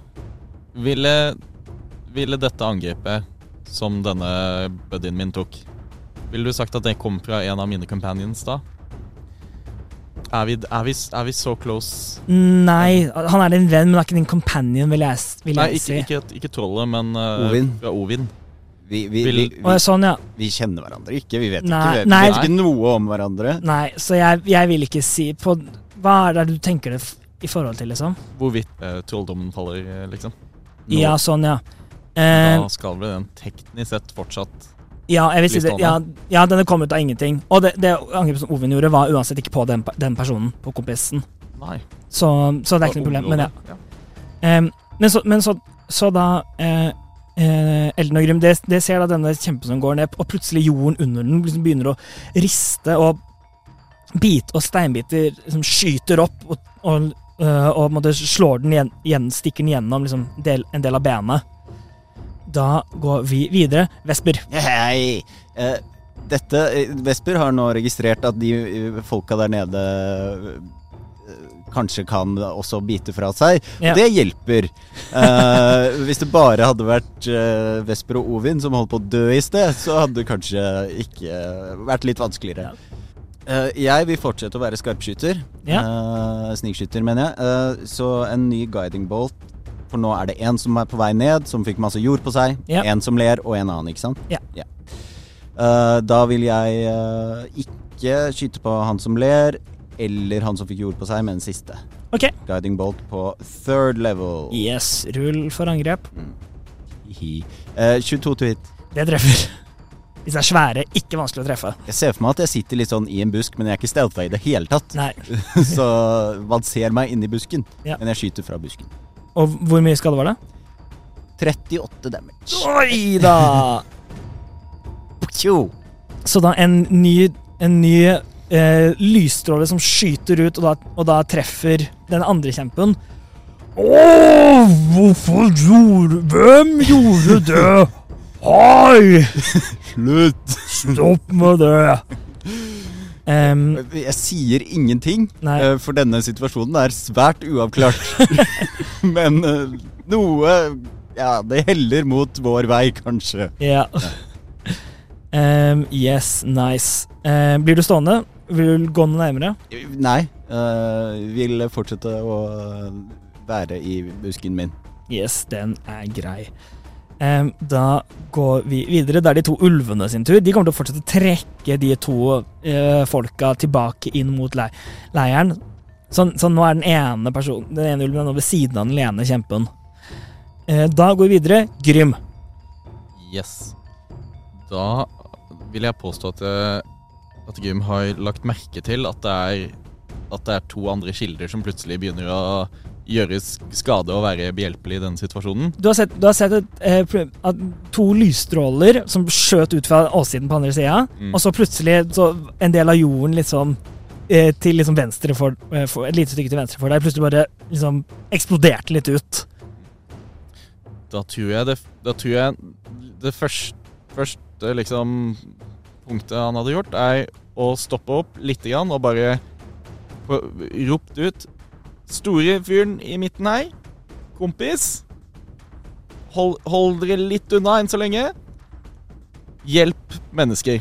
Ville, ville dette angrepet som denne buddyen min tok, ville du sagt at det kom fra en av mine companions da? Er vi, er vi, er vi så close? Nei, han er din venn, men han er ikke din companion, vil jeg, s- vil Nei, jeg ikke, si. ikke, ikke trollet, men eh, Ovin. fra Ovin. Vi, vi, vi, Vil- Å, vi, sånn, ja. vi kjenner hverandre ikke. Vi vet Nei, ikke, vi nei. vet ikke noe om hverandre. Nei, så jeg, jeg vil ikke si på Hva er det du tenker det f- i forhold til, liksom? Hvorvidt eh, trolldommen faller, eh, liksom. Nå. Ja, sånn, ja. Eh, Da skal vel den teknisk sett fortsatt ja, jeg vil si litt det. annet. Ja, ja, denne kom ut av ingenting. Og det, det angrepet som Ovin gjorde, var uansett ikke på den, pe- den personen, på kompisen. Nei. Så, så det er ikke noe problem. Men ja. Em, Ehm, men så, men så, så da eh, eh, Elden og Grym, det, det ser da denne kjempen som går ned, og plutselig jorden under den liksom begynner å riste, og bit og steinbiter liksom skyter opp, og, og, eh, og på en måte slår den igjen, igjen stikker den gjennom liksom del, en del av benet. Da går vi videre. Vesper. Hei! Eh, dette eh, Vesper har nå registrert at de eh, folka der nede eh, Kanskje kan også bite fra seg. Ja. Det hjelper. Eh, hvis det bare hadde vært eh, Vesper og Ovin som holdt på å dø i sted, så hadde det kanskje ikke eh, vært litt vanskeligere. Eh, jeg vil fortsette å være skarpskytter. Eh, snikskytter, mener jeg. Eh, så en ny guiding bolt. For nå er det én som er på vei ned, som fikk masse jord på seg. Ja. En som ler, og en annen, ikke sant? Ja. Eh, da vil jeg eh, ikke skyte på han som ler, eller han som fikk jord på seg, med den siste. Ok. Guiding bolt på third level. Yes. Rull for angrep. Hihi. Eh, 22 to hit. Det treffer. Disse er svære, ikke vanskelig å treffe. Jeg ser for meg at jeg sitter litt sånn i en busk, men jeg er ikke stealtha i det hele tatt. Nei. Så man ser meg inni busken, Ja. men jeg skyter fra busken. Og hvor mye skade var det? 38 damage. Oi da! Tjo. Så da en ny, en ny eh, lysstråle som skyter ut, og da, og da treffer den andre kjempen. Åh, hvorfor gjorde Hvem gjorde det? Hei! Slutt! Stopp med det! Em, Jeg sier ingenting, Nei. eh, for denne situasjonen er svært uavklart. Men eh, noe Ja, det heller mot vår vei, kanskje. ja. Em, yes, nice. Em, blir du stående? Vil du gå noe nærmere? Nei. eh, vil fortsette å være i busken min. Yes, den er grei. Em, Da går vi videre. Det er de to ulvene sin tur. De kommer til å fortsette å trekke de to eh, folka tilbake inn mot leir leiren. Sånn, sånn, nå er den ene personen Den ene ulven er nå ved siden av den lene kjempen. Eh, Da går vi videre. Grym. Yes. Da vil jeg påstå at, eh, at Gym har lagt merke til at det, er, at det er to andre kilder som plutselig begynner å gjøre sk- skade og være behjelpelig i den situasjonen. Du har sett, du har sett et, eh, pl- at to lysstråler som skjøt ut fra åssiden på andre sida, Mm. og så plutselig så en del av jorden liksom eh, til liksom venstre for, eh, for Et lite stykke til venstre for deg plutselig bare liksom eksploderte litt ut. Da tror jeg det, da tror jeg det første, første liksom punktet han hadde gjort, er å stoppe opp lite grann og bare få ropt ut Store fyren i midten her, kompis. Hold, hold dere litt unna enn så lenge. Hjelp mennesker,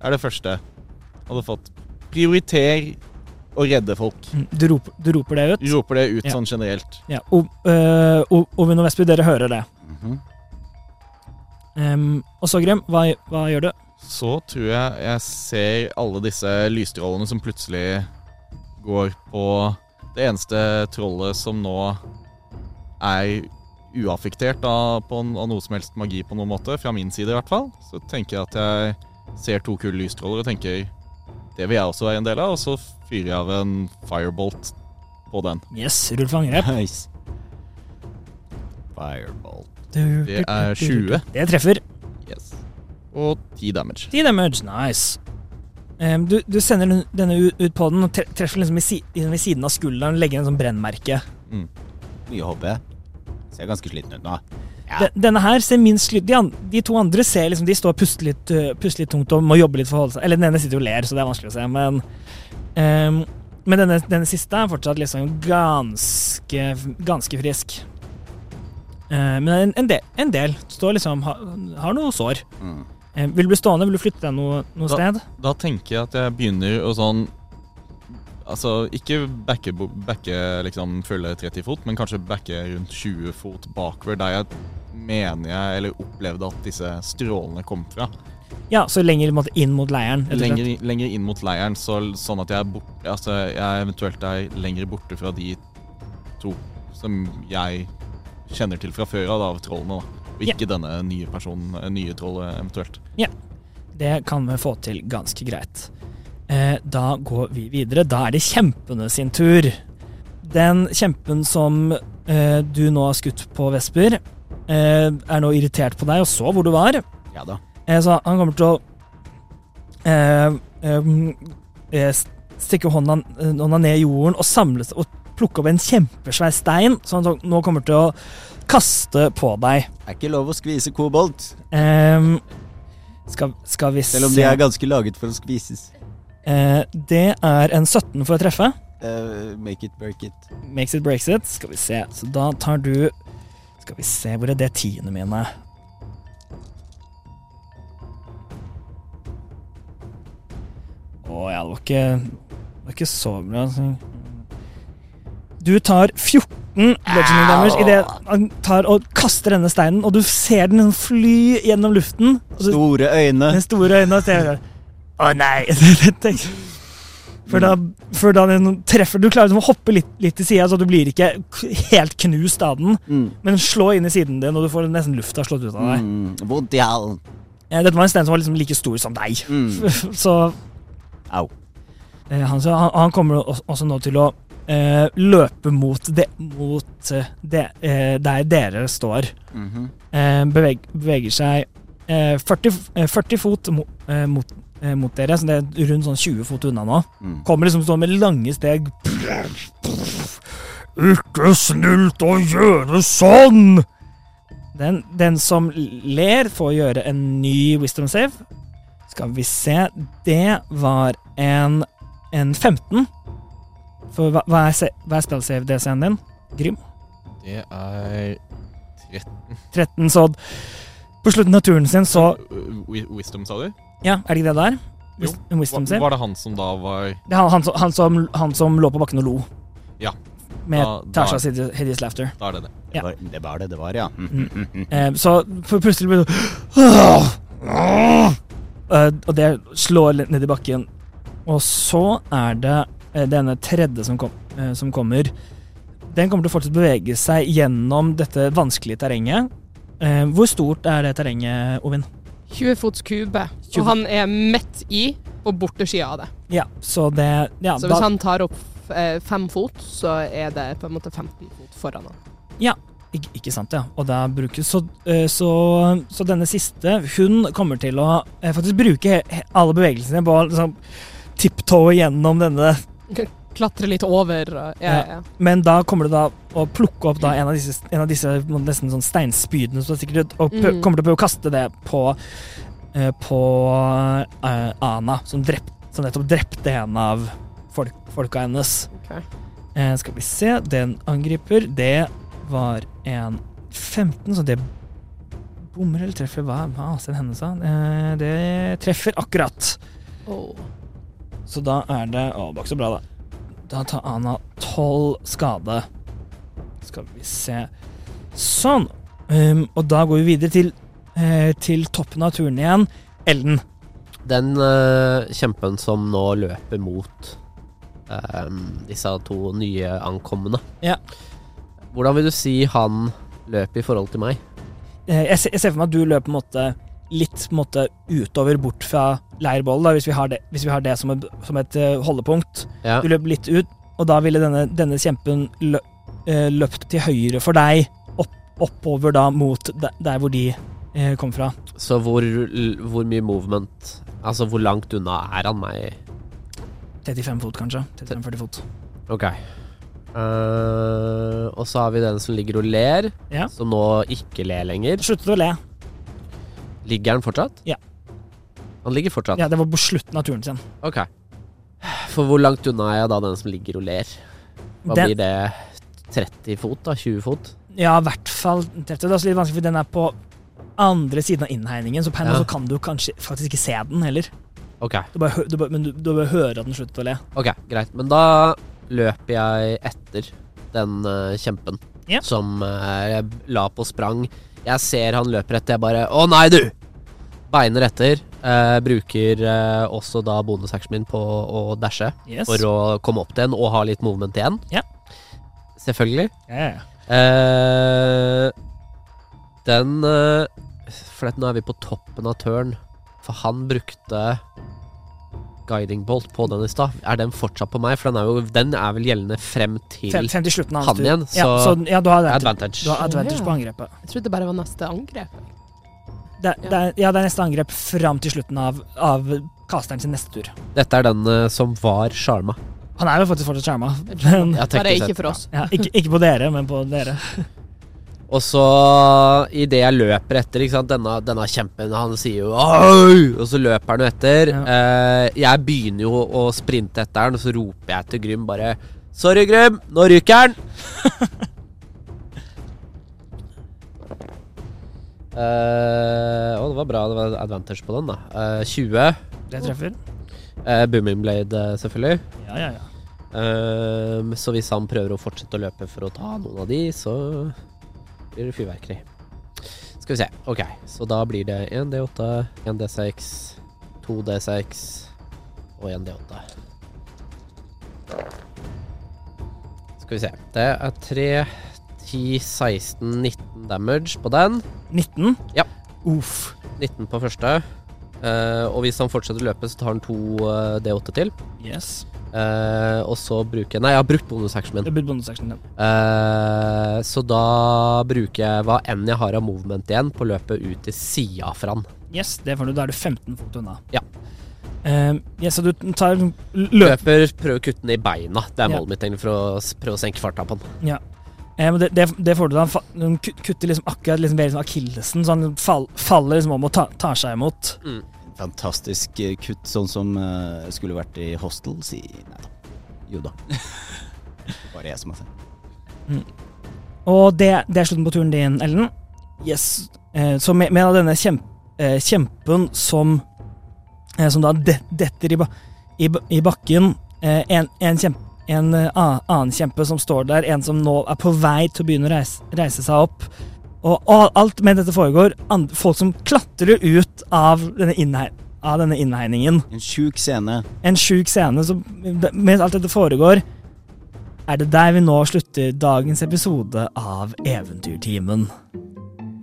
er det første han hadde fått. Prioriter å redde folk. Mm, Du roper, du roper det ut. Roper det ut Ja. sånn generelt. Ja, O- eh, O- Ovin og Vestby, dere hører det. Mhm. Em, og så, Grym, hva, hva gjør du? Så tror jeg jeg ser alle disse lysstrålene som plutselig går på det eneste trollet som nå er uaffektert av, på en, av noe som helst magi på noen måte, fra min side i hvert fall. Så tenker jeg at jeg ser to kule lysstråler og tenker det vil jeg også være en del av, og så fyrer jeg av en firebolt på den. Yes, rull for angrep. Nice. Fireball. Du- Det er du- du- du- 20. Det treffer. Yes. Og 10 damage. 10 damage, nice. Em, du, du sender den- denne u- ut på den og tre- treffer liksom i, si, liksom i siden av skulderen og legger en sånn brennmerke. Mye HP. Ser ganske sliten ut nå. De- Denne her ser minst slitt de, an- de to andre ser liksom, de står og puster litt, øh, puster litt tungt og må jobbe litt for å holde seg Eller den ene sitter og ler, så det er vanskelig å se, men em, Men denne, denne siste er fortsatt liksom ganske, ganske frisk. Eh, men en, en, del, en del står liksom har, har noe sår. Mm. Eh, vil du bli stående? Vil du flytte deg noe, noe Da- sted? Da tenker jeg at jeg begynner å sånn Altså, ikke backe, bo- backe liksom fulle 30 fot, men kanskje backe rundt 20 fot bakover, der jeg mener jeg, eller opplevde at disse strålene kom fra. Ja, så lenger på en måte, inn mot leiren. rett og slett. Lenger, lenger inn mot leiren, så, sånn at jeg er borte Altså, jeg eventuelt er lenger borte fra de to som jeg kjenner til fra før av, da, av trollene, da. Og Ja. ikke denne nye personen, nye trollet, eventuelt. Det kan vi få til ganske greit. Eh, da går vi videre. Da er det kjempene sin tur. Den kjempen som eh, du nå har skutt på Vesper, eh, er nå irritert på deg og så hvor du var. Ja da. Eh, så han kommer til å eh, em, eh, s- stikke hånda, eh, hånda ned i jorden og samle seg og plukke opp en kjempesvær stein, som han nå kommer til å kaste på deg. Er ikke lov å skvise kobolt, Em, skal, skal vi se selv om de er ganske laget for å skvises. Eh, det er en 17 for å treffe. Eh, make it, break it. Makes it, breaks it. Skal vi se. Så da tar du Skal vi se, hvor er det tiende mine? Å ja, det var ikke Det var ikke så bra. Så. Du tar 14 bludgeoning damage idet han tar og kaster denne steinen, og du ser den fly gjennom luften. Og du Store øyne. med store øyne og ser Å nei! det tenker jeg. For da, for da den treffer Du klarer liksom å hoppe litt, litt til sida, så du blir ikke k- helt knust av den, Mm. men slå inn i siden din, og du får nesten lufta slått ut av deg. Mm. Vondt i halen. Eh, Dette var en stein som var liksom like stor som deg. Mm. Så Au. eh, han, så han, han kommer også- også nå til å eh, løpe mot, det- mot eh, det- eh, der dere står. Mhm. eh, beveg, beveger seg eh, 40, f- eh, 40 fot mo, eh, mot, eh, mot dere, så det er rundt sånn 20 fot unna nå. Mm. Kommer liksom stå med lange steg. Ikke snilt å gjøre sånn! Den, den som ler, får gjøre en ny wisdom save. Skal vi se Det var en, en 15. For hva, hva er, se- hva er spell save DC-en din? Grym? Det er 13, så på slutten av turen sin så Wi- Wisdom, sa du? Ja, er det ikke det der? Jo. Wis- En wisdom Var, save? var det han som da var Det er han, han, som- han, som, han som lå på bakken og lo. Ja. med Da- da- Tasha's Hideous Hideous Laughter. Da er det det. Ja. Det, var, det var det det var, ja. Mm. Eh, så for plutselig blir det Eh, Og det slår litt ned i bakken. Og så er det eh, denne tredje som, kom, eh, som kommer. Den kommer til å fortsatt bevege seg gjennom dette vanskelige terrenget. Eh, Hvor stort er det terrenget, Ovin? 20 fots kube, Tjue- og han er midt i på bortesida av det. Ja, så det ja, Så da- hvis han tar opp eh, fem fot, så er det på en måte 15 fot foran han. Ik ikke sant, ja. Og da bruker, så, eh, så, så denne siste, hun kommer til å eh, faktisk bruke he- he- alle bevegelsene på å liksom, tiptoe gjennom denne. Klatre litt over. Og, ja, ja. Men da kommer du da å plukke opp da en av disse, en av disse nesten sånn steinspydene som er sikkert, og prø- Mm. kommer til å prøve å kaste det på, eh, på eh, Ana, som, drept, som nettopp drepte en av folk, folka hennes. Ok. Eh, skal vi se, den angriper. Det var en 15, så det bommer eller treffer. Hva hva er den hennes, da? Eh, det treffer akkurat. Åh. Så da er det Å, det var ikke så bra, da. Da tar Ana 12 skade. Skal vi se Sånn. Um, og da går vi videre til, eh, til toppen av turen igjen. Elden. Den eh, kjempen som nå løper mot ehm, disse to nye ankommende Ja. Hvordan vil du si han løper i forhold til meg? Eh, jeg, se- jeg ser for meg at du løper på en måte litt på en måte utover, bort fra leirbollen, da, hvis vi har det, hvis vi har det som, et, som et eh, holdepunkt. Ja, Du løp litt ut, og da ville denne, denne kjempen lø, eh, løpt til høyre for deg, opp, oppover da mot de- der hvor de eh, kom fra. Så hvor, hvor mye movement Altså, hvor langt unna er han meg? 35 fot, kanskje. 35-40 fot. Ok. Eh, og så har vi den som ligger og ler, Ja. som nå ikke ler lenger. Sluttet å le. Ligger han fortsatt? Ja. Han ligger fortsatt? Ja, Det var på slutten av turen sin. Ok. For hvor langt unna er jeg da den som ligger og ler? Hva Den, blir det? 30 fot, da? 20 fot? ja, i hvert fall 30. Det er også litt vanskelig, for den er på andre siden av innhegningen, så per nå Ja. så kan du kanskje faktisk ikke se den heller. Ok, Du bare, hø- du bare, men du, du bare hører at den sluttet å le. ok, greit. Men da løper jeg etter den eh, kjempen Ja. som eh, jeg la på sprang. Jeg ser han løper etter, jeg bare Å nei, du! Beiner etter. eh, bruker eh, også da bonusactionen min på å dashe Yes. for å komme opp til en og ha litt movement igjen. Ja. Selvfølgelig. Ja, ja. Eh, den eh, For at nå er vi på toppen av turn. For han brukte guiding bolt på den i stad. Er den fortsatt på meg? For den er, jo, den er vel gjeldende frem til Frem, frem til slutten av Han hans tur. igjen, ja, så- så ja, du har advantage, advantage. du har advantage Ja. på angrepet. Jeg trodde det bare var neste angrep. Det, det, er- ja, det er neste angrep fram til slutten av, av kasteren sin neste tur. Dette er den eh, som var sjarma. Han er jo faktisk fortsatt skjerma. Men, Ja, Bare teknisk ikke sett, for oss. ja, ikke, ikke på dere, men på dere. Og så, idet jeg løper etter ikke sant? Denne, denne kjempen, han sier jo Oi! Og så løper han jo etter. Ja. Eh, jeg begynner jo å sprinte etter han, og så roper jeg til Grym bare Sorry, Grym, nå ryker han! Eh, Å, det var bra det var advantage på den, da. Eh, 20. Det treffer. Eh, booming blade, eh, selvfølgelig. Ja, ja, ja. Ehm, så hvis han prøver å fortsette å løpe for å ta noen av de, så blir det fyrverkeri. Skal vi se. Ok, så da blir det 1D8, 1D6, 2D6 og 1D8. Skal vi se. Det er 3, 10, 16, 19 damage på den. 19. Ja. Uff. 19 på første. Eh, og hvis han fortsetter å løpe, så tar han 2 D8 til. Yes. Eh, og så bruker jeg Nei, jeg har brukt bonusactionen min. Det blir bonusactionen din. Eh, så da bruker jeg hva enn jeg har av movement igjen, på løpet ut til sida fra han. Yes, det får du. Da er du 15 fot unna. Ja. Ehm, yes, så du tar løp. Løper, prøver å kutte den i beina. Det er Ja. målet mitt egentlig for å s- prøve å senke farta på han. Ja. Ehm, det, det, det får du da. Han fa- Han ku- kutter liksom akkurat liksom, ved liksom akillesen, så han fall, faller liksom om og ta, tar seg imot. Fantastisk eh, kutt, sånn som eh, skulle vært i Hostel, si Nei da. Jo da. Bare jeg som har sett. Og det, det er slutten på turen din, Ellen. Yes. Eh, så med, med denne kjemp, eh, kjempen som eh, Som da de, detter i, ba, i, ba- i bakken eh, en, en, kjemp, en eh, a- annen kjempe som står der, en som nå er på vei til å begynne å reise, reise seg opp. Og a- alt med dette foregår, and, folk som klatrer ut av denne, innheg- av denne innhegningen. En sjuk scene. En sjuk scene som Mens alt dette foregår, er det der vi nå slutter dagens episode av Eventyrtimen.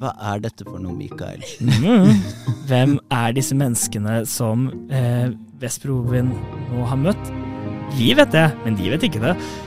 Hva er dette for noe, Mikael? Mm. Hvem er disse menneskene som eh, Vestbrovin nå har møtt? Vi vet det, men de vet ikke det.